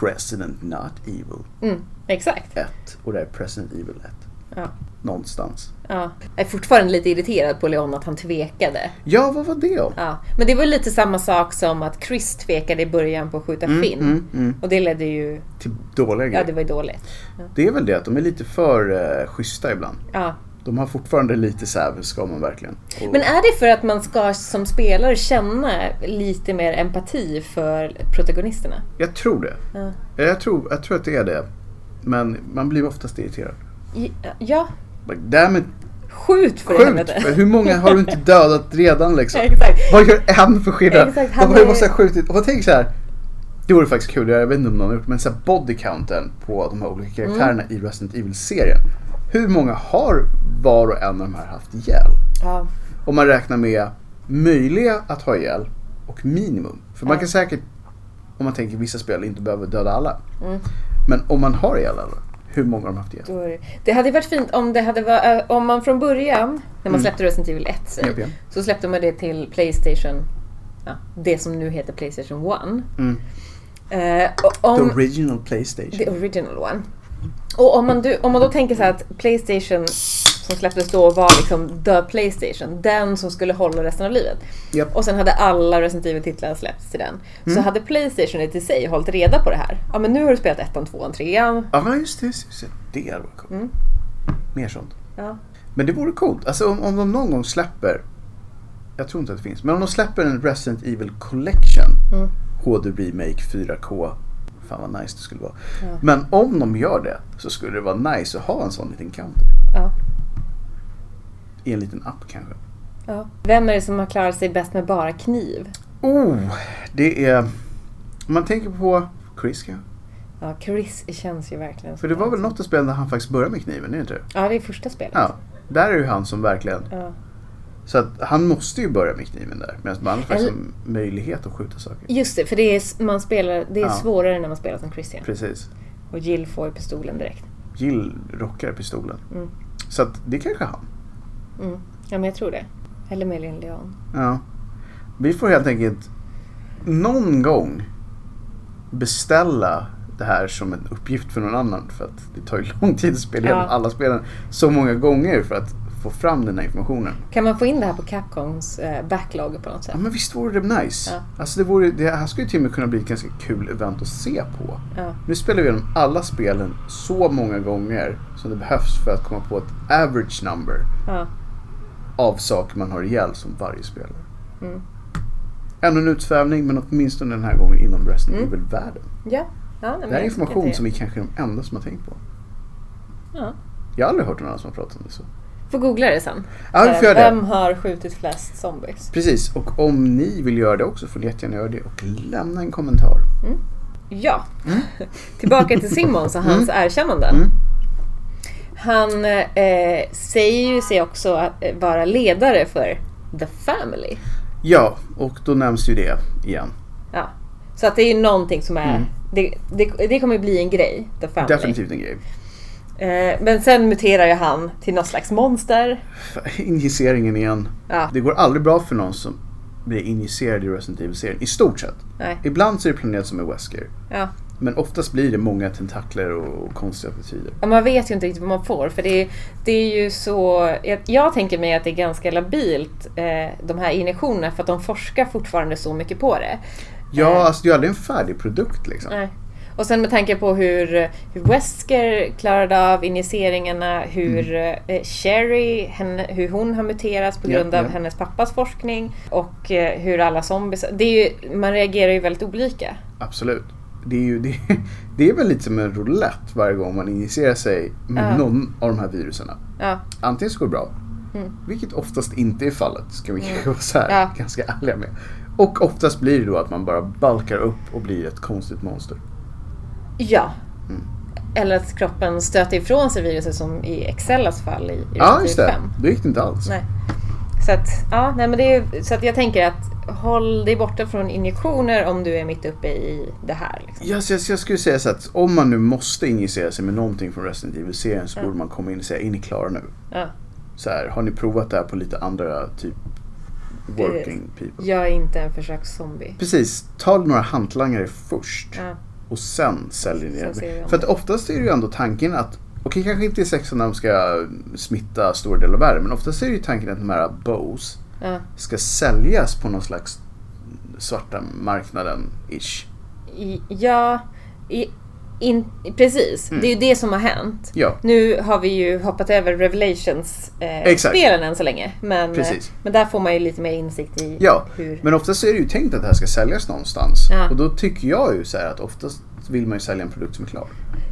[SPEAKER 1] President Not Evil
[SPEAKER 2] mm, exakt.
[SPEAKER 1] 1 och det är President Evil 1.
[SPEAKER 2] Ja.
[SPEAKER 1] Någonstans.
[SPEAKER 2] Ja. Jag är fortfarande lite irriterad på Leon att han tvekade.
[SPEAKER 1] Ja, vad var det om?
[SPEAKER 2] Ja. Men det var ju lite samma sak som att Chris tvekade i början på att skjuta Finn.
[SPEAKER 1] mm, mm.
[SPEAKER 2] Och det ledde ju...
[SPEAKER 1] Till dåliga
[SPEAKER 2] Ja,
[SPEAKER 1] grejer.
[SPEAKER 2] det var ju dåligt.
[SPEAKER 1] Det är väl det att de är lite för eh, schyssta ibland.
[SPEAKER 2] Ja.
[SPEAKER 1] De har fortfarande lite så här, ska man verkligen? Och,
[SPEAKER 2] Men är det för att man ska som spelare känna lite mer empati för protagonisterna?
[SPEAKER 1] Jag tror det.
[SPEAKER 2] Ja.
[SPEAKER 1] Jag tror, jag tror att det är det. Men man blir oftast irriterad.
[SPEAKER 2] I- Ja,
[SPEAKER 1] Like, damn it,
[SPEAKER 2] Skjut för
[SPEAKER 1] skjut!
[SPEAKER 2] helvete!
[SPEAKER 1] Hur många har du inte dödat redan liksom?
[SPEAKER 2] Exakt.
[SPEAKER 1] Vad gör en för skillnad?
[SPEAKER 2] Exakt,
[SPEAKER 1] De
[SPEAKER 2] han
[SPEAKER 1] har ju
[SPEAKER 2] är-
[SPEAKER 1] måste ha skjutit. Och tänk så här. Det vore faktiskt kul, jag vet inte om någon har gjort men så här body counten på de här olika
[SPEAKER 2] Mm.
[SPEAKER 1] karaktärerna i Resident Evil-serien. Hur många har var och en av de här haft ihjäl?
[SPEAKER 2] Ja,
[SPEAKER 1] Om man räknar med möjliga att ha ihjäl och minimum. För man
[SPEAKER 2] Ja.
[SPEAKER 1] kan säkert, om man tänker vissa spel, inte behöva döda alla. Men om man har ihjäl alla, hur många har de haft ihjäl?
[SPEAKER 2] Mm, då är det. det hade varit fint om, det hade var, eh, om man från början, när man släppte Resident Evil 1, säg,
[SPEAKER 1] Japp, japp.
[SPEAKER 2] så släppte man det till Playstation, ja, det som nu heter Playstation 1.
[SPEAKER 1] Mm.
[SPEAKER 2] Eh, och om,
[SPEAKER 1] The original Playstation.
[SPEAKER 2] the original one. Och om man, du, om man då tänker så här att Playstation som släpptes då var liksom The Playstation. Den som skulle hålla resten av livet.
[SPEAKER 1] Japp. Mm.
[SPEAKER 2] Och sen hade alla Resident Evil-titlar släppts till den. Så hade Playstation i sig hållit reda på det här. Ja men nu har du spelat ettan, tvåan, trean.
[SPEAKER 1] Ja, men just det. Just det. det hade varit coolt.
[SPEAKER 2] Mm.
[SPEAKER 1] Mer sånt.
[SPEAKER 2] Ja.
[SPEAKER 1] Men det vore coolt. Alltså om, om de någon gång släpper, jag tror inte att det finns, men om de släpper en Resident Evil Collection,
[SPEAKER 2] Mm.
[SPEAKER 1] HD Remake 4K, fan vad nice det skulle vara.
[SPEAKER 2] Ja.
[SPEAKER 1] Men om de gör det så skulle det vara nice att ha en sån liten counter.
[SPEAKER 2] Ja.
[SPEAKER 1] I en liten app kanske.
[SPEAKER 2] Ja. Vem är det som har klarat sig bäst med bara kniv?
[SPEAKER 1] Oh, det är, om man tänker på Chris kanske.
[SPEAKER 2] Ja, Chris känns ju verkligen som
[SPEAKER 1] För det var
[SPEAKER 2] den
[SPEAKER 1] väl
[SPEAKER 2] som-
[SPEAKER 1] något spel där han faktiskt började med kniven, är det inte det?
[SPEAKER 2] Ja, det är första spelet.
[SPEAKER 1] Ja, där är ju han som verkligen
[SPEAKER 2] Ja.
[SPEAKER 1] Så att han måste ju börja med kniven där. Medan man har faktiskt
[SPEAKER 2] Eller-
[SPEAKER 1] en möjlighet att skjuta saker.
[SPEAKER 2] Just det, för det är, man spelar, det är
[SPEAKER 1] Ja.
[SPEAKER 2] svårare när man spelar som Christian.
[SPEAKER 1] Precis.
[SPEAKER 2] Och Jill får ju pistolen direkt.
[SPEAKER 1] Jill rockar pistolen.
[SPEAKER 2] Mm.
[SPEAKER 1] Så att det kanske är han.
[SPEAKER 2] Mm. Ja, men jag tror det. Eller möjligen Leon.
[SPEAKER 1] Ja. Vi får helt enkelt någon gång beställa det här som en uppgift för någon annan. För att det tar ju lång tid att spela igenom
[SPEAKER 2] Ja.
[SPEAKER 1] alla spelen så många gånger för att få fram den här informationen.
[SPEAKER 2] Kan man få in det här på Capcoms eh, backlog på något sätt?
[SPEAKER 1] Ja men visst vore det nice?
[SPEAKER 2] Ja.
[SPEAKER 1] Alltså det, vore, det här skulle ju till och med kunna bli ett ganska kul event att se på.
[SPEAKER 2] Ja.
[SPEAKER 1] Nu spelar vi igenom alla spelen så många gånger som det behövs för att komma på ett average number
[SPEAKER 2] Ja.
[SPEAKER 1] av saker man har ihjäl som varje spelare.
[SPEAKER 2] Mm.
[SPEAKER 1] Ännu en utsvävning men åtminstone den här gången inom Resident
[SPEAKER 2] Mm.
[SPEAKER 1] Evil-världen.
[SPEAKER 2] ja. ja nej, men
[SPEAKER 1] Det här är
[SPEAKER 2] jag tycker
[SPEAKER 1] information
[SPEAKER 2] det.
[SPEAKER 1] som vi kanske är de enda som har tänkt på.
[SPEAKER 2] Ja.
[SPEAKER 1] Jag har aldrig hört någon annan som har pratat om det så.
[SPEAKER 2] Får googla det sen.
[SPEAKER 1] Ja, vi
[SPEAKER 2] Eh,
[SPEAKER 1] får göra det.
[SPEAKER 2] Vem har skjutit flest zombies?
[SPEAKER 1] Precis, och om ni vill göra det också får ni jättegärna göra det och lämna en kommentar.
[SPEAKER 2] Ja. Tillbaka till Simons och hans erkännanden.
[SPEAKER 1] Mm.
[SPEAKER 2] Han eh, säger ju sig också att, eh, vara ledare för The Family.
[SPEAKER 1] Ja, och då nämns ju det igen.
[SPEAKER 2] Ja. Så att det är ju någonting som är... Det, det, det kommer ju bli en grej, The Family.
[SPEAKER 1] Mm. Definitivt en grej.
[SPEAKER 2] Eh, men sen muterar ju han till något slags monster.
[SPEAKER 1] Injiceringen igen.
[SPEAKER 2] Ja.
[SPEAKER 1] Det går aldrig bra för någon som blir injicerad i Resident Evil-serien, i stort sett.
[SPEAKER 2] Nej.
[SPEAKER 1] Ibland så är det planerat som är Wesker.
[SPEAKER 2] Ja.
[SPEAKER 1] Men oftast blir det många tentakler och, och konstiga attityder.
[SPEAKER 2] Ja, Man vet ju inte riktigt vad man får. För det är, det är ju så... Jag, jag tänker mig att det är ganska labilt, eh, de här injektionerna, för att de forskar fortfarande så mycket på det.
[SPEAKER 1] Ja, alltså det är ju aldrig en färdig produkt liksom.
[SPEAKER 2] Nej. Och sen med tanke på hur, hur Wesker klarade av injiceringarna, hur eh, Sherry, henne, hur hon har muterats på
[SPEAKER 1] Mm. Ja,
[SPEAKER 2] grund av
[SPEAKER 1] ja.
[SPEAKER 2] hennes pappas forskning och eh, hur alla zombies... Det är ju, man reagerar ju väldigt olika.
[SPEAKER 1] Absolut. Det är, ju, det, det är väl lite som en roulette varje gång man injicerar sig med
[SPEAKER 2] Ja.
[SPEAKER 1] någon av de här viruserna.
[SPEAKER 2] Ja,
[SPEAKER 1] Antingen så går det bra, vilket oftast inte är fallet, ska vi kanske vara så här,
[SPEAKER 2] Ja.
[SPEAKER 1] ganska ärliga med. Och oftast blir det då att man bara balkar upp och blir ett konstigt monster.
[SPEAKER 2] ja. Mm. Eller att kroppen stöter ifrån sig viruset som i Excellas fall i, i
[SPEAKER 1] Ja,
[SPEAKER 2] Resident
[SPEAKER 1] just
[SPEAKER 2] Evil
[SPEAKER 1] det.
[SPEAKER 2] 5.
[SPEAKER 1] Då gick det inte alls.
[SPEAKER 2] Nej. Så att, ja, nej, men det är, så att jag tänker att håll dig borta från injektioner om du är mitt uppe i det här. Liksom.
[SPEAKER 1] Ja, så jag, så jag skulle säga så att om man nu måste injicera sig med någonting från Resident Evil-serien så borde man komma in och säga, är ni klara nu?
[SPEAKER 2] Ja.
[SPEAKER 1] Så här, har ni provat det här på lite andra typ working people?
[SPEAKER 2] Jag är inte en försökszombie.
[SPEAKER 1] Precis, ta några hantlangare först
[SPEAKER 2] Ja.
[SPEAKER 1] och sen säljer ni
[SPEAKER 2] Sen ser vi
[SPEAKER 1] det.
[SPEAKER 2] om-
[SPEAKER 1] För att oftast är det ju ändå tanken att, okej kanske inte i sexan när de ska smitta stora delar av världen, men oftast är det ju tanken att de här bows
[SPEAKER 2] Ja.
[SPEAKER 1] ska säljas på någon slags svarta marknaden-ish.
[SPEAKER 2] I, ja i, in, precis.
[SPEAKER 1] Mm.
[SPEAKER 2] Det är ju det som har hänt.
[SPEAKER 1] Ja,
[SPEAKER 2] Nu har vi ju hoppat över Revelations-spelen eh,
[SPEAKER 1] Exakt.
[SPEAKER 2] spelen än så länge. Men,
[SPEAKER 1] Precis.
[SPEAKER 2] eh, men där får man ju lite mer insikt i
[SPEAKER 1] Ja,
[SPEAKER 2] hur...
[SPEAKER 1] men oftast är det ju tänkt att det här ska säljas någonstans.
[SPEAKER 2] Ja.
[SPEAKER 1] Och då tycker jag ju så här att oftast vill man ju sälja en produkt som är klar.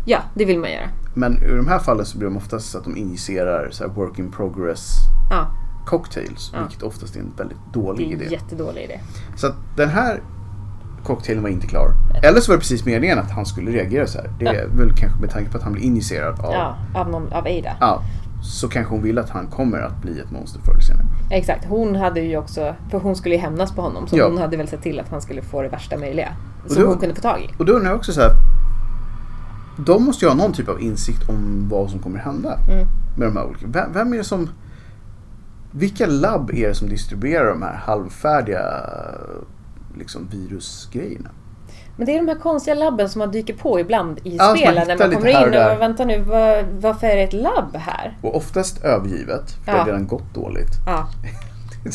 [SPEAKER 2] Ja, det vill man göra.
[SPEAKER 1] Men i de här fallen så blir de oftast så att de injicerar så här work in progress
[SPEAKER 2] Ja,
[SPEAKER 1] cocktails.
[SPEAKER 2] Ja.
[SPEAKER 1] Vilket oftast är en väldigt
[SPEAKER 2] det
[SPEAKER 1] dålig
[SPEAKER 2] är
[SPEAKER 1] idé.
[SPEAKER 2] en jättedålig idé.
[SPEAKER 1] Så att den här cocktailen var inte klar. Eller så var det precis meningen att han skulle reagera så här. Det är väl kanske med tanke på att han blir injicerad av...
[SPEAKER 2] Ja, av, någon, av Ada.
[SPEAKER 1] Ja, så kanske hon vill att han kommer att bli ett monster förr eller senare.
[SPEAKER 2] Exakt. Hon hade ju också... För hon skulle ju hämnas på honom. Så
[SPEAKER 1] Ja.
[SPEAKER 2] hon hade väl sett till att han skulle få det värsta möjliga. Som
[SPEAKER 1] då-
[SPEAKER 2] hon kunde få tag i.
[SPEAKER 1] Och då undrar jag också så här. De måste ju ha någon typ av insikt om vad som kommer hända.
[SPEAKER 2] Mm.
[SPEAKER 1] Med de här olika. Vem, vem är det som... Vilka labb är det som distribuerar de här halvfärdiga liksom, virusgrejerna?
[SPEAKER 2] Men det är de här konstiga labben som man dyker på ibland i
[SPEAKER 1] Ja, som man
[SPEAKER 2] spelen när
[SPEAKER 1] hittar
[SPEAKER 2] man
[SPEAKER 1] lite
[SPEAKER 2] kommer
[SPEAKER 1] här och
[SPEAKER 2] in och,
[SPEAKER 1] där.
[SPEAKER 2] bara, vänta nu, vad, varför är det ett labb här?
[SPEAKER 1] Och oftast övergivet, för det
[SPEAKER 2] Ja.
[SPEAKER 1] har redan gått dåligt.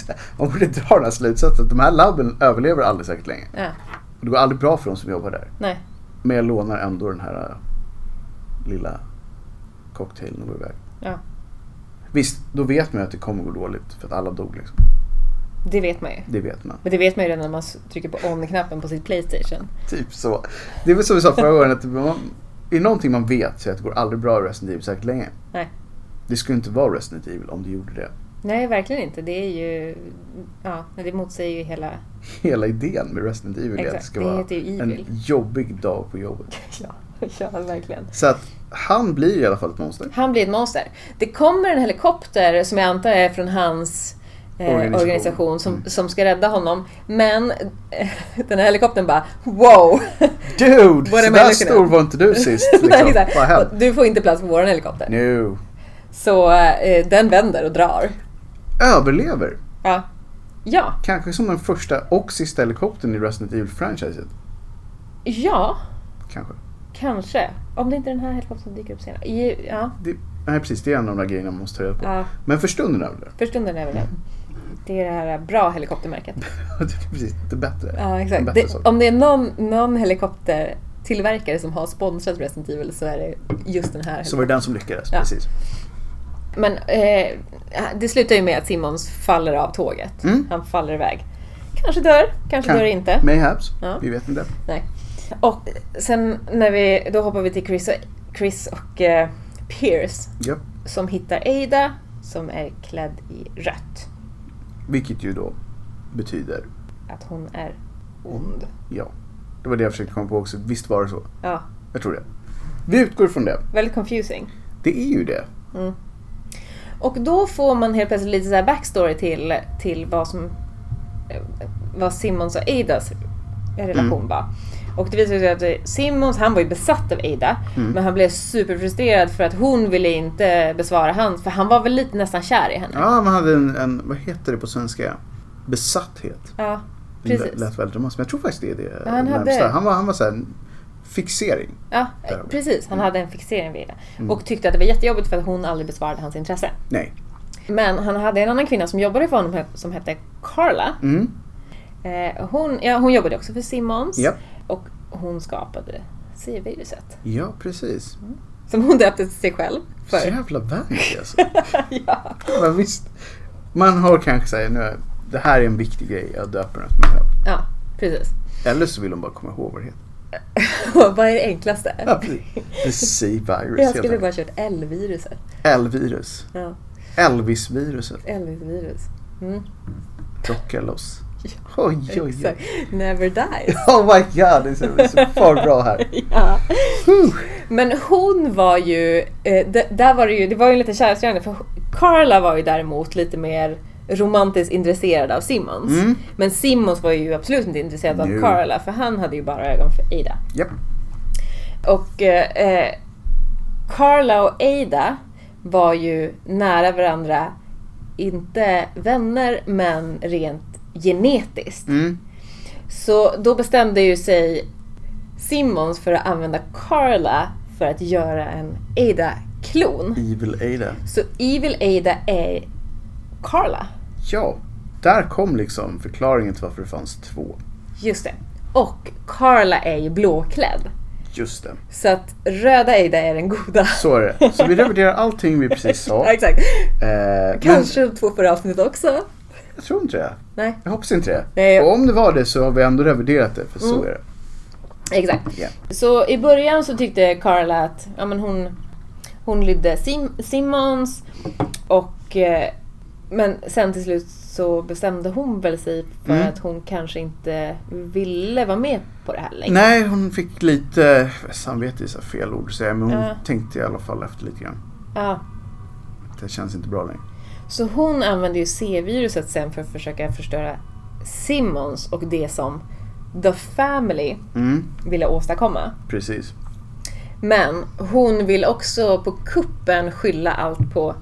[SPEAKER 2] Ja,
[SPEAKER 1] Man borde dra den här slutsatsen att de här labben överlever aldrig särskilt länge.
[SPEAKER 2] ja
[SPEAKER 1] Och det går aldrig bra för de som jobbar där.
[SPEAKER 2] nej.
[SPEAKER 1] Men jag lånar ändå den här äh, lilla cocktailen och går iväg.
[SPEAKER 2] Ja,
[SPEAKER 1] Visst, då vet man ju att det kommer gå dåligt för att alla dog liksom.
[SPEAKER 2] det vet man ju.
[SPEAKER 1] Det vet man.
[SPEAKER 2] Men det vet man ju redan när man s- trycker på on-knappen på sitt Playstation.
[SPEAKER 1] Typ så. Det är väl som vi sa förra gången att man, är någonting man vet så är det att det går aldrig bra i Resident Evil särskilt länge.
[SPEAKER 2] Nej.
[SPEAKER 1] Det skulle inte vara Resident Evil om det gjorde det.
[SPEAKER 2] Nej, verkligen inte. Det är ju... Ja, men det motsäger ju hela...
[SPEAKER 1] Hela idén med Resident Evil är att det
[SPEAKER 2] Exakt,
[SPEAKER 1] ska
[SPEAKER 2] det
[SPEAKER 1] vara
[SPEAKER 2] heter ju
[SPEAKER 1] en
[SPEAKER 2] Evil.
[SPEAKER 1] jobbig dag på jobbet.
[SPEAKER 2] Ja, ja, verkligen.
[SPEAKER 1] Så att han blir i alla fall ett monster.
[SPEAKER 2] Han blir ett monster. Det kommer en helikopter som jag antar är från hans eh,
[SPEAKER 1] Organisation. Mm.
[SPEAKER 2] organisation, som, som ska rädda honom. Men eh, den här helikoptern bara wow!
[SPEAKER 1] Dude!
[SPEAKER 2] Vad är det med
[SPEAKER 1] Sådär
[SPEAKER 2] lyckan?
[SPEAKER 1] stor var inte du sist.
[SPEAKER 2] Nej,
[SPEAKER 1] Liksom.
[SPEAKER 2] exakt.
[SPEAKER 1] Vad hände?
[SPEAKER 2] du får inte plats på vår helikopter.
[SPEAKER 1] Nu.
[SPEAKER 2] Så eh, den vänder och drar.
[SPEAKER 1] Överlever.
[SPEAKER 2] Ja. Ja.
[SPEAKER 1] Kanske som den första och sista helikoptern i Resident Evil-franchiset.
[SPEAKER 2] Ja.
[SPEAKER 1] Kanske.
[SPEAKER 2] Kanske. Om det inte är den här helikoptern dyker upp senare. I- Ja.
[SPEAKER 1] Det, nej precis, det är en av de där grejerna man måste ta reda på.
[SPEAKER 2] ja.
[SPEAKER 1] Men för stunden överlever.
[SPEAKER 2] För stunden är väl det. Det är det här bra helikoptermärket.
[SPEAKER 1] det. är precis, det är bättre.
[SPEAKER 2] Ja,
[SPEAKER 1] En
[SPEAKER 2] exakt.
[SPEAKER 1] bättre
[SPEAKER 2] Det,
[SPEAKER 1] sak.
[SPEAKER 2] om det är någon, någon helikoptertillverkare som har sponsrat Resident Evil så är det just den här.
[SPEAKER 1] Så var det den som lyckades,
[SPEAKER 2] Ja.
[SPEAKER 1] precis.
[SPEAKER 2] Men eh, det slutar ju med att Simons faller av tåget.
[SPEAKER 1] Mm.
[SPEAKER 2] Han faller iväg. Kanske dör, kanske dör inte.
[SPEAKER 1] Mayhaps,
[SPEAKER 2] Ja.
[SPEAKER 1] vi vet inte.
[SPEAKER 2] Nej. Och sen när vi, då hoppar vi till Chris och, Chris och eh, Pierce
[SPEAKER 1] Ja.
[SPEAKER 2] som hittar Ada som är klädd i rött.
[SPEAKER 1] Vilket ju då betyder,
[SPEAKER 2] Att hon är ond.
[SPEAKER 1] ja. Det var det jag försökte komma på också. Visst var det så?
[SPEAKER 2] Ja,
[SPEAKER 1] Jag tror det. Vi utgår från det.
[SPEAKER 2] väldigt confusing. Mm.
[SPEAKER 1] Det är ju det.
[SPEAKER 2] Och då får man helt plötsligt lite så här backstory till, till vad som eh, vad Simmons och Adas relation
[SPEAKER 1] Mm.
[SPEAKER 2] var. Och det visar sig att eh, Simmons, han var ju besatt av Ada.
[SPEAKER 1] Mm.
[SPEAKER 2] Men han blev superfrustrerad för att hon ville inte besvara hans. För han var väl lite nästan kär i henne.
[SPEAKER 1] Ja, man hade en, en vad heter det på svenska? Besatthet.
[SPEAKER 2] Ja,
[SPEAKER 1] Det
[SPEAKER 2] precis.
[SPEAKER 1] Lät väldigt romantiskt, men jag tror faktiskt det är det
[SPEAKER 2] Ja, han
[SPEAKER 1] närmsta.
[SPEAKER 2] hade-
[SPEAKER 1] Han var, han var så här, en fixering.
[SPEAKER 2] Ja,
[SPEAKER 1] Där har vi.
[SPEAKER 2] precis. Han
[SPEAKER 1] Mm.
[SPEAKER 2] hade en fixering vid Ada. Och tyckte att det var jättejobbigt för att hon aldrig besvarade hans intresse.
[SPEAKER 1] Nej.
[SPEAKER 2] Men han hade en annan kvinna som jobbade för honom som hette Carla.
[SPEAKER 1] Mm.
[SPEAKER 2] Eh, hon, ja, hon jobbade också för Simmons.
[SPEAKER 1] Ja.
[SPEAKER 2] Och hon skapade C-viruset.
[SPEAKER 1] ja, precis.
[SPEAKER 2] Som hon döpte till sig själv
[SPEAKER 1] Så
[SPEAKER 2] för.
[SPEAKER 1] jävla vanlig alltså.
[SPEAKER 2] ja.
[SPEAKER 1] Men visst, man har kanske såhär, nu, det här är en viktig grej, jag döper den efter mig själv.
[SPEAKER 2] ja, precis.
[SPEAKER 1] Eller så vill de bara komma ihåg vad det heter.
[SPEAKER 2] Vad är det enklaste?
[SPEAKER 1] Ja, precis. The C-virus
[SPEAKER 2] Jag
[SPEAKER 1] helt
[SPEAKER 2] skulle bara
[SPEAKER 1] enkelt.
[SPEAKER 2] kört L-viruset.
[SPEAKER 1] L-virus.
[SPEAKER 2] Ja,
[SPEAKER 1] Elvis-viruset.
[SPEAKER 2] Elvis-virus. Mm.
[SPEAKER 1] Rocka loss. Oj, oj, oj.
[SPEAKER 2] Exakt. Never dies.
[SPEAKER 1] Oh my god, det är så, det är så far bra här.
[SPEAKER 2] ja.
[SPEAKER 1] Whew.
[SPEAKER 2] Men hon var ju, eh, d- där var det ju, det var ju en liten kärleksgärning för Carla var ju däremot lite mer romantiskt intresserad av Simmons.
[SPEAKER 1] Mm.
[SPEAKER 2] Men Simmons var ju absolut inte intresserad av
[SPEAKER 1] Nu.
[SPEAKER 2] Carla för han hade ju bara ögon för Ada.
[SPEAKER 1] Japp.
[SPEAKER 2] Och eh, eh, Carla och Ada var ju nära varandra, inte vänner men rent genetiskt.
[SPEAKER 1] Mm.
[SPEAKER 2] Så då bestämde ju sig Simmons för att använda Carla för att göra en Ada-klon.
[SPEAKER 1] Evil Ada.
[SPEAKER 2] Så Evil Ada är Carla.
[SPEAKER 1] Ja, där kom liksom förklaringen till varför det fanns två.
[SPEAKER 2] Just det. Och Carla är ju blåklädd.
[SPEAKER 1] Just det.
[SPEAKER 2] Så att röda Ada är den goda.
[SPEAKER 1] Så är det. Så vi reviderar allting vi precis sa.
[SPEAKER 2] Ja, Exakt.
[SPEAKER 1] Eh,
[SPEAKER 2] Kanske de två förra avsnittet också.
[SPEAKER 1] Men jag tror inte det.
[SPEAKER 2] Nej,
[SPEAKER 1] Jag hoppas inte det.
[SPEAKER 2] Nej.
[SPEAKER 1] Och om det var det så har vi ändå reviderat det, för så
[SPEAKER 2] Eh, Mm.
[SPEAKER 1] är det.
[SPEAKER 2] exakt.
[SPEAKER 1] Ja.
[SPEAKER 2] Så i början så tyckte Carla att ja, men hon, hon lydde Sim- Simmons. Och, eh, men sen till slut så bestämde hon väl sig för
[SPEAKER 1] Mm.
[SPEAKER 2] att hon kanske inte ville vara med på det här längre.
[SPEAKER 1] Nej, hon fick lite eh, samvete, är så här fel ord att säga, men hon
[SPEAKER 2] Ja.
[SPEAKER 1] tänkte i alla fall efter lite grann.
[SPEAKER 2] Ja.
[SPEAKER 1] Det känns inte bra längre.
[SPEAKER 2] Så hon använde ju C-viruset sen för att försöka förstöra Simmons och det som The Family
[SPEAKER 1] Mm,
[SPEAKER 2] ville åstadkomma.
[SPEAKER 1] precis.
[SPEAKER 2] Men hon vill också på kuppen skylla allt på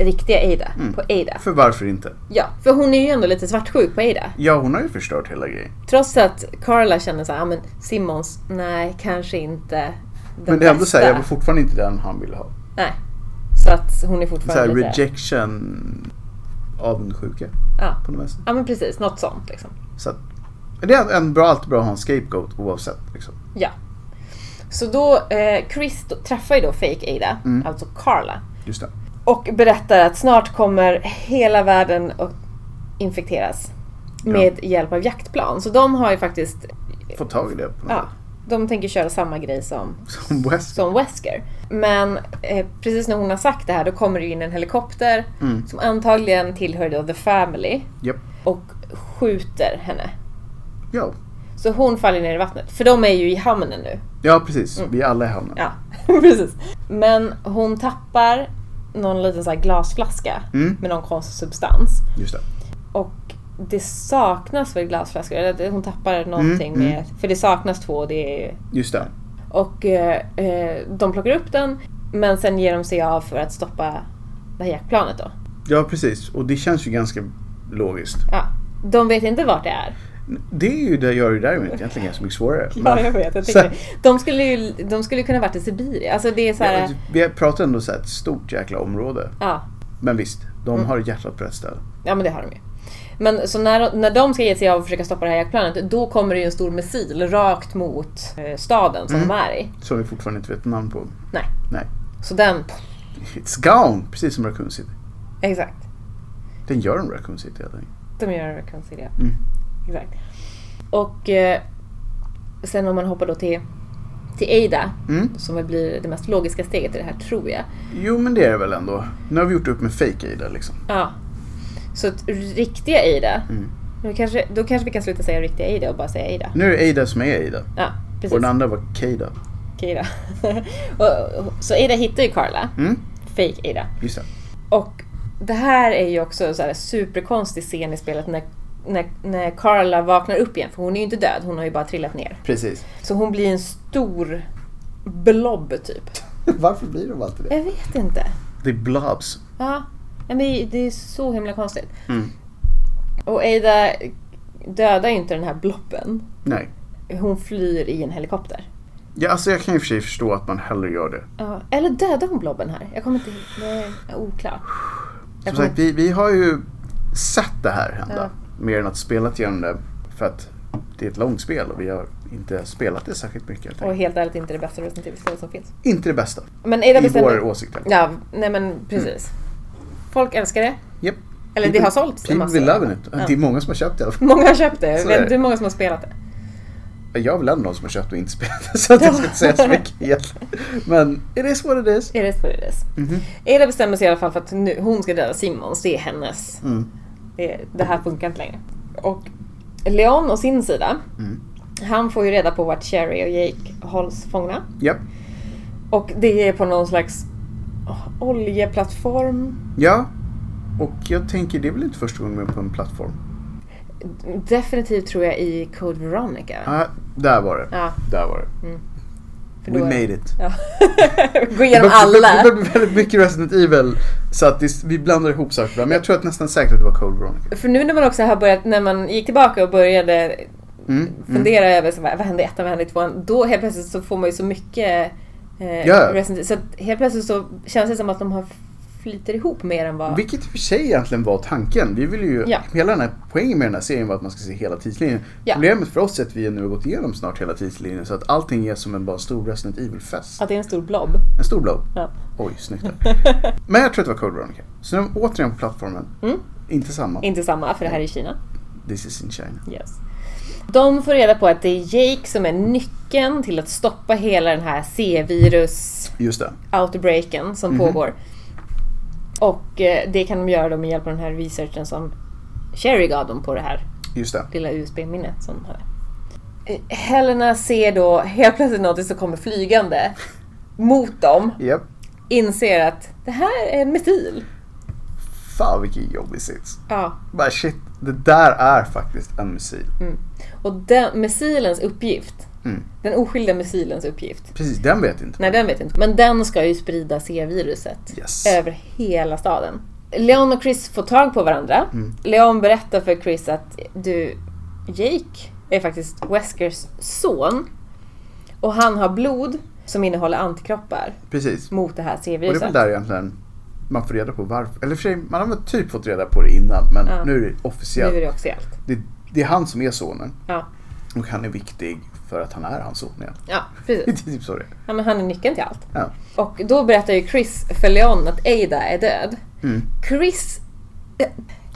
[SPEAKER 2] riktiga Ada,
[SPEAKER 1] Mm.
[SPEAKER 2] på Ada.
[SPEAKER 1] För varför inte?
[SPEAKER 2] Ja, för hon är ju ändå lite svartsjuk på Ada.
[SPEAKER 1] Ja, hon har ju förstört hela grejen.
[SPEAKER 2] Trots att Carla känner så här, "Ah, men Simmons, nej, kanske inte den
[SPEAKER 1] Men det är ändå
[SPEAKER 2] bästa."
[SPEAKER 1] så här, jag var fortfarande inte den han ville ha.
[SPEAKER 2] Nej. Så att hon är
[SPEAKER 1] Så här,
[SPEAKER 2] fortfarande lite...
[SPEAKER 1] rejection, avundsjuka
[SPEAKER 2] Ja.
[SPEAKER 1] på något vänster.
[SPEAKER 2] ja, men precis. Något sånt liksom.
[SPEAKER 1] Så att, men det är en bra, alltid bra att ha en scapegoat oavsett. Liksom.
[SPEAKER 2] Ja. Så då, eh, Chris då, träffar ju då fake Ada,
[SPEAKER 1] Mm.
[SPEAKER 2] alltså Carla.
[SPEAKER 1] Just det.
[SPEAKER 2] Och berättar att snart kommer hela världen att infekteras.
[SPEAKER 1] Ja.
[SPEAKER 2] Med hjälp av jaktplan. Så de har ju faktiskt,
[SPEAKER 1] Få tag i det på något
[SPEAKER 2] ja, de tänker köra samma grej som
[SPEAKER 1] sätt. Som West.
[SPEAKER 2] som Wesker. Men eh, precis när hon har sagt det här då kommer det in en helikopter
[SPEAKER 1] Mm.
[SPEAKER 2] som antagligen tillhör då The Family
[SPEAKER 1] Japp.
[SPEAKER 2] och skjuter henne.
[SPEAKER 1] Ja.
[SPEAKER 2] Så hon faller ner i vattnet. För de är ju i hamnen nu.
[SPEAKER 1] ja, precis. Vi är alla i hamnen.
[SPEAKER 2] Mm. Ja, precis. Men hon tappar någon liten så här glasflaska
[SPEAKER 1] Mm.
[SPEAKER 2] med någon konstig substans.
[SPEAKER 1] Just det.
[SPEAKER 2] Och det saknas väl glasflaskor? Eller det- hon tappar någonting
[SPEAKER 1] Mm,
[SPEAKER 2] med... För det saknas två. Det är,
[SPEAKER 1] Just det.
[SPEAKER 2] och eh, eh, de plockar upp den men sen ger de sig av för att stoppa det här jaktplanet då.
[SPEAKER 1] Ja, precis. Och det känns ju ganska logiskt.
[SPEAKER 2] Ja. De vet inte vart det är.
[SPEAKER 1] Det är ju det gör ju det egentligen ganska mycket svårare.
[SPEAKER 2] Ja, jag vet. Jag
[SPEAKER 1] så,
[SPEAKER 2] tänkte, de skulle ju de skulle kunna varit i Sibirien. Alltså det är så här...
[SPEAKER 1] ja, typ- vi pratar ändå så här ett stort jäkla område.
[SPEAKER 2] Ja.
[SPEAKER 1] Men visst, de
[SPEAKER 2] Mm.
[SPEAKER 1] har hjärtat på rätt ställe.
[SPEAKER 2] Ja men det har de ju. Men så när, när de ska ge sig av och försöka stoppa det här jaktplanet då kommer det ju en stor missil rakt mot eh, staden
[SPEAKER 1] Mm.
[SPEAKER 2] som de är i.
[SPEAKER 1] Som vi fortfarande inte vet namn på.
[SPEAKER 2] Nej.
[SPEAKER 1] Nej.
[SPEAKER 2] Så den...
[SPEAKER 1] It's gone! Precis som Raccoon City.
[SPEAKER 2] Exakt.
[SPEAKER 1] Den gör en Raccoon City helt enkelt.
[SPEAKER 2] De gör Raccoon City, ja.
[SPEAKER 1] Mm.
[SPEAKER 2] Exakt. Och eh, sen om man hoppar då till, till Ada
[SPEAKER 1] Mm.
[SPEAKER 2] som väl blir det mest logiska steget i det här tror jag.
[SPEAKER 1] Jo men det är det väl ändå. Nu har vi gjort upp med fake Ada liksom.
[SPEAKER 2] Ja. Så att riktiga Ada,
[SPEAKER 1] Mm.
[SPEAKER 2] då, kanske, då kanske vi kan sluta säga riktiga Ada och bara säga Ada.
[SPEAKER 1] Nu är Ada som är Ada.
[SPEAKER 2] Ja,
[SPEAKER 1] Och
[SPEAKER 2] precis.
[SPEAKER 1] den andra var Kada.
[SPEAKER 2] Okej då. och, och, så Ada hittar ju Carla.
[SPEAKER 1] Mm.
[SPEAKER 2] Fake Ada.
[SPEAKER 1] Just det.
[SPEAKER 2] Och det här är ju också en så här superkonstig scen i spelet när, när, när Carla vaknar upp igen. För hon är ju inte död, hon har ju bara trillat ner.
[SPEAKER 1] Precis.
[SPEAKER 2] Så hon blir en stor blob typ.
[SPEAKER 1] Varför blir de alltid
[SPEAKER 2] Jag vet inte.
[SPEAKER 1] Det är blobs.
[SPEAKER 2] Ja, men det- det är så himla konstigt.
[SPEAKER 1] Mm.
[SPEAKER 2] Och Ada dödar ju inte den här blobben.
[SPEAKER 1] Nej.
[SPEAKER 2] Hon flyr i en helikopter.
[SPEAKER 1] Ja, alltså jag kan ju för sig förstå att man hellre gör det.
[SPEAKER 2] Ja, eller dödar hon blobben här? Jag kommer inte... Nej, oklart.
[SPEAKER 1] Som
[SPEAKER 2] Jag
[SPEAKER 1] sagt, vi, vi har ju sett det här hända. Mer än att spelat igenom det. För att det är ett långt spel och vi har inte spelat det särskilt mycket. helt
[SPEAKER 2] Och
[SPEAKER 1] enkelt.
[SPEAKER 2] helt ärligt inte det bästa Resident Evil-spelet som finns.
[SPEAKER 1] Inte det bästa.
[SPEAKER 2] Men Ada
[SPEAKER 1] I
[SPEAKER 2] bestämmer...
[SPEAKER 1] vår åsikt. här.
[SPEAKER 2] Ja, nej men precis. Folk älskar det.
[SPEAKER 1] Japp.
[SPEAKER 2] Eller det
[SPEAKER 1] People-
[SPEAKER 2] har sålts en
[SPEAKER 1] People
[SPEAKER 2] massa.
[SPEAKER 1] will love it.
[SPEAKER 2] Ja.
[SPEAKER 1] Det är många som har köpt det.
[SPEAKER 2] Många har köpt det.
[SPEAKER 1] Så
[SPEAKER 2] Jag
[SPEAKER 1] är
[SPEAKER 2] vet
[SPEAKER 1] det.
[SPEAKER 2] inte hur många som har spelat det.
[SPEAKER 1] Jag är väl ändå någon som har köpt och inte spelat det. Så att jag ska inte säga så mycket egentligen. Men it is what it is.
[SPEAKER 2] Är det så det är?
[SPEAKER 1] Mhm.
[SPEAKER 2] Ada bestämmer sig i alla fall för att nu, hon ska döda Simons. Det är hennes.
[SPEAKER 1] Mm.
[SPEAKER 2] Det, det här funkar inte längre. Och Leon och sin sida.
[SPEAKER 1] Mm.
[SPEAKER 2] Han får ju reda på vart Cherry och Jake hålls fångna.
[SPEAKER 1] Japp.
[SPEAKER 2] Och det är på någon slags oljeplattform.
[SPEAKER 1] Ja. Och jag tänker, det är väl inte första gången vi är på en plattform?
[SPEAKER 2] Definitivt tror jag i Code Veronica.
[SPEAKER 1] Ah, där var det.
[SPEAKER 2] Ja, mm.
[SPEAKER 1] Där var det.
[SPEAKER 2] för
[SPEAKER 1] We
[SPEAKER 2] då-
[SPEAKER 1] made it.
[SPEAKER 2] Ja. Gå
[SPEAKER 1] Det börjar-
[SPEAKER 2] igenom alla.
[SPEAKER 1] Det börjar bli väldigt mycket Resident Evil. Så att det, vi blandar ihop saker ibland. Men jag tror att nästan säkert att det var Cold Veronica.
[SPEAKER 2] För nu när man också har börjat, när man gick tillbaka och började
[SPEAKER 1] Mm, mm.
[SPEAKER 2] fundera över så, här, vad hände i ettan, vad hände i tvåan? Då helt plötsligt så får man ju så mycket eh,
[SPEAKER 1] Ja.
[SPEAKER 2] Resident- Så att helt plötsligt så känns det som att de har flyter ihop mer än vad...
[SPEAKER 1] Vilket i och för sig egentligen var tanken. Vi vill ju,
[SPEAKER 2] Ja.
[SPEAKER 1] Hela den här poängen med den här serien var att man ska se hela tidslinjen.
[SPEAKER 2] Ja.
[SPEAKER 1] Problemet för oss är att vi nu har gått igenom snart hela tidslinjen så att allting är som en bara stor Resident Evil-fest.
[SPEAKER 2] Att det är en stor blob.
[SPEAKER 1] En stor blow.
[SPEAKER 2] Ja.
[SPEAKER 1] Oj, snyggt där. Men jag tror att det var Cold Veronica. Så nu är vi återigen på plattformen.
[SPEAKER 2] Mm.
[SPEAKER 1] Inte samma.
[SPEAKER 2] Inte samma, för det här är i Kina.
[SPEAKER 1] This is in China.
[SPEAKER 2] Yes. De får reda på att det är Jake som är nyckeln till att stoppa hela den här C-virus
[SPEAKER 1] Just det.
[SPEAKER 2] outbreaken som
[SPEAKER 1] Mhm.
[SPEAKER 2] pågår. Och eh, det kan de göra då med hjälp av den här researchen som Sherry gav dem på det här
[SPEAKER 1] Just det.
[SPEAKER 2] lilla USB-minnet som de hade. Eh, Helena ser då helt plötsligt något som kommer flygande mot dem.
[SPEAKER 1] Japp.
[SPEAKER 2] Inser att det här är en missil.
[SPEAKER 1] Fan vilken jobbig sits.
[SPEAKER 2] Ja.
[SPEAKER 1] Bara shit, det där är faktiskt en missil.
[SPEAKER 2] Mm. Och den, missilens uppgift,
[SPEAKER 1] Mm.
[SPEAKER 2] den oskyldiga missilens uppgift,
[SPEAKER 1] Precis, den vet inte.
[SPEAKER 2] nej den vet jag inte, men den ska ju sprida C-viruset
[SPEAKER 1] Yes.
[SPEAKER 2] över hela staden. Leon och Chris får tag på varandra.
[SPEAKER 1] Mm.
[SPEAKER 2] Leon berättar för Chris att du, Jake är faktiskt Weskers son. Och han har blod som innehåller antikroppar
[SPEAKER 1] Precis.
[SPEAKER 2] mot det här
[SPEAKER 1] Och det är
[SPEAKER 2] C-viruset.
[SPEAKER 1] väl där egentligen man får reda på varför. Eller för sig, man har väl typ fått reda på det innan men
[SPEAKER 2] Ja.
[SPEAKER 1] nu är det
[SPEAKER 2] Nu
[SPEAKER 1] officiellt.
[SPEAKER 2] är det officiellt.
[SPEAKER 1] Det, det är han som är sonen
[SPEAKER 2] Ja,
[SPEAKER 1] och han är viktig för att han är hans son. Ja.
[SPEAKER 2] ja
[SPEAKER 1] Det är
[SPEAKER 2] precis.
[SPEAKER 1] typ så det är.
[SPEAKER 2] Ja, men han är nyckeln till allt.
[SPEAKER 1] Ja.
[SPEAKER 2] Och då berättar ju Chris för Leon att Ada är död.
[SPEAKER 1] Mm.
[SPEAKER 2] Chris,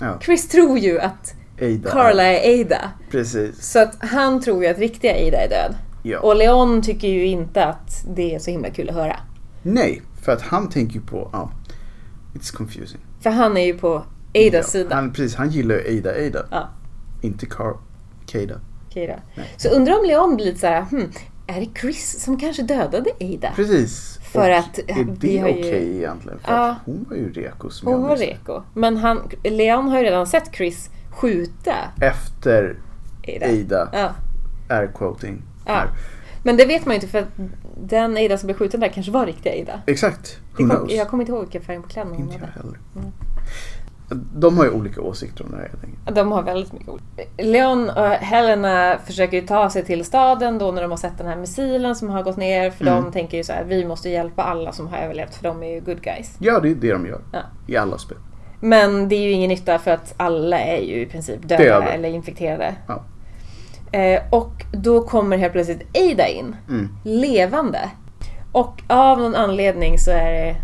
[SPEAKER 1] Ja.
[SPEAKER 2] Chris tror ju att
[SPEAKER 1] Ada.
[SPEAKER 2] Carla är Ada.
[SPEAKER 1] Precis.
[SPEAKER 2] Så att han tror ju att riktiga Ada är död.
[SPEAKER 1] Ja.
[SPEAKER 2] Och Leon tycker ju inte att det är så himla kul att höra.
[SPEAKER 1] Nej, för att han tänker ju på... Ja, it's confusing.
[SPEAKER 2] För han är ju på Adas
[SPEAKER 1] Ja,
[SPEAKER 2] sida.
[SPEAKER 1] han, precis, han gillar ju Ada Ada.
[SPEAKER 2] Ja.
[SPEAKER 1] Inte Carl. Kada.
[SPEAKER 2] Okej då. Så undrar om Leon blir lite såhär, hmm, är det Chris som kanske dödade Ada?
[SPEAKER 1] Precis.
[SPEAKER 2] För att, eh,
[SPEAKER 1] är
[SPEAKER 2] vi
[SPEAKER 1] det
[SPEAKER 2] har ju-
[SPEAKER 1] okej egentligen? För
[SPEAKER 2] Ja.
[SPEAKER 1] att hon var ju reko som
[SPEAKER 2] Hon
[SPEAKER 1] jag
[SPEAKER 2] var
[SPEAKER 1] minns.
[SPEAKER 2] reko. Men han, Leon har ju redan sett Chris skjuta
[SPEAKER 1] Efter
[SPEAKER 2] Ada.
[SPEAKER 1] Ada,
[SPEAKER 2] Ja.
[SPEAKER 1] air quoting.
[SPEAKER 2] Ja.
[SPEAKER 1] här.
[SPEAKER 2] Men det vet man ju inte för att den Ada som blev skjuten där kanske var riktiga Ada.
[SPEAKER 1] Exakt. Who
[SPEAKER 2] Jag
[SPEAKER 1] knows?
[SPEAKER 2] kom- Jag kommer inte ihåg Mm. vilken färg på kläderna hon
[SPEAKER 1] Inte jag
[SPEAKER 2] hade.
[SPEAKER 1] heller. De har ju olika åsikter om det här helt enkelt.
[SPEAKER 2] De har väldigt mycket ord. Leon och Helena försöker ju ta sig till staden då när de har sett den här missilen som har gått ner. För
[SPEAKER 1] Mm.
[SPEAKER 2] de tänker ju så här, vi måste hjälpa alla som har överlevt för de är ju good guys.
[SPEAKER 1] Ja, det är det de gör.
[SPEAKER 2] Ja.
[SPEAKER 1] I alla spel.
[SPEAKER 2] Men det är ju ingen nytta för att alla är ju i princip döda
[SPEAKER 1] Döda.
[SPEAKER 2] eller infekterade.
[SPEAKER 1] Ja.
[SPEAKER 2] Eh, och då kommer helt plötsligt Ada in,
[SPEAKER 1] Mm.
[SPEAKER 2] levande. Och av någon anledning så är det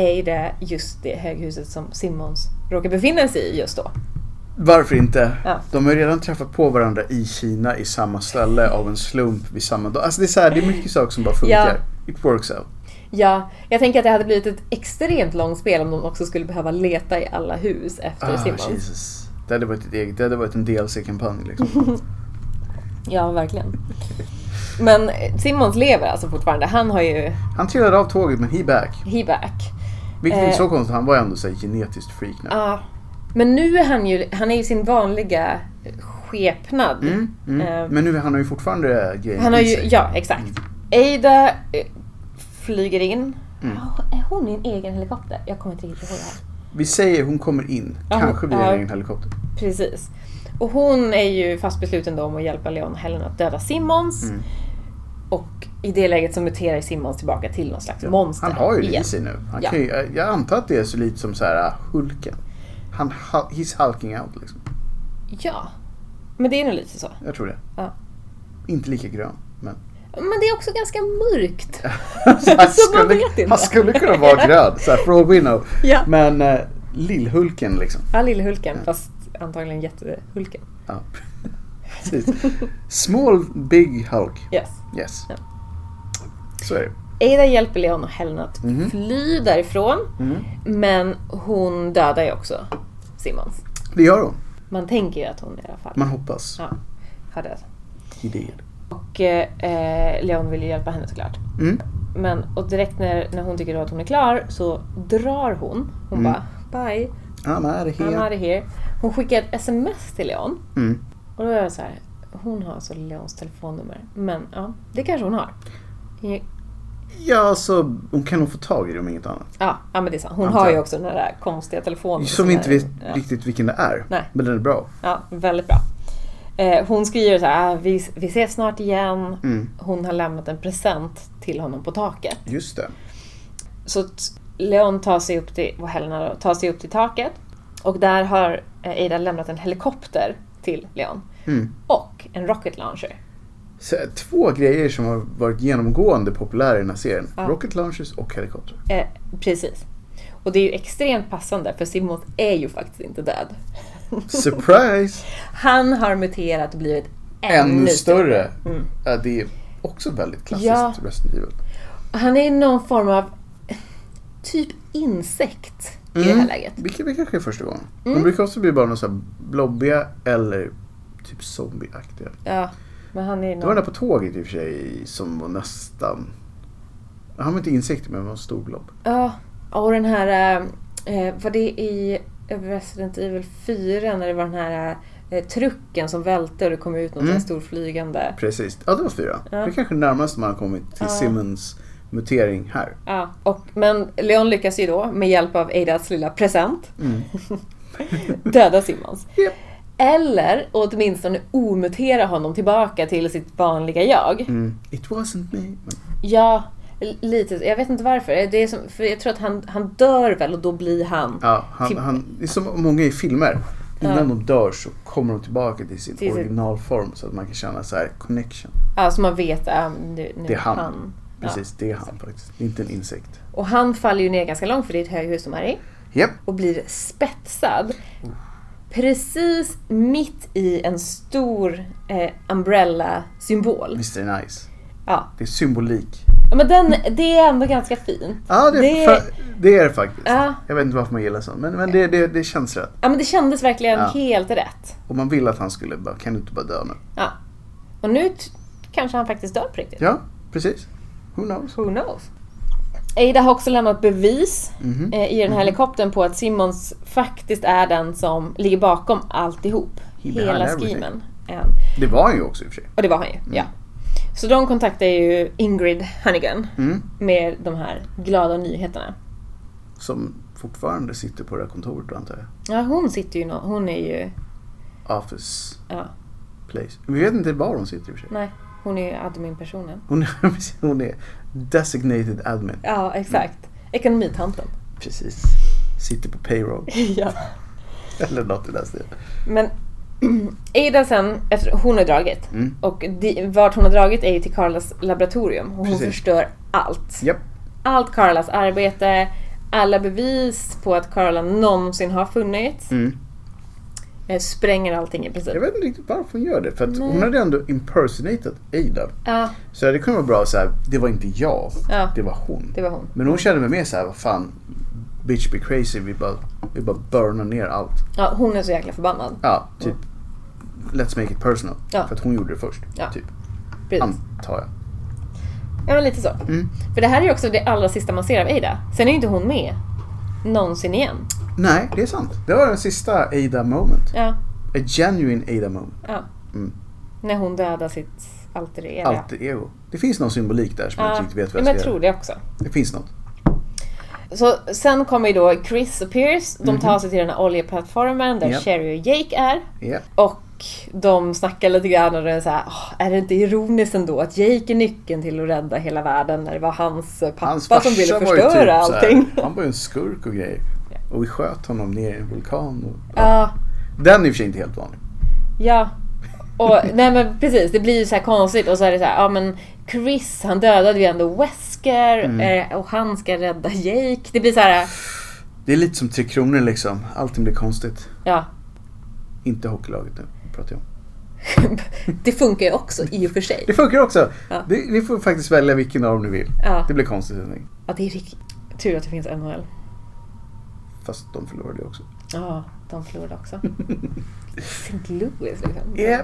[SPEAKER 2] Ada just det höghuset som Simmons råkar befinna sig i just då.
[SPEAKER 1] Varför inte?
[SPEAKER 2] Ja.
[SPEAKER 1] De har ju redan träffat på varandra i Kina i samma ställe av en slump vid samma dag. Alltså det är, så här, det är mycket saker som bara funkar. It works out.
[SPEAKER 2] Ja, jag tänker att det hade blivit ett extremt långt spel om de också skulle behöva leta i alla hus efter
[SPEAKER 1] Ah,
[SPEAKER 2] Simmons.
[SPEAKER 1] Jesus. Det hade varit ett eget, det hade varit en DLC-kampanj liksom.
[SPEAKER 2] Ja, verkligen. Men eh, Simmons lever alltså fortfarande. Han har ju
[SPEAKER 1] Han trillade av tåget men he back.
[SPEAKER 2] he back.
[SPEAKER 1] Vilket inte är
[SPEAKER 2] Eh.
[SPEAKER 1] så konstigt, han var ju ändå så här genetiskt freak nu.
[SPEAKER 2] Ja. Men nu är han ju, han är ju sin vanliga skepnad.
[SPEAKER 1] Mm, mm.
[SPEAKER 2] Eh,
[SPEAKER 1] Men nu han har ju fortfarande grejen
[SPEAKER 2] han har
[SPEAKER 1] i
[SPEAKER 2] ju,
[SPEAKER 1] sig.
[SPEAKER 2] ja exakt. Ada eh, flyger in.
[SPEAKER 1] Mm.
[SPEAKER 2] Ja, Är hon i en egen helikopter? Jag kommer inte riktigt ihåg det här.
[SPEAKER 1] Vi säger hon kommer in,
[SPEAKER 2] Ja,
[SPEAKER 1] kanske via
[SPEAKER 2] ja.
[SPEAKER 1] en egen helikopter.
[SPEAKER 2] Precis. Och hon är ju fast besluten då om att hjälpa Leon och Helen att döda Simmons.
[SPEAKER 1] Mm.
[SPEAKER 2] Och i det läget så muterar Simmons tillbaka till någon slags
[SPEAKER 1] Ja.
[SPEAKER 2] monster.
[SPEAKER 1] Han har ju det
[SPEAKER 2] igen.
[SPEAKER 1] i sig nu. Han
[SPEAKER 2] Ja.
[SPEAKER 1] kan ju, jag- jag antar att det är så lite som så här uh, Hulken. Han, hul- he's hulking out liksom.
[SPEAKER 2] Ja. Men det är nog lite så.
[SPEAKER 1] Jag tror det.
[SPEAKER 2] Ja.
[SPEAKER 1] Inte lika grön, men...
[SPEAKER 2] Men det är också ganska mörkt.
[SPEAKER 1] han,
[SPEAKER 2] Så man
[SPEAKER 1] skulle,
[SPEAKER 2] vet inte.
[SPEAKER 1] han skulle kunna vara grön, så här, for all we know.
[SPEAKER 2] Ja.
[SPEAKER 1] Men uh, Lillhulken liksom.
[SPEAKER 2] Ja, Lillhulken. Fast antagligen Jättehulken.
[SPEAKER 1] Ja. Precis. Small Big Hulk.
[SPEAKER 2] Yes.
[SPEAKER 1] Yes.
[SPEAKER 2] Ja.
[SPEAKER 1] Så är det.
[SPEAKER 2] Ada hjälper Leon och Helen att
[SPEAKER 1] Mhm.
[SPEAKER 2] fly därifrån.
[SPEAKER 1] Mm.
[SPEAKER 2] Men hon dödar ju också Simmons.
[SPEAKER 1] Det gör hon.
[SPEAKER 2] Man tänker ju att hon i alla fall
[SPEAKER 1] Man hoppas.
[SPEAKER 2] ja, har dödat.
[SPEAKER 1] Idéer.
[SPEAKER 2] Och eh, eh, Leon vill ju hjälpa henne såklart.
[SPEAKER 1] Mm.
[SPEAKER 2] Men och direkt när, när hon tycker då att hon är klar så drar hon. Hon
[SPEAKER 1] Mm.
[SPEAKER 2] bara “Bye,
[SPEAKER 1] I'm out of
[SPEAKER 2] I'm
[SPEAKER 1] here.
[SPEAKER 2] out of here”. Hon skickar ett sms till Leon.
[SPEAKER 1] Mm.
[SPEAKER 2] Och då är jag så här, hon har alltså Leons telefonnummer. Men ja, det kanske hon har.
[SPEAKER 1] Ja, så hon kan nog få tag i det om inget annat.
[SPEAKER 2] Ja, ja men det är sant. Hon
[SPEAKER 1] Antar
[SPEAKER 2] har ju
[SPEAKER 1] jag.
[SPEAKER 2] också den där konstiga telefonen.
[SPEAKER 1] Som vi inte
[SPEAKER 2] är-
[SPEAKER 1] vet
[SPEAKER 2] ja.
[SPEAKER 1] riktigt vilken det är.
[SPEAKER 2] Nej.
[SPEAKER 1] Men den är bra.
[SPEAKER 2] Ja, väldigt bra. Eh, hon skriver så här, "Ah, vi, vi ses snart igen.
[SPEAKER 1] Mm.
[SPEAKER 2] Hon har lämnat en present till honom på taket.
[SPEAKER 1] Just det.
[SPEAKER 2] Så t- Leon tar sig upp till, och Helena då, tar sig upp till taket. Och där har eh, Ada lämnat en helikopter till Leon.
[SPEAKER 1] Mm.
[SPEAKER 2] Och en rocket launcher.
[SPEAKER 1] Så, eh, två grejer som har varit genomgående populära i den här serien.
[SPEAKER 2] Ja.
[SPEAKER 1] Rocket launchers och helikopter.
[SPEAKER 2] Eh, precis. Och det är ju extremt passande för Simon är ju faktiskt inte död.
[SPEAKER 1] Surprise!
[SPEAKER 2] Han har muterat och blivit ännu,
[SPEAKER 1] Ännu
[SPEAKER 2] större. Mm.
[SPEAKER 1] större. Ja, det är också väldigt klassiskt
[SPEAKER 2] Ja.
[SPEAKER 1] Resident Evil.
[SPEAKER 2] Han är någon form av typ insekt i det här läget.
[SPEAKER 1] Mm.
[SPEAKER 2] Mm.
[SPEAKER 1] Vilket vi kanske är första gången. De brukar också bli bara någon så här blobbiga eller typ zombieaktiga.
[SPEAKER 2] Ja, men han är
[SPEAKER 1] Det var
[SPEAKER 2] någon...
[SPEAKER 1] den där på tåget i och för sig som var nästan... Han var inte insekter men han var en stor blob.
[SPEAKER 2] Ja, och den här... Eh, var det i Resident Evil 4 när det var den här eh, trucken som välte och det kom ut någon
[SPEAKER 1] Mm.
[SPEAKER 2] mm. stor flygande...
[SPEAKER 1] Precis. Ja, det var fyra.
[SPEAKER 2] Ja.
[SPEAKER 1] Det är kanske närmast man har kommit till
[SPEAKER 2] Ja.
[SPEAKER 1] Simmons mutering här.
[SPEAKER 2] Ja, och, men Leon lyckas ju då med hjälp av Adas lilla present
[SPEAKER 1] Mm.
[SPEAKER 2] döda Simmons.
[SPEAKER 1] Japp.
[SPEAKER 2] Eller åtminstone omutera honom tillbaka till sitt vanliga jag.
[SPEAKER 1] Mm. It wasn't me. Men,
[SPEAKER 2] Ja, l- lite. Jag vet inte varför. Det är som, för jag tror att han, han dör väl och då blir han
[SPEAKER 1] ja, han,
[SPEAKER 2] Typ-
[SPEAKER 1] han, det är som många i filmer. Innan
[SPEAKER 2] Ja.
[SPEAKER 1] de dör så kommer de tillbaka till sin
[SPEAKER 2] Till sitt-
[SPEAKER 1] originalform så att man kan känna så här connection.
[SPEAKER 2] Ja, så man vet att nu, nu
[SPEAKER 1] Det är han.
[SPEAKER 2] Ja.
[SPEAKER 1] Precis, det är han faktiskt. Det är inte en insekt.
[SPEAKER 2] Och han faller ju ner ganska långt för det är ett höghus de är i.
[SPEAKER 1] Japp.
[SPEAKER 2] Och blir spetsad. Precis mitt i en stor eh, umbrella-symbol.
[SPEAKER 1] Mr Nice.
[SPEAKER 2] Ja.
[SPEAKER 1] Det är symbolik.
[SPEAKER 2] ja, men den, det är ändå ganska fint.
[SPEAKER 1] Ja, det,
[SPEAKER 2] Det-
[SPEAKER 1] det... det är det faktiskt.
[SPEAKER 2] Ja.
[SPEAKER 1] Jag vet inte varför man gillar sånt, men, men det, det, det känns rätt.
[SPEAKER 2] Ja, men det kändes verkligen
[SPEAKER 1] Ja.
[SPEAKER 2] helt rätt.
[SPEAKER 1] Och man vill att han skulle bara, kan du inte bara dö nu?
[SPEAKER 2] Ja. Och nu t- kanske han faktiskt dör på riktigt.
[SPEAKER 1] Ja, precis. Who knows?
[SPEAKER 2] Who knows? Ada har också lämnat bevis
[SPEAKER 1] Mhm.
[SPEAKER 2] eh, i den här helikoptern på att Simmons faktiskt är den som ligger bakom alltihop.
[SPEAKER 1] behind
[SPEAKER 2] Hela
[SPEAKER 1] everything. Mm.
[SPEAKER 2] schemen. Eh,
[SPEAKER 1] Det var han ju också i och för sig.
[SPEAKER 2] Och det var han ju. Ja. Så de kontaktar ju Ingrid Hannigan
[SPEAKER 1] Mm.
[SPEAKER 2] med de här glada nyheterna.
[SPEAKER 1] Som fortfarande sitter på det här kontoret då antar jag.
[SPEAKER 2] Ja, hon sitter ju nå- Hon är ju...
[SPEAKER 1] Office
[SPEAKER 2] Ja,
[SPEAKER 1] place. Vi vet inte var hon sitter i och för sig.
[SPEAKER 2] nej. Hon är ju adminpersonen.
[SPEAKER 1] Hon är, hon är designated admin.
[SPEAKER 2] Ja, exakt. Mm. Ekonomitanten.
[SPEAKER 1] Precis. Sitter på payroll.
[SPEAKER 2] ja.
[SPEAKER 1] Eller något i den stilen.
[SPEAKER 2] Men Ada sen, efter hon har dragit.
[SPEAKER 1] Mm.
[SPEAKER 2] Och di, vart hon har dragit är ju till Carlas laboratorium. Och hon
[SPEAKER 1] Precis.
[SPEAKER 2] förstör allt.
[SPEAKER 1] Japp.
[SPEAKER 2] Allt Carlas arbete, alla bevis på att Carla någonsin har funnits.
[SPEAKER 1] Mm.
[SPEAKER 2] Eh, Spränger allting i princip.
[SPEAKER 1] Jag vet inte riktigt varför hon gör det. För att
[SPEAKER 2] Nej.
[SPEAKER 1] hon hade ändå impersonated Ada.
[SPEAKER 2] Ja,
[SPEAKER 1] Så det kunde vara bra så här, det var inte jag.
[SPEAKER 2] Ja.
[SPEAKER 1] Det var hon.
[SPEAKER 2] det var hon.
[SPEAKER 1] Men hon kände mig mer så här, vad fan. Bitch be crazy. Vi bara, vi bara burnar ner allt.
[SPEAKER 2] Ja, hon är så jäkla förbannad.
[SPEAKER 1] Ja, typ. Let's make it personal.
[SPEAKER 2] Ja.
[SPEAKER 1] För att hon gjorde det först.
[SPEAKER 2] Ja.
[SPEAKER 1] Typ.
[SPEAKER 2] Precis.
[SPEAKER 1] Antar jag.
[SPEAKER 2] Ja, men lite så.
[SPEAKER 1] Mm.
[SPEAKER 2] För det här är ju också det allra sista man ser av Ada. Sen är ju inte hon med någonsin igen.
[SPEAKER 1] Nej, det är sant. Det var den sista Ada moment.
[SPEAKER 2] Ja,
[SPEAKER 1] A genuine Ada moment.
[SPEAKER 2] ja.
[SPEAKER 1] Mm.
[SPEAKER 2] När hon dödar sitt alter ego.
[SPEAKER 1] Alter ego. Det finns någon symbolik där som jag
[SPEAKER 2] Ja,
[SPEAKER 1] inte riktigt vet
[SPEAKER 2] ja,
[SPEAKER 1] vad
[SPEAKER 2] men
[SPEAKER 1] jag
[SPEAKER 2] jag
[SPEAKER 1] ska
[SPEAKER 2] tror
[SPEAKER 1] göra.
[SPEAKER 2] det också.
[SPEAKER 1] Det finns något.
[SPEAKER 2] Så sen kommer ju då Chris och Pierce.
[SPEAKER 1] Mhm.
[SPEAKER 2] De tar sig till den här oljeplattformen där
[SPEAKER 1] Japp.
[SPEAKER 2] Sherry och Jake är.
[SPEAKER 1] Ja.
[SPEAKER 2] Och de snackar lite grann och det är så här, "Åh, är det inte ironiskt ändå att Jake är nyckeln till att rädda hela världen när det var hans pappa
[SPEAKER 1] Hans
[SPEAKER 2] som ville
[SPEAKER 1] farsa var ju
[SPEAKER 2] förstöra
[SPEAKER 1] typ så här-
[SPEAKER 2] allting?
[SPEAKER 1] Han var ju en skurk och grejer. Och vi sköt honom ner i en vulkan. Och,
[SPEAKER 2] Ja,
[SPEAKER 1] Den är i och för sig inte helt vanlig.
[SPEAKER 2] ja. Och, nej men precis, det blir ju så här konstigt och så är det så här, ja men Chris han dödade ju ändå Wesker eh, och han ska rädda Jake. Det blir så här,
[SPEAKER 1] Det är lite som Tre Kronor liksom. Allting blir konstigt.
[SPEAKER 2] ja.
[SPEAKER 1] Inte hockeylaget nu, pratar jag om.
[SPEAKER 2] Det funkar ju också i och för sig.
[SPEAKER 1] Det funkar också.
[SPEAKER 2] Ja.
[SPEAKER 1] Det, ni får faktiskt välja vilken av dem ni vill.
[SPEAKER 2] Ja.
[SPEAKER 1] Det blir konstigt sändning.
[SPEAKER 2] Ja, det är riktigt tur att det finns NHL.
[SPEAKER 1] Fast de förlorade ju också.
[SPEAKER 2] Ja, de förlorade också. St. Louis liksom.
[SPEAKER 1] Yep.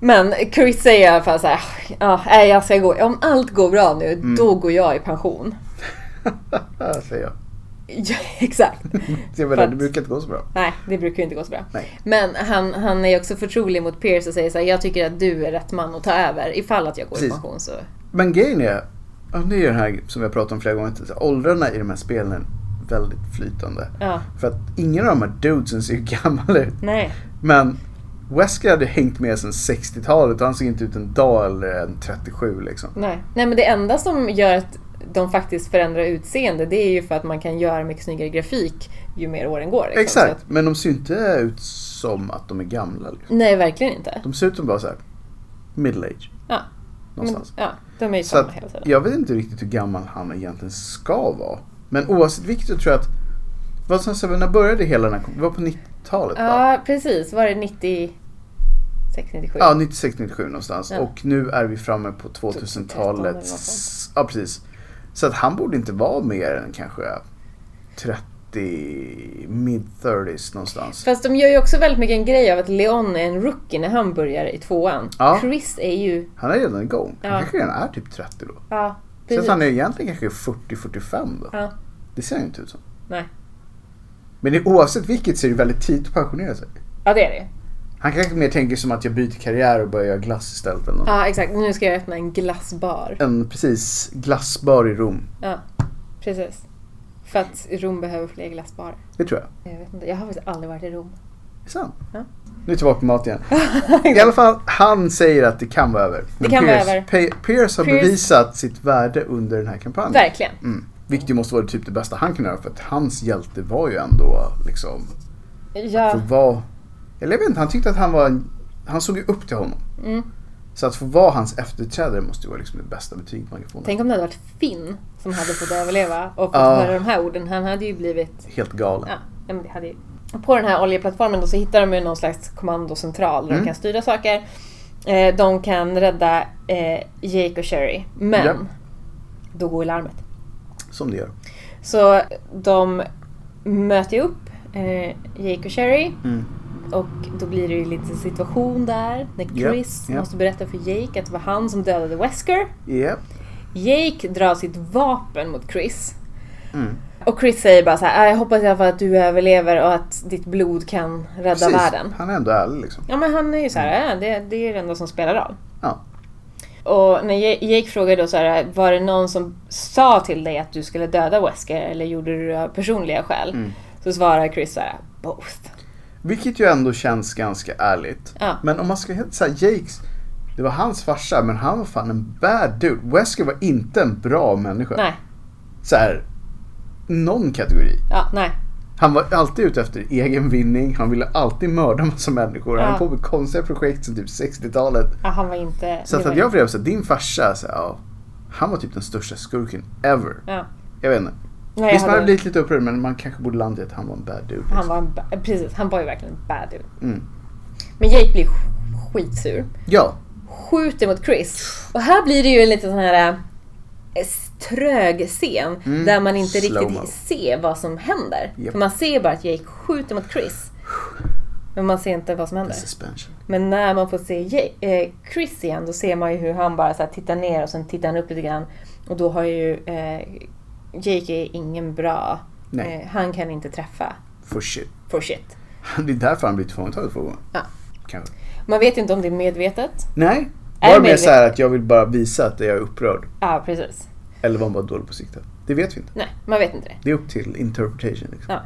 [SPEAKER 2] Men Chris säger i alla fall såhär, ja, nej, jag ska gå. om allt går bra nu, då går jag i pension.
[SPEAKER 1] Säger jag.
[SPEAKER 2] Ja, exakt.
[SPEAKER 1] Jag
[SPEAKER 2] För
[SPEAKER 1] menar,
[SPEAKER 2] att-
[SPEAKER 1] det brukar inte gå så bra.
[SPEAKER 2] Nej, det brukar ju inte gå så bra.
[SPEAKER 1] Nej.
[SPEAKER 2] Men han, han är också förtrolig mot Pierce och säger såhär, jag tycker att du är rätt man att ta över. Ifall att jag går i
[SPEAKER 1] Precis.
[SPEAKER 2] pension så...
[SPEAKER 1] Men grejen är, ja, det är ju den här som vi har pratat om flera gånger, att åldrarna i de här spelen är väldigt flytande.
[SPEAKER 2] Ja,
[SPEAKER 1] För att ingen av de här dudesen ser ju gammal ut.
[SPEAKER 2] nej.
[SPEAKER 1] Men Wesker hade hängt med sedan 60-talet och han såg inte ut en dag eller en 37 liksom.
[SPEAKER 2] Nej. Nej, men det enda som gör att de faktiskt förändrar utseende, det är ju för att man kan göra mycket snyggare grafik ju mer åren går. liksom. Så
[SPEAKER 1] Exakt,
[SPEAKER 2] att-
[SPEAKER 1] men de ser ju inte ut som att de är gamla. Liksom.
[SPEAKER 2] Nej, verkligen inte.
[SPEAKER 1] De ser ut som bara så här middle age
[SPEAKER 2] Ja, men,
[SPEAKER 1] någonstans.
[SPEAKER 2] ja de är ju
[SPEAKER 1] så
[SPEAKER 2] samma
[SPEAKER 1] att,
[SPEAKER 2] hela tiden.
[SPEAKER 1] jag vet inte riktigt hur gammal han egentligen ska vara. Men oavsett vilket så tror jag att, vad som sen när började hela den här, det var på 90-talet va?
[SPEAKER 2] Ja, precis. Var det 96, 97?
[SPEAKER 1] Ja, 96-97 någonstans.
[SPEAKER 2] Ja.
[SPEAKER 1] Och nu är vi framme på
[SPEAKER 2] 2013 eller något
[SPEAKER 1] 2000-talet.
[SPEAKER 2] sånt.
[SPEAKER 1] Ja, precis. Så att han borde inte vara mer än kanske 30, mid-30s någonstans.
[SPEAKER 2] Fast de gör ju också väldigt mycket en grej av att Leon är en rookie när han börjar i tvåan.
[SPEAKER 1] Ja.
[SPEAKER 2] Chris är ju...
[SPEAKER 1] Han är redan igång. Han
[SPEAKER 2] Ja.
[SPEAKER 1] kanske redan är typ 30 då.
[SPEAKER 2] Ja,
[SPEAKER 1] Så
[SPEAKER 2] precis.
[SPEAKER 1] att han är egentligen kanske 40-45 då.
[SPEAKER 2] Ja.
[SPEAKER 1] Det ser han ju inte ut som.
[SPEAKER 2] Nej.
[SPEAKER 1] Men det, oavsett vilket så är det väldigt tidigt att pensionera sig.
[SPEAKER 2] Ja, det är det
[SPEAKER 1] Han kanske mer tänker som att jag byter karriär och börjar göra glass istället. Eller något.
[SPEAKER 2] Ja, exakt. Nu ska jag öppna en glassbar.
[SPEAKER 1] En precis glassbar i Rom.
[SPEAKER 2] Ja, precis. För att Rom behöver fler glassbarer.
[SPEAKER 1] Det tror jag.
[SPEAKER 2] Jag vet inte, jag har faktiskt aldrig varit i Rom.
[SPEAKER 1] Det är sant.
[SPEAKER 2] Ja.
[SPEAKER 1] Nu är jag tillbaka på mat igen. I alla fall, han säger att det kan vara över. Men
[SPEAKER 2] kan vara
[SPEAKER 1] Pierce-
[SPEAKER 2] över.
[SPEAKER 1] Pe- Pierce har
[SPEAKER 2] Pierce-
[SPEAKER 1] bevisat sitt värde under den här kampanjen.
[SPEAKER 2] Verkligen.
[SPEAKER 1] Mm. Vilket ju måste vara typ det bästa han kunde göra för att hans hjälte var ju ändå liksom,
[SPEAKER 2] Ja,
[SPEAKER 1] få vara... Eller jag vet inte, han tyckte att han var en, Han såg ju upp till honom.
[SPEAKER 2] Mm.
[SPEAKER 1] Så att få vara hans efterträdare måste ju vara liksom det bästa betyget man kan få.
[SPEAKER 2] tänk om det hade varit Finn som hade fått överleva och fått
[SPEAKER 1] Ja.
[SPEAKER 2] höra de här orden. Han hade ju blivit
[SPEAKER 1] Helt galen.
[SPEAKER 2] Ja, ja, men det hade ju... På den här oljeplattformen då så hittar de ju någon slags kommandocentral där
[SPEAKER 1] Mm.
[SPEAKER 2] de kan styra saker. Eh, de kan rädda eh, Jake och Sherry. Men
[SPEAKER 1] Ja.
[SPEAKER 2] då går ju larmet.
[SPEAKER 1] Som det gör.
[SPEAKER 2] Så de möter ju upp eh, Jake och Sherry.
[SPEAKER 1] Mm.
[SPEAKER 2] Och då blir det ju lite situation där. När
[SPEAKER 1] Ja,
[SPEAKER 2] Chris
[SPEAKER 1] ja.
[SPEAKER 2] måste berätta för Jake att det var han som dödade Wesker.
[SPEAKER 1] Japp.
[SPEAKER 2] Jake drar sitt vapen mot Chris.
[SPEAKER 1] Mm.
[SPEAKER 2] Och Chris säger bara så här, "Ah, jag hoppas i alla fall att du överlever och att ditt blod kan rädda
[SPEAKER 1] Precis.
[SPEAKER 2] världen.
[SPEAKER 1] Han är ändå ärlig liksom.
[SPEAKER 2] Ja men han är ju så här, "Ah, det, det är det enda som spelar roll.
[SPEAKER 1] Mm. Ja.
[SPEAKER 2] Och när Ja- Jake frågar då så här, var det någon som sa till dig att du skulle döda Wesker eller gjorde du det av personliga skäl?
[SPEAKER 1] Mm.
[SPEAKER 2] Så svarar Chris så här, both.
[SPEAKER 1] Vilket ju ändå känns ganska ärligt.
[SPEAKER 2] Ja.
[SPEAKER 1] Men om man ska helt säga Jakes, det var hans farsa men han var fan en bad dude. Wesker var inte en bra människa.
[SPEAKER 2] Nej,
[SPEAKER 1] Så här, någon kategori.
[SPEAKER 2] ja, nej.
[SPEAKER 1] Han var alltid ute efter egen vinning, han ville alltid mörda massa människor. Han
[SPEAKER 2] Ja.
[SPEAKER 1] höll på med konstiga projekt sedan typ 60-talet.
[SPEAKER 2] Ja, han var inte...
[SPEAKER 1] Så
[SPEAKER 2] det
[SPEAKER 1] att,
[SPEAKER 2] var
[SPEAKER 1] att jag blev såhär, din farsa, så här, ja, han var typ den största skurken ever.
[SPEAKER 2] Ja.
[SPEAKER 1] Jag vet inte.
[SPEAKER 2] Nej, jag
[SPEAKER 1] Visst man hade
[SPEAKER 2] hade,
[SPEAKER 1] blivit lite upprörd men man kanske borde landa i att han var en bad dude. Liksom.
[SPEAKER 2] han var en, ba- precis, han var ju verkligen en bad dude.
[SPEAKER 1] Mm.
[SPEAKER 2] Men Jake blir skitsur.
[SPEAKER 1] liksom. Ja,
[SPEAKER 2] skjuter mot Chris. Och här blir det ju en liten sån här eh, s- trög scen
[SPEAKER 1] Mm.
[SPEAKER 2] där man inte
[SPEAKER 1] Slow-mo.
[SPEAKER 2] riktigt ser vad som händer.
[SPEAKER 1] Japp.
[SPEAKER 2] För man ser bara att Jake skjuter mot Chris. Men man ser inte vad som
[SPEAKER 1] the
[SPEAKER 2] händer.
[SPEAKER 1] suspension.
[SPEAKER 2] Men när man får se Jake, eh, Chris igen då ser man ju hur han bara så här tittar ner och sen tittar han upp lite grann. Och då har ju eh, Jake är ingen bra.
[SPEAKER 1] Nej.
[SPEAKER 2] Eh, han kan inte träffa
[SPEAKER 1] For shit.
[SPEAKER 2] for shit.
[SPEAKER 1] Det är därför han blir tillfångatagen två gånger.
[SPEAKER 2] Ja.
[SPEAKER 1] Kanske.
[SPEAKER 2] Man vet ju inte om det är medvetet.
[SPEAKER 1] Nej, var det
[SPEAKER 2] Är det
[SPEAKER 1] mer
[SPEAKER 2] medvetet?
[SPEAKER 1] såhär att jag vill bara visa att jag är upprörd?
[SPEAKER 2] Ja, Ah, precis.
[SPEAKER 1] Eller var han bara dålig på siktet? Det vet vi inte.
[SPEAKER 2] Nej, man vet inte det.
[SPEAKER 1] Det är upp till interpretation. Liksom.
[SPEAKER 2] Ja.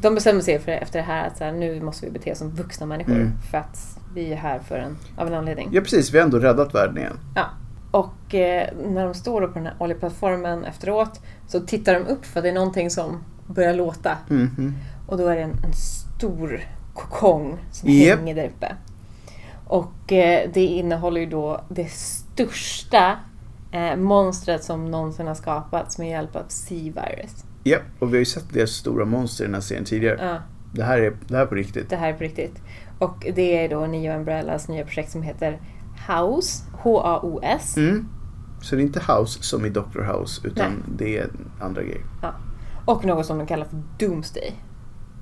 [SPEAKER 2] De bestämmer sig för efter det här att så här, nu måste vi bete oss som vuxna människor
[SPEAKER 1] Mm.
[SPEAKER 2] för att vi är här för en, av en anledning.
[SPEAKER 1] Ja precis, vi har ändå räddat världen igen.
[SPEAKER 2] Ja. Och eh, när de står då på den här oljeplattformen efteråt så tittar de upp för det är någonting som börjar låta.
[SPEAKER 1] Mhm.
[SPEAKER 2] Och då är det en, en stor kokong som
[SPEAKER 1] Japp.
[SPEAKER 2] hänger där uppe. Och eh, det innehåller ju då det största eh, monstret som någonsin har skapats med hjälp av C-virus.
[SPEAKER 1] Ja, och vi har ju sett deras stora monster i den här serien tidigare.
[SPEAKER 2] Ja.
[SPEAKER 1] Det, här är, det här är på riktigt.
[SPEAKER 2] det här är på riktigt. Och det är då Neo Umbrellas nya projekt som heter House, H-A-O-S.
[SPEAKER 1] Mm. Så det är inte House som i Dr. House, utan
[SPEAKER 2] Nej.
[SPEAKER 1] det är andra grejer.
[SPEAKER 2] Ja. Och något som de kallar för Doomsday.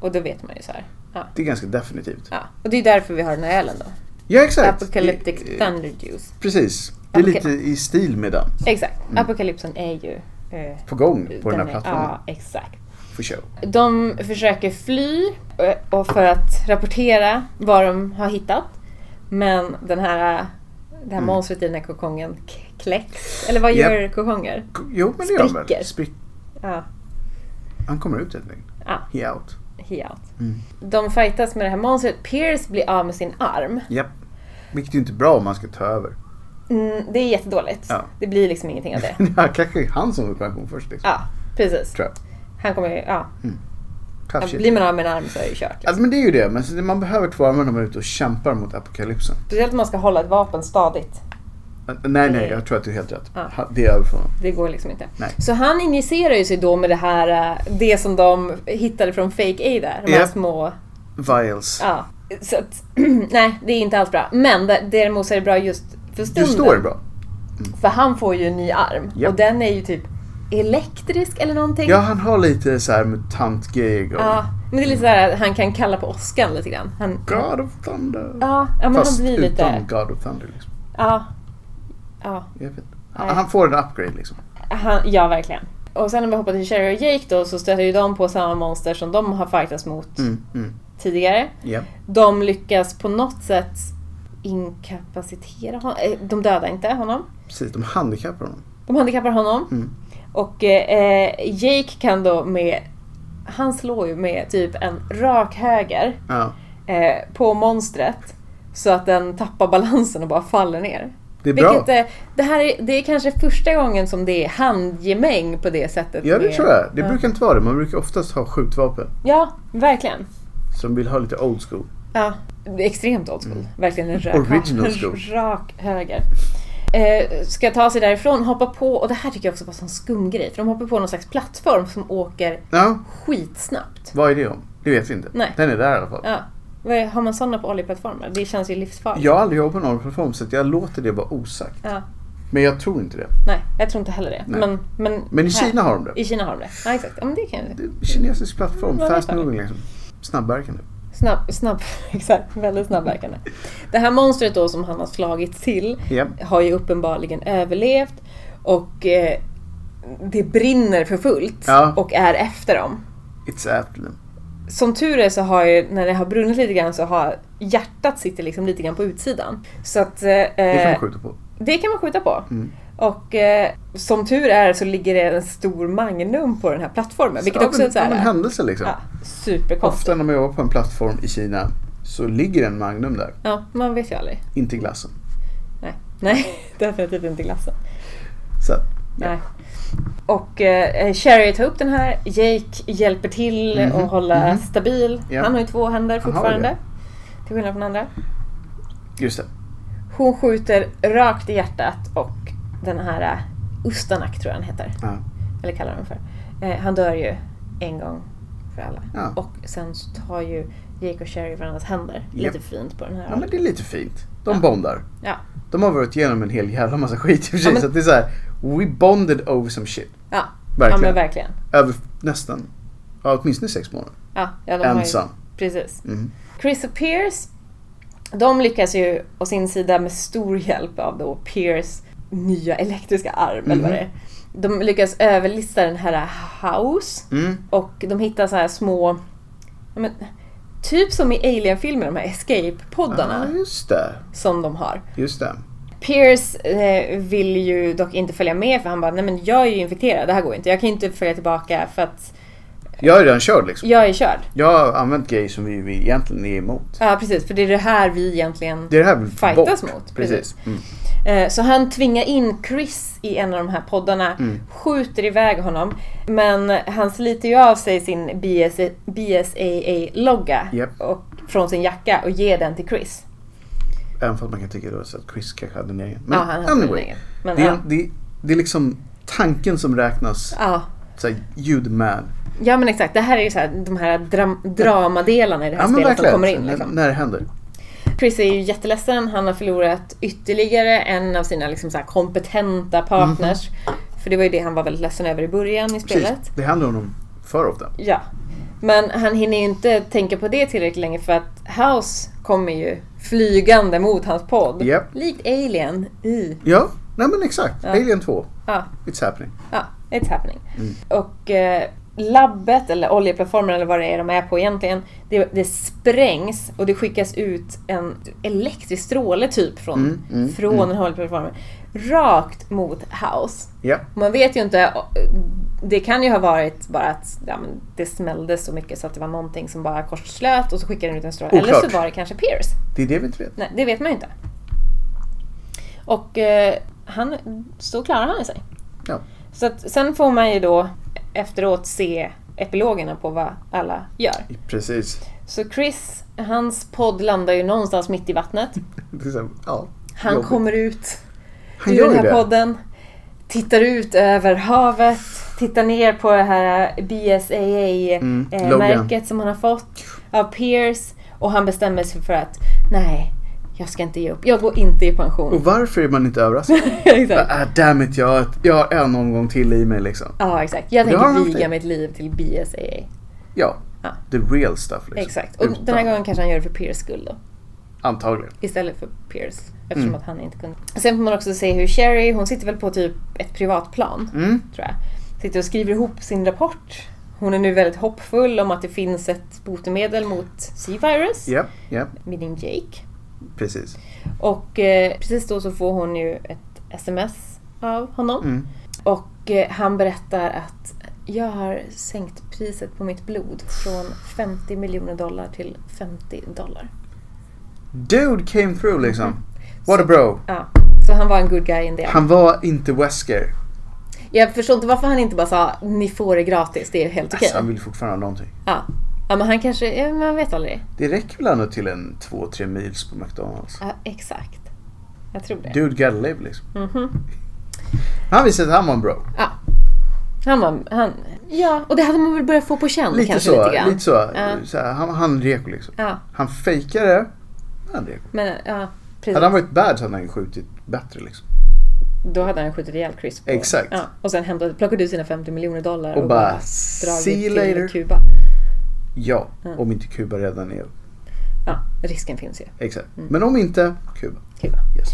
[SPEAKER 2] Och då vet man ju så här. Ja.
[SPEAKER 1] Det är ganska definitivt.
[SPEAKER 2] Ja. Och det är därför vi har den här ölen då.
[SPEAKER 1] Ja, exakt.
[SPEAKER 2] Apocalyptic
[SPEAKER 1] Det-
[SPEAKER 2] Thunder Juice.
[SPEAKER 1] Precis. Det är
[SPEAKER 2] Apoca-
[SPEAKER 1] lite i stil med den.
[SPEAKER 2] Exakt. Apokalypsen är ju... eh,
[SPEAKER 1] På gång Mm. på den här
[SPEAKER 2] är-
[SPEAKER 1] plattformen.
[SPEAKER 2] Ja, exakt.
[SPEAKER 1] For show.
[SPEAKER 2] De försöker fly eh, och för att rapportera vad de har hittat. Men den här, det här monstret i den här kokongen k- kläcks. Eller vad
[SPEAKER 1] Mm. Japp.
[SPEAKER 2] gör kokonger?
[SPEAKER 1] Jo, men det gör han väl.
[SPEAKER 2] Spricker.
[SPEAKER 1] Sprick.
[SPEAKER 2] Ja,
[SPEAKER 1] Han kommer ut helt enkelt.
[SPEAKER 2] Ja.
[SPEAKER 1] He out.
[SPEAKER 2] he out.
[SPEAKER 1] Mm.
[SPEAKER 2] De fightas med det här monstret. Pierce blir av med sin arm.
[SPEAKER 1] Japp. Vilket är inte bra om man ska ta över.
[SPEAKER 2] Mm, det är jättedåligt.
[SPEAKER 1] Ja.
[SPEAKER 2] Det blir liksom ingenting av det.
[SPEAKER 1] Ja, kanske är han som går i pension först liksom.
[SPEAKER 2] Ja, precis.
[SPEAKER 1] Tror jag.
[SPEAKER 2] Han kommer ju, ja.
[SPEAKER 1] Tough shit.
[SPEAKER 2] Blir man av med en arm så är det kört. liksom.
[SPEAKER 1] Alltså, men det är ju det. Men så det- man behöver två armar när man är ute och kämpar mot apokalypsen.
[SPEAKER 2] Speciellt om man ska hålla ett vapen stadigt.
[SPEAKER 1] Äh, Nej, nej, jag tror att du är helt rätt.
[SPEAKER 2] Ja.
[SPEAKER 1] Ha- Det är över för honom.
[SPEAKER 2] Det går liksom inte.
[SPEAKER 1] Nej.
[SPEAKER 2] Så han injicerar ju sig då med det här, eh, det som de hittade från Fake A där. De här
[SPEAKER 1] Ja.
[SPEAKER 2] små,
[SPEAKER 1] Vials.
[SPEAKER 2] ja. Så att, nej, det är inte alls bra. Men d- däremot så är det bra just för
[SPEAKER 1] Du
[SPEAKER 2] stunden.
[SPEAKER 1] står bra.
[SPEAKER 2] För han får ju en ny arm.
[SPEAKER 1] Ja.
[SPEAKER 2] Och den är ju typ elektrisk eller någonting.
[SPEAKER 1] Ja, han har lite så här mutantgrejer igång.
[SPEAKER 2] Ja, men det är lite såhär att han kan kalla på åskan lite grann. Han,
[SPEAKER 1] God of Thunder.
[SPEAKER 2] ja, ja, men
[SPEAKER 1] Fast
[SPEAKER 2] han blir lite...
[SPEAKER 1] utan God of Thunder liksom.
[SPEAKER 2] Ja, ja,
[SPEAKER 1] Jag vet. inte.
[SPEAKER 2] Nej.
[SPEAKER 1] Han, han får en upgrade liksom.
[SPEAKER 2] han, ja, verkligen. Och sen när vi hoppar till Sherry och Jake då så stöter ju de på samma monster som de har fightats mot
[SPEAKER 1] Mm, mm.
[SPEAKER 2] tidigare.
[SPEAKER 1] Ja.
[SPEAKER 2] De lyckas på något sätt inkapacitera honom. Eh, De dödar inte honom.
[SPEAKER 1] Precis, de handikappar honom.
[SPEAKER 2] De handikappar honom.
[SPEAKER 1] Mm.
[SPEAKER 2] Och eh, Jake kan då med... Han slår ju med typ en rak höger
[SPEAKER 1] Ja.
[SPEAKER 2] eh, på monstret. Så att den tappar balansen och bara faller ner.
[SPEAKER 1] Det är bra.
[SPEAKER 2] Vilket, eh, det, här är, det är kanske första gången som det är handgemäng på det sättet.
[SPEAKER 1] Ja, det
[SPEAKER 2] med-
[SPEAKER 1] tror jag. Det
[SPEAKER 2] ja.
[SPEAKER 1] brukar inte vara det. Man brukar oftast ha skjutvapen.
[SPEAKER 2] Ja, verkligen.
[SPEAKER 1] Som vill ha lite old school.
[SPEAKER 2] Ja. Det är Extremt old school. Verkligen en rak,
[SPEAKER 1] Mm. Original school.
[SPEAKER 2] rak höger. Eh, ska ta sig därifrån, hoppa på, och det här tycker jag också var en sån skum grej, för de hoppar på någon slags plattform som åker
[SPEAKER 1] Ja,
[SPEAKER 2] skitsnabbt.
[SPEAKER 1] vad är det om? Det vet vi inte.
[SPEAKER 2] Nej.
[SPEAKER 1] Den är där i alla fall.
[SPEAKER 2] Ja. Vad är- Har man sådana på oljeplattformar? Det känns ju livsfarligt.
[SPEAKER 1] Jag har aldrig jobbat på någon plattform så att jag låter det vara osagt.
[SPEAKER 2] Ja.
[SPEAKER 1] Men jag tror inte det.
[SPEAKER 2] Nej, jag tror inte heller det.
[SPEAKER 1] Nej.
[SPEAKER 2] Men, men,
[SPEAKER 1] Men i
[SPEAKER 2] här-
[SPEAKER 1] Kina har de det.
[SPEAKER 2] I Kina har de det. Ja, exakt. Ja, men det kan jag
[SPEAKER 1] det är kinesisk plattform,
[SPEAKER 2] Ja,
[SPEAKER 1] fast
[SPEAKER 2] det är det.
[SPEAKER 1] moving liksom. Snabbverkande.
[SPEAKER 2] Snabb, snabb, exakt. Väldigt snabbverkande. Det här monstret då som han har slagit till
[SPEAKER 1] Ja.
[SPEAKER 2] har ju uppenbarligen överlevt och eh, det brinner för fullt
[SPEAKER 1] Ja.
[SPEAKER 2] och är efter dem.
[SPEAKER 1] It's after them.
[SPEAKER 2] Som tur är så har ju, när det har brunnit lite grann så har hjärtat sitter liksom lite grann på utsidan. Så att... Eh,
[SPEAKER 1] Det kan man skjuta på.
[SPEAKER 2] det kan man skjuta på.
[SPEAKER 1] Mm.
[SPEAKER 2] Och eh, som tur är så ligger det en stor magnum på den här plattformen. Vilket
[SPEAKER 1] Ja,
[SPEAKER 2] också
[SPEAKER 1] men-
[SPEAKER 2] är så här,
[SPEAKER 1] ja, men händelse liksom.
[SPEAKER 2] ja, superkonstigt.
[SPEAKER 1] Ofta när man jobbar på en plattform i Kina så ligger en Magnum där.
[SPEAKER 2] Ja, man vet ju aldrig.
[SPEAKER 1] Inte glassen.
[SPEAKER 2] Nej, Nej definitivt inte glassen.
[SPEAKER 1] Så att, ja.
[SPEAKER 2] Nej. Och eh, Sherry tar upp den här, Jake hjälper till
[SPEAKER 1] Mhm,
[SPEAKER 2] och hålla
[SPEAKER 1] mhm.
[SPEAKER 2] stabil.
[SPEAKER 1] Ja.
[SPEAKER 2] Han har ju två händer
[SPEAKER 1] har ju
[SPEAKER 2] fortfarande.
[SPEAKER 1] det.
[SPEAKER 2] Till skillnad från andra.
[SPEAKER 1] Just det.
[SPEAKER 2] Hon skjuter rakt i hjärtat och den här eh, Ustanak tror jag han heter.
[SPEAKER 1] Ja.
[SPEAKER 2] eller kallar dem för. Eh, han dör ju en gång för alla.
[SPEAKER 1] Ja.
[SPEAKER 2] Och sen så tar ju Jake och Sherry varandras händer.
[SPEAKER 1] Japp.
[SPEAKER 2] Lite fint på den här.
[SPEAKER 1] ja, men det är lite fint. De
[SPEAKER 2] Ja.
[SPEAKER 1] bondar.
[SPEAKER 2] ja.
[SPEAKER 1] De har varit igenom en hel jävla massa skit i och för sig.
[SPEAKER 2] men-
[SPEAKER 1] Så att det är så här, we bonded over some shit.
[SPEAKER 2] Ja. ja,
[SPEAKER 1] Verkligen.
[SPEAKER 2] men verkligen.
[SPEAKER 1] Över nästan, ja, åtminstone sex månader.
[SPEAKER 2] Ja, ja, de har ju,
[SPEAKER 1] Ensam.
[SPEAKER 2] precis.
[SPEAKER 1] Mm.
[SPEAKER 2] Chris och Pierce, de lyckas ju å sin sida med stor hjälp av då Pierce nya elektriska arm eller vad det är. De lyckas överlista den här House
[SPEAKER 1] Mm.
[SPEAKER 2] och de hittar så här små, ja, men, typ som i Alien-filmer, de här
[SPEAKER 1] Ja,
[SPEAKER 2] Escape-poddarna
[SPEAKER 1] just det.
[SPEAKER 2] som de har.
[SPEAKER 1] Just det.
[SPEAKER 2] Pierce eh, vill ju dock inte följa med för han bara, nej men jag är ju infekterad, det här går inte. Jag kan ju inte följa tillbaka för att
[SPEAKER 1] Jag är redan körd liksom.
[SPEAKER 2] jag är körd.
[SPEAKER 1] Jag har använt grejer som vi, vi egentligen är emot.
[SPEAKER 2] Ja precis, för det är det här vi egentligen...
[SPEAKER 1] Det är det här vi vill
[SPEAKER 2] Fightas
[SPEAKER 1] bort.
[SPEAKER 2] mot,
[SPEAKER 1] Precis. Mm.
[SPEAKER 2] Eh, så han tvingar in Chris i en av de här poddarna,
[SPEAKER 1] Mm.
[SPEAKER 2] skjuter iväg honom. Men han sliter ju av sig sin BS- BSAA-logga
[SPEAKER 1] Japp.
[SPEAKER 2] och från sin jacka och ger den till Chris.
[SPEAKER 1] Även fast man kan tycka då så att Chris kanske hade en egen.
[SPEAKER 2] ja, han hade den egen. Men,
[SPEAKER 1] Det är,
[SPEAKER 2] ja.
[SPEAKER 1] det, det är liksom tanken som räknas.
[SPEAKER 2] Ja.
[SPEAKER 1] Så här, ljud man.
[SPEAKER 2] ja men exakt, det här är ju så här, de här dram- dramadelarna i det här
[SPEAKER 1] Ja men
[SPEAKER 2] spelet som
[SPEAKER 1] verkligen. Mm.
[SPEAKER 2] kommer in. Liksom.
[SPEAKER 1] N- När det händer.
[SPEAKER 2] Chris är ju jätteledsen. Han har förlorat ytterligare en av sina liksom så här kompetenta partners. För det var ju det han var väldigt ledsen över i början i
[SPEAKER 1] Mm-hmm. Precis.
[SPEAKER 2] spelet.
[SPEAKER 1] Det händer honom för ofta.
[SPEAKER 2] Ja. Men han hinner ju inte tänka på det tillräckligt länge för att House kommer ju flygande mot hans podd.
[SPEAKER 1] Japp.
[SPEAKER 2] Likt Alien i...
[SPEAKER 1] Ja, nej men exakt. Alien 2.
[SPEAKER 2] Ja,
[SPEAKER 1] It's happening.
[SPEAKER 2] ja it's happening.
[SPEAKER 1] Mm.
[SPEAKER 2] Och eh, labbet, eller oljeplattformen eller vad det är de är på egentligen, det, det sprängs och det skickas ut en elektrisk stråle typ från,
[SPEAKER 1] Mm, mm,
[SPEAKER 2] från den här oljeplattformen. Rakt mot House.
[SPEAKER 1] Ja.
[SPEAKER 2] Man vet ju inte. Det kan ju ha varit bara att ja, men det smällde så mycket så att det var någonting som bara korslöt och så skickade den ut en stråle. Eller
[SPEAKER 1] Oklart.
[SPEAKER 2] så var det kanske Pierce.
[SPEAKER 1] Det är det vi inte vet.
[SPEAKER 2] Nej, det vet man ju inte. Och eh, han, så klarar han sig.
[SPEAKER 1] Ja.
[SPEAKER 2] Så att, sen får man ju då efteråt se epilogerna på vad alla gör.
[SPEAKER 1] Precis.
[SPEAKER 2] Så Chris, hans podd landar ju någonstans mitt i vattnet.
[SPEAKER 1] Det är så här, ja.
[SPEAKER 2] Han
[SPEAKER 1] jobbigt.
[SPEAKER 2] kommer ut
[SPEAKER 1] Han
[SPEAKER 2] ur
[SPEAKER 1] gör
[SPEAKER 2] den
[SPEAKER 1] ju
[SPEAKER 2] här
[SPEAKER 1] det.
[SPEAKER 2] podden. Tittar ut över havet. Tittar ner på det här
[SPEAKER 1] Mm, loggan.
[SPEAKER 2] BSAA-märket eh, som han har fått av Pierce. Och han bestämmer sig för att nej, jag ska inte ge upp. Jag går inte i pension.
[SPEAKER 1] Och varför är man inte överraskad?
[SPEAKER 2] exakt.
[SPEAKER 1] ah, damn it, jag, har- jag har en omgång till i mig liksom.
[SPEAKER 2] Ja, exakt. Jag
[SPEAKER 1] Det har han
[SPEAKER 2] tänker
[SPEAKER 1] haft
[SPEAKER 2] viga
[SPEAKER 1] det.
[SPEAKER 2] mitt liv till BSAA.
[SPEAKER 1] Ja.
[SPEAKER 2] Ja.
[SPEAKER 1] The real stuff liksom.
[SPEAKER 2] Exakt. Och
[SPEAKER 1] Utan-
[SPEAKER 2] den här gången kanske han gör det för Pierce skull då.
[SPEAKER 1] Antagligen.
[SPEAKER 2] Istället för Pierce. Eftersom
[SPEAKER 1] Mm.
[SPEAKER 2] att han inte kunde. Sen får man också se hur Sherry, hon sitter väl på typ ett privatplan.
[SPEAKER 1] Mm.
[SPEAKER 2] tror jag. Sitter och skriver ihop sin rapport. Hon är nu väldigt hoppfull om att det finns ett botemedel mot C-virus,
[SPEAKER 1] Ja, ja,
[SPEAKER 2] med din Jake.
[SPEAKER 1] precis.
[SPEAKER 2] Och eh, precis då så får hon ju ett sms av honom.
[SPEAKER 1] Mm.
[SPEAKER 2] Och eh, han berättar att jag har sänkt priset på mitt blod från 50 miljoner dollar till 50 dollar.
[SPEAKER 1] Dude came through liksom. What
[SPEAKER 2] Så-
[SPEAKER 1] a bro.
[SPEAKER 2] Ja, så han var en good guy in det.
[SPEAKER 1] Han var inte Wesker.
[SPEAKER 2] Jag förstår inte varför han inte bara sa ni får det gratis, det är helt okej.
[SPEAKER 1] Alltså, han vill fortfarande ha någonting.
[SPEAKER 2] Ja. ja, men han kanske, ja, man vet aldrig.
[SPEAKER 1] Det räcker väl ändå till en två tre mils på McDonalds.
[SPEAKER 2] Ja, exakt. Jag tror det. Mhm.
[SPEAKER 1] Dude gotta live liksom. Han visste att han var en bro.
[SPEAKER 2] Ja. Han var, han, ja, och det hade man väl börjat få på känn
[SPEAKER 1] Lite
[SPEAKER 2] kanske
[SPEAKER 1] så.
[SPEAKER 2] lite
[SPEAKER 1] Lite,
[SPEAKER 2] grann.
[SPEAKER 1] så.
[SPEAKER 2] Ja.
[SPEAKER 1] så här, han, han reko liksom.
[SPEAKER 2] Ja,
[SPEAKER 1] Han fejkade det. men Han reko.
[SPEAKER 2] men ja, precis.
[SPEAKER 1] Hade han varit bad så hade han ju skjutit bättre liksom.
[SPEAKER 2] Då hade han skjutit ihjäl Chris. På.
[SPEAKER 1] Exakt.
[SPEAKER 2] Ja, och sen hämtade, plockade ut sina 50 miljoner dollar
[SPEAKER 1] Och
[SPEAKER 2] och,
[SPEAKER 1] bara,
[SPEAKER 2] bara,
[SPEAKER 1] "See
[SPEAKER 2] dragit
[SPEAKER 1] you
[SPEAKER 2] till
[SPEAKER 1] later."
[SPEAKER 2] Kuba.
[SPEAKER 1] Ja,
[SPEAKER 2] Mm.
[SPEAKER 1] om inte Kuba redan är...
[SPEAKER 2] Ja, risken finns ju.
[SPEAKER 1] Exakt.
[SPEAKER 2] Mm.
[SPEAKER 1] Men om inte, Kuba.
[SPEAKER 2] Kuba.
[SPEAKER 1] Yes.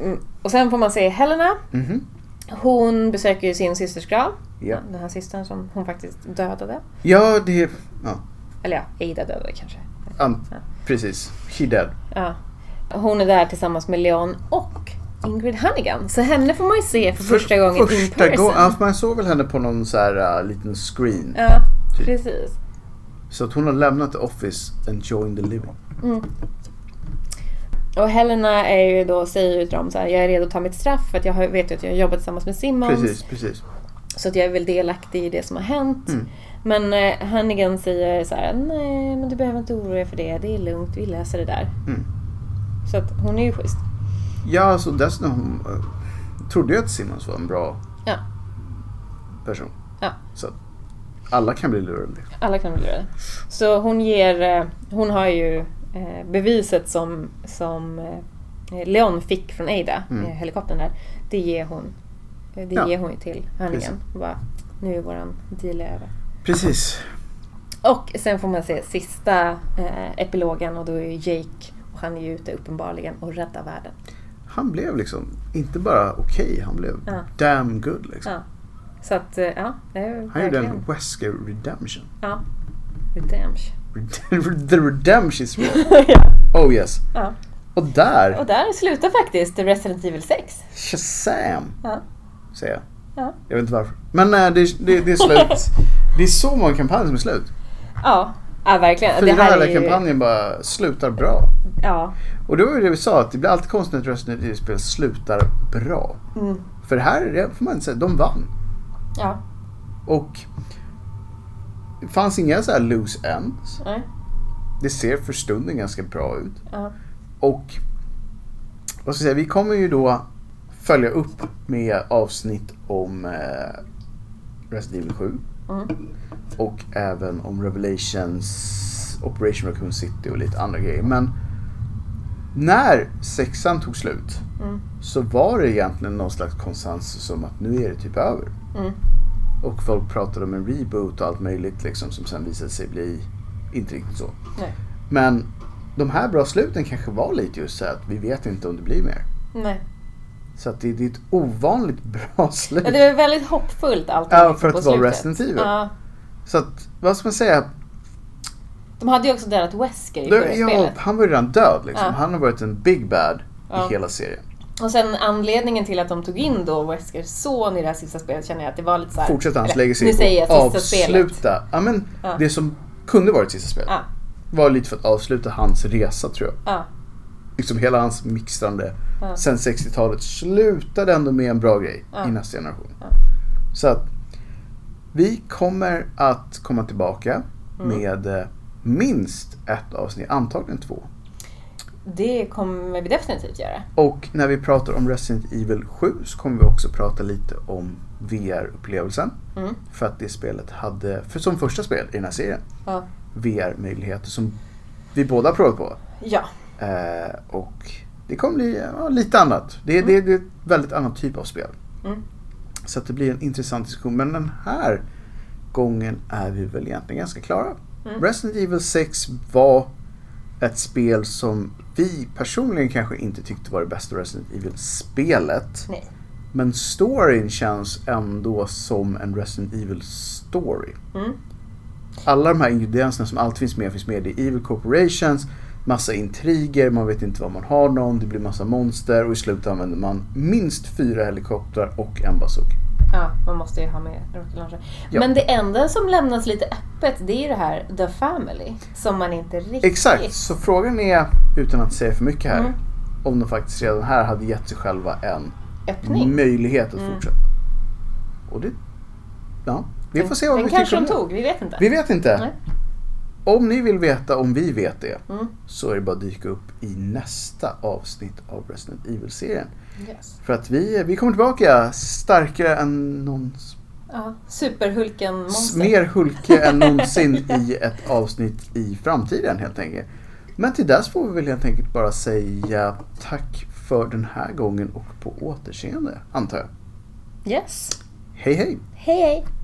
[SPEAKER 2] Mm. Och sen får man se Helena.
[SPEAKER 1] Mhm.
[SPEAKER 2] Hon besöker ju sin systers grav.
[SPEAKER 1] Ja.
[SPEAKER 2] Den här systern som hon faktiskt dödade.
[SPEAKER 1] Ja, det... Ja,
[SPEAKER 2] Eller ja, Ada dödade kanske.
[SPEAKER 1] an, precis. She dead.
[SPEAKER 2] Ja. Hon är där tillsammans med Leon och Ingrid Hannigan. Så henne får man ju se för första gången in
[SPEAKER 1] första
[SPEAKER 2] person.
[SPEAKER 1] gången. Ja, för man såg väl henne på någon så här uh, liten screen.
[SPEAKER 2] Ja,
[SPEAKER 1] Typ.
[SPEAKER 2] precis.
[SPEAKER 1] Så att hon har lämnat the office and joined the living.
[SPEAKER 2] Mm. Och Helena är ju då, säger ju till dem så här, jag är redo att ta mitt straff för att jag har- vet ju att jag jobbar tillsammans med Simmons.
[SPEAKER 1] Precis, precis.
[SPEAKER 2] Så att jag är väl delaktig i det som har hänt.
[SPEAKER 1] Mm.
[SPEAKER 2] Men eh, Hannigan säger så här, nej men du behöver inte oroa dig för det, det är lugnt, vi löser det där.
[SPEAKER 1] Mm.
[SPEAKER 2] Så att hon är ju schysst.
[SPEAKER 1] Ja, så dessutom hon, eh, trodde ju att Simmons var en bra
[SPEAKER 2] Ja.
[SPEAKER 1] person.
[SPEAKER 2] Ja.
[SPEAKER 1] Så att alla kan bli lurade. liksom.
[SPEAKER 2] Alla kan bli lurade. Så hon ger, eh, hon har ju eh, beviset som, som eh, Leon fick från Ada,
[SPEAKER 1] Mm.
[SPEAKER 2] eh, helikoptern där. Det ger hon, eh, det
[SPEAKER 1] Ja.
[SPEAKER 2] ger hon ju till Hannigan. Och bara, nu är våran deal över.
[SPEAKER 1] Precis.
[SPEAKER 2] Och sen får man se sista eh, epilogen och då är ju Jake och han är ju ute uppenbarligen och räddar världen.
[SPEAKER 1] Han blev liksom inte bara okej, han blev
[SPEAKER 2] Ja.
[SPEAKER 1] damn good liksom.
[SPEAKER 2] Ja. Så att, eh, ja, det är
[SPEAKER 1] Han gjorde en
[SPEAKER 2] verkligen...
[SPEAKER 1] Wesker redemption.
[SPEAKER 2] Ja. Redemption.
[SPEAKER 1] Red- The redemption is real.
[SPEAKER 2] ja.
[SPEAKER 1] Oh yes.
[SPEAKER 2] ja.
[SPEAKER 1] Och där,
[SPEAKER 2] Och där slutar faktiskt Resident Evil 6.
[SPEAKER 1] Shazam!
[SPEAKER 2] Ja.
[SPEAKER 1] Säger jag.
[SPEAKER 2] Ja.
[SPEAKER 1] Jag vet inte varför. Men nej, det, det, det är slut. det är så många kampanjer som är slut.
[SPEAKER 2] Ja, ja verkligen.
[SPEAKER 1] Fyra hela
[SPEAKER 2] ju-
[SPEAKER 1] kampanjen bara slutar bra.
[SPEAKER 2] Ja.
[SPEAKER 1] Och det var ju det vi sa, att det blir alltid konstigt när ett Resident Evil-spel slutar bra.
[SPEAKER 2] Mm.
[SPEAKER 1] För här är det får man inte säga, de vann.
[SPEAKER 2] Ja.
[SPEAKER 1] Och det fanns inga så här loose ends.
[SPEAKER 2] Nej.
[SPEAKER 1] Det ser för stunden ganska bra ut.
[SPEAKER 2] Ja.
[SPEAKER 1] Och vad ska jag säga, vi kommer ju då följa upp med avsnitt om eh, Resident Evil 7
[SPEAKER 2] Mm.
[SPEAKER 1] och även om Revelations, Operation Raccoon City och lite andra grejer. Men när sexan tog slut
[SPEAKER 2] Mm.
[SPEAKER 1] så var det egentligen någon slags konsensus om att nu är det typ över.
[SPEAKER 2] Mm.
[SPEAKER 1] Och folk pratade om en reboot och allt möjligt liksom som sen visade sig bli inte riktigt så.
[SPEAKER 2] Nej.
[SPEAKER 1] Men de här bra sluten kanske var lite just så här att vi vet inte om det blir mer.
[SPEAKER 2] Nej.
[SPEAKER 1] Så att det, det är ett ovanligt bra slut.
[SPEAKER 2] Ja, Det var väldigt hoppfullt allt.
[SPEAKER 1] Ja,
[SPEAKER 2] de fick
[SPEAKER 1] för att
[SPEAKER 2] på
[SPEAKER 1] det var
[SPEAKER 2] slutet.
[SPEAKER 1] Resident Evil.
[SPEAKER 2] Ja.
[SPEAKER 1] Så att, vad ska man säga?
[SPEAKER 2] De hade ju också dödat Wesker i
[SPEAKER 1] Då-
[SPEAKER 2] förra
[SPEAKER 1] ja,
[SPEAKER 2] spelet.
[SPEAKER 1] han var ju redan död liksom.
[SPEAKER 2] Ja.
[SPEAKER 1] Han har varit en big bad
[SPEAKER 2] Ja.
[SPEAKER 1] i hela serien.
[SPEAKER 2] Och sen anledningen till att de tog in då Weskers son i det här sista spelet känner jag att det var lite såhär...
[SPEAKER 1] Fortsätta hans
[SPEAKER 2] eller,
[SPEAKER 1] legacy
[SPEAKER 2] Nu säger
[SPEAKER 1] och
[SPEAKER 2] jag sista
[SPEAKER 1] avsluta.
[SPEAKER 2] spelet.
[SPEAKER 1] Ja, men
[SPEAKER 2] Ja.
[SPEAKER 1] Det som kunde varit sista spelet
[SPEAKER 2] Ja,
[SPEAKER 1] var lite för att avsluta hans resa tror jag.
[SPEAKER 2] ja,
[SPEAKER 1] Liksom hela hans mixtrande
[SPEAKER 2] Ja.
[SPEAKER 1] sen 60-talet slutade ändå med en bra grej
[SPEAKER 2] Ja.
[SPEAKER 1] i nästa generation.
[SPEAKER 2] Ja.
[SPEAKER 1] Så att vi kommer att komma tillbaka
[SPEAKER 2] Mm.
[SPEAKER 1] med eh, minst ett avsnitt, antagligen två.
[SPEAKER 2] det kommer vi definitivt göra.
[SPEAKER 1] Och när vi pratar om Resident Evil 7 så kommer vi också prata lite om VR-upplevelsen.
[SPEAKER 2] Mm.
[SPEAKER 1] För att det spelet hade, för som första spel i den här serien,
[SPEAKER 2] Ja.
[SPEAKER 1] VR-möjligheter som vi båda har provat på.
[SPEAKER 2] ja.
[SPEAKER 1] Eh, och det kommer bli ja, lite annat. Det, det, det är ett väldigt annat typ av spel.
[SPEAKER 2] Mm.
[SPEAKER 1] Så att det blir en intressant diskussion. Men den här gången är vi väl egentligen ganska klara.
[SPEAKER 2] Mm.
[SPEAKER 1] Resident Evil 6 var ett spel som vi personligen kanske inte tyckte var det bästa Resident Evil-spelet.
[SPEAKER 2] Nej.
[SPEAKER 1] Men storyn känns ändå som en Resident Evil-story.
[SPEAKER 2] Mm.
[SPEAKER 1] alla de här ingredienserna som alltid finns med finns med i Evil Corporations. Massa intriger, man vet inte var man har någon, det blir massa monster och i slutet använder man minst fyra helikoptrar och en bazooka.
[SPEAKER 2] Ja, man måste ju ha med rocket launcher.
[SPEAKER 1] Ja.
[SPEAKER 2] Men det enda som lämnas lite öppet det är ju det här The Family. Som man inte riktigt...
[SPEAKER 1] Exakt, så frågan är, utan att säga för mycket här,
[SPEAKER 2] Mm.
[SPEAKER 1] om de faktiskt redan här hade gett sig själva en
[SPEAKER 2] Öppning.
[SPEAKER 1] möjlighet att
[SPEAKER 2] Mm.
[SPEAKER 1] fortsätta. Och det... Ja, vi får se vad
[SPEAKER 2] Den
[SPEAKER 1] vi tycker
[SPEAKER 2] kanske
[SPEAKER 1] om
[SPEAKER 2] de
[SPEAKER 1] det.
[SPEAKER 2] tog, vi vet inte.
[SPEAKER 1] Vi vet inte.
[SPEAKER 2] Nej.
[SPEAKER 1] Om ni vill veta om vi vet det
[SPEAKER 2] Mm.
[SPEAKER 1] så är det bara att dyka upp i nästa avsnitt av Resident Evil-serien.
[SPEAKER 2] Yes.
[SPEAKER 1] För att vi, vi kommer tillbaka starkare än någonsin.
[SPEAKER 2] Ja, Superhulken-monster.
[SPEAKER 1] Mer Hulke än någonsin i ett avsnitt i framtiden helt enkelt. Men till dess får vi väl helt enkelt bara säga tack för den här gången och på återseende antar jag.
[SPEAKER 2] Yes.
[SPEAKER 1] Hej hej!
[SPEAKER 2] Hej hej.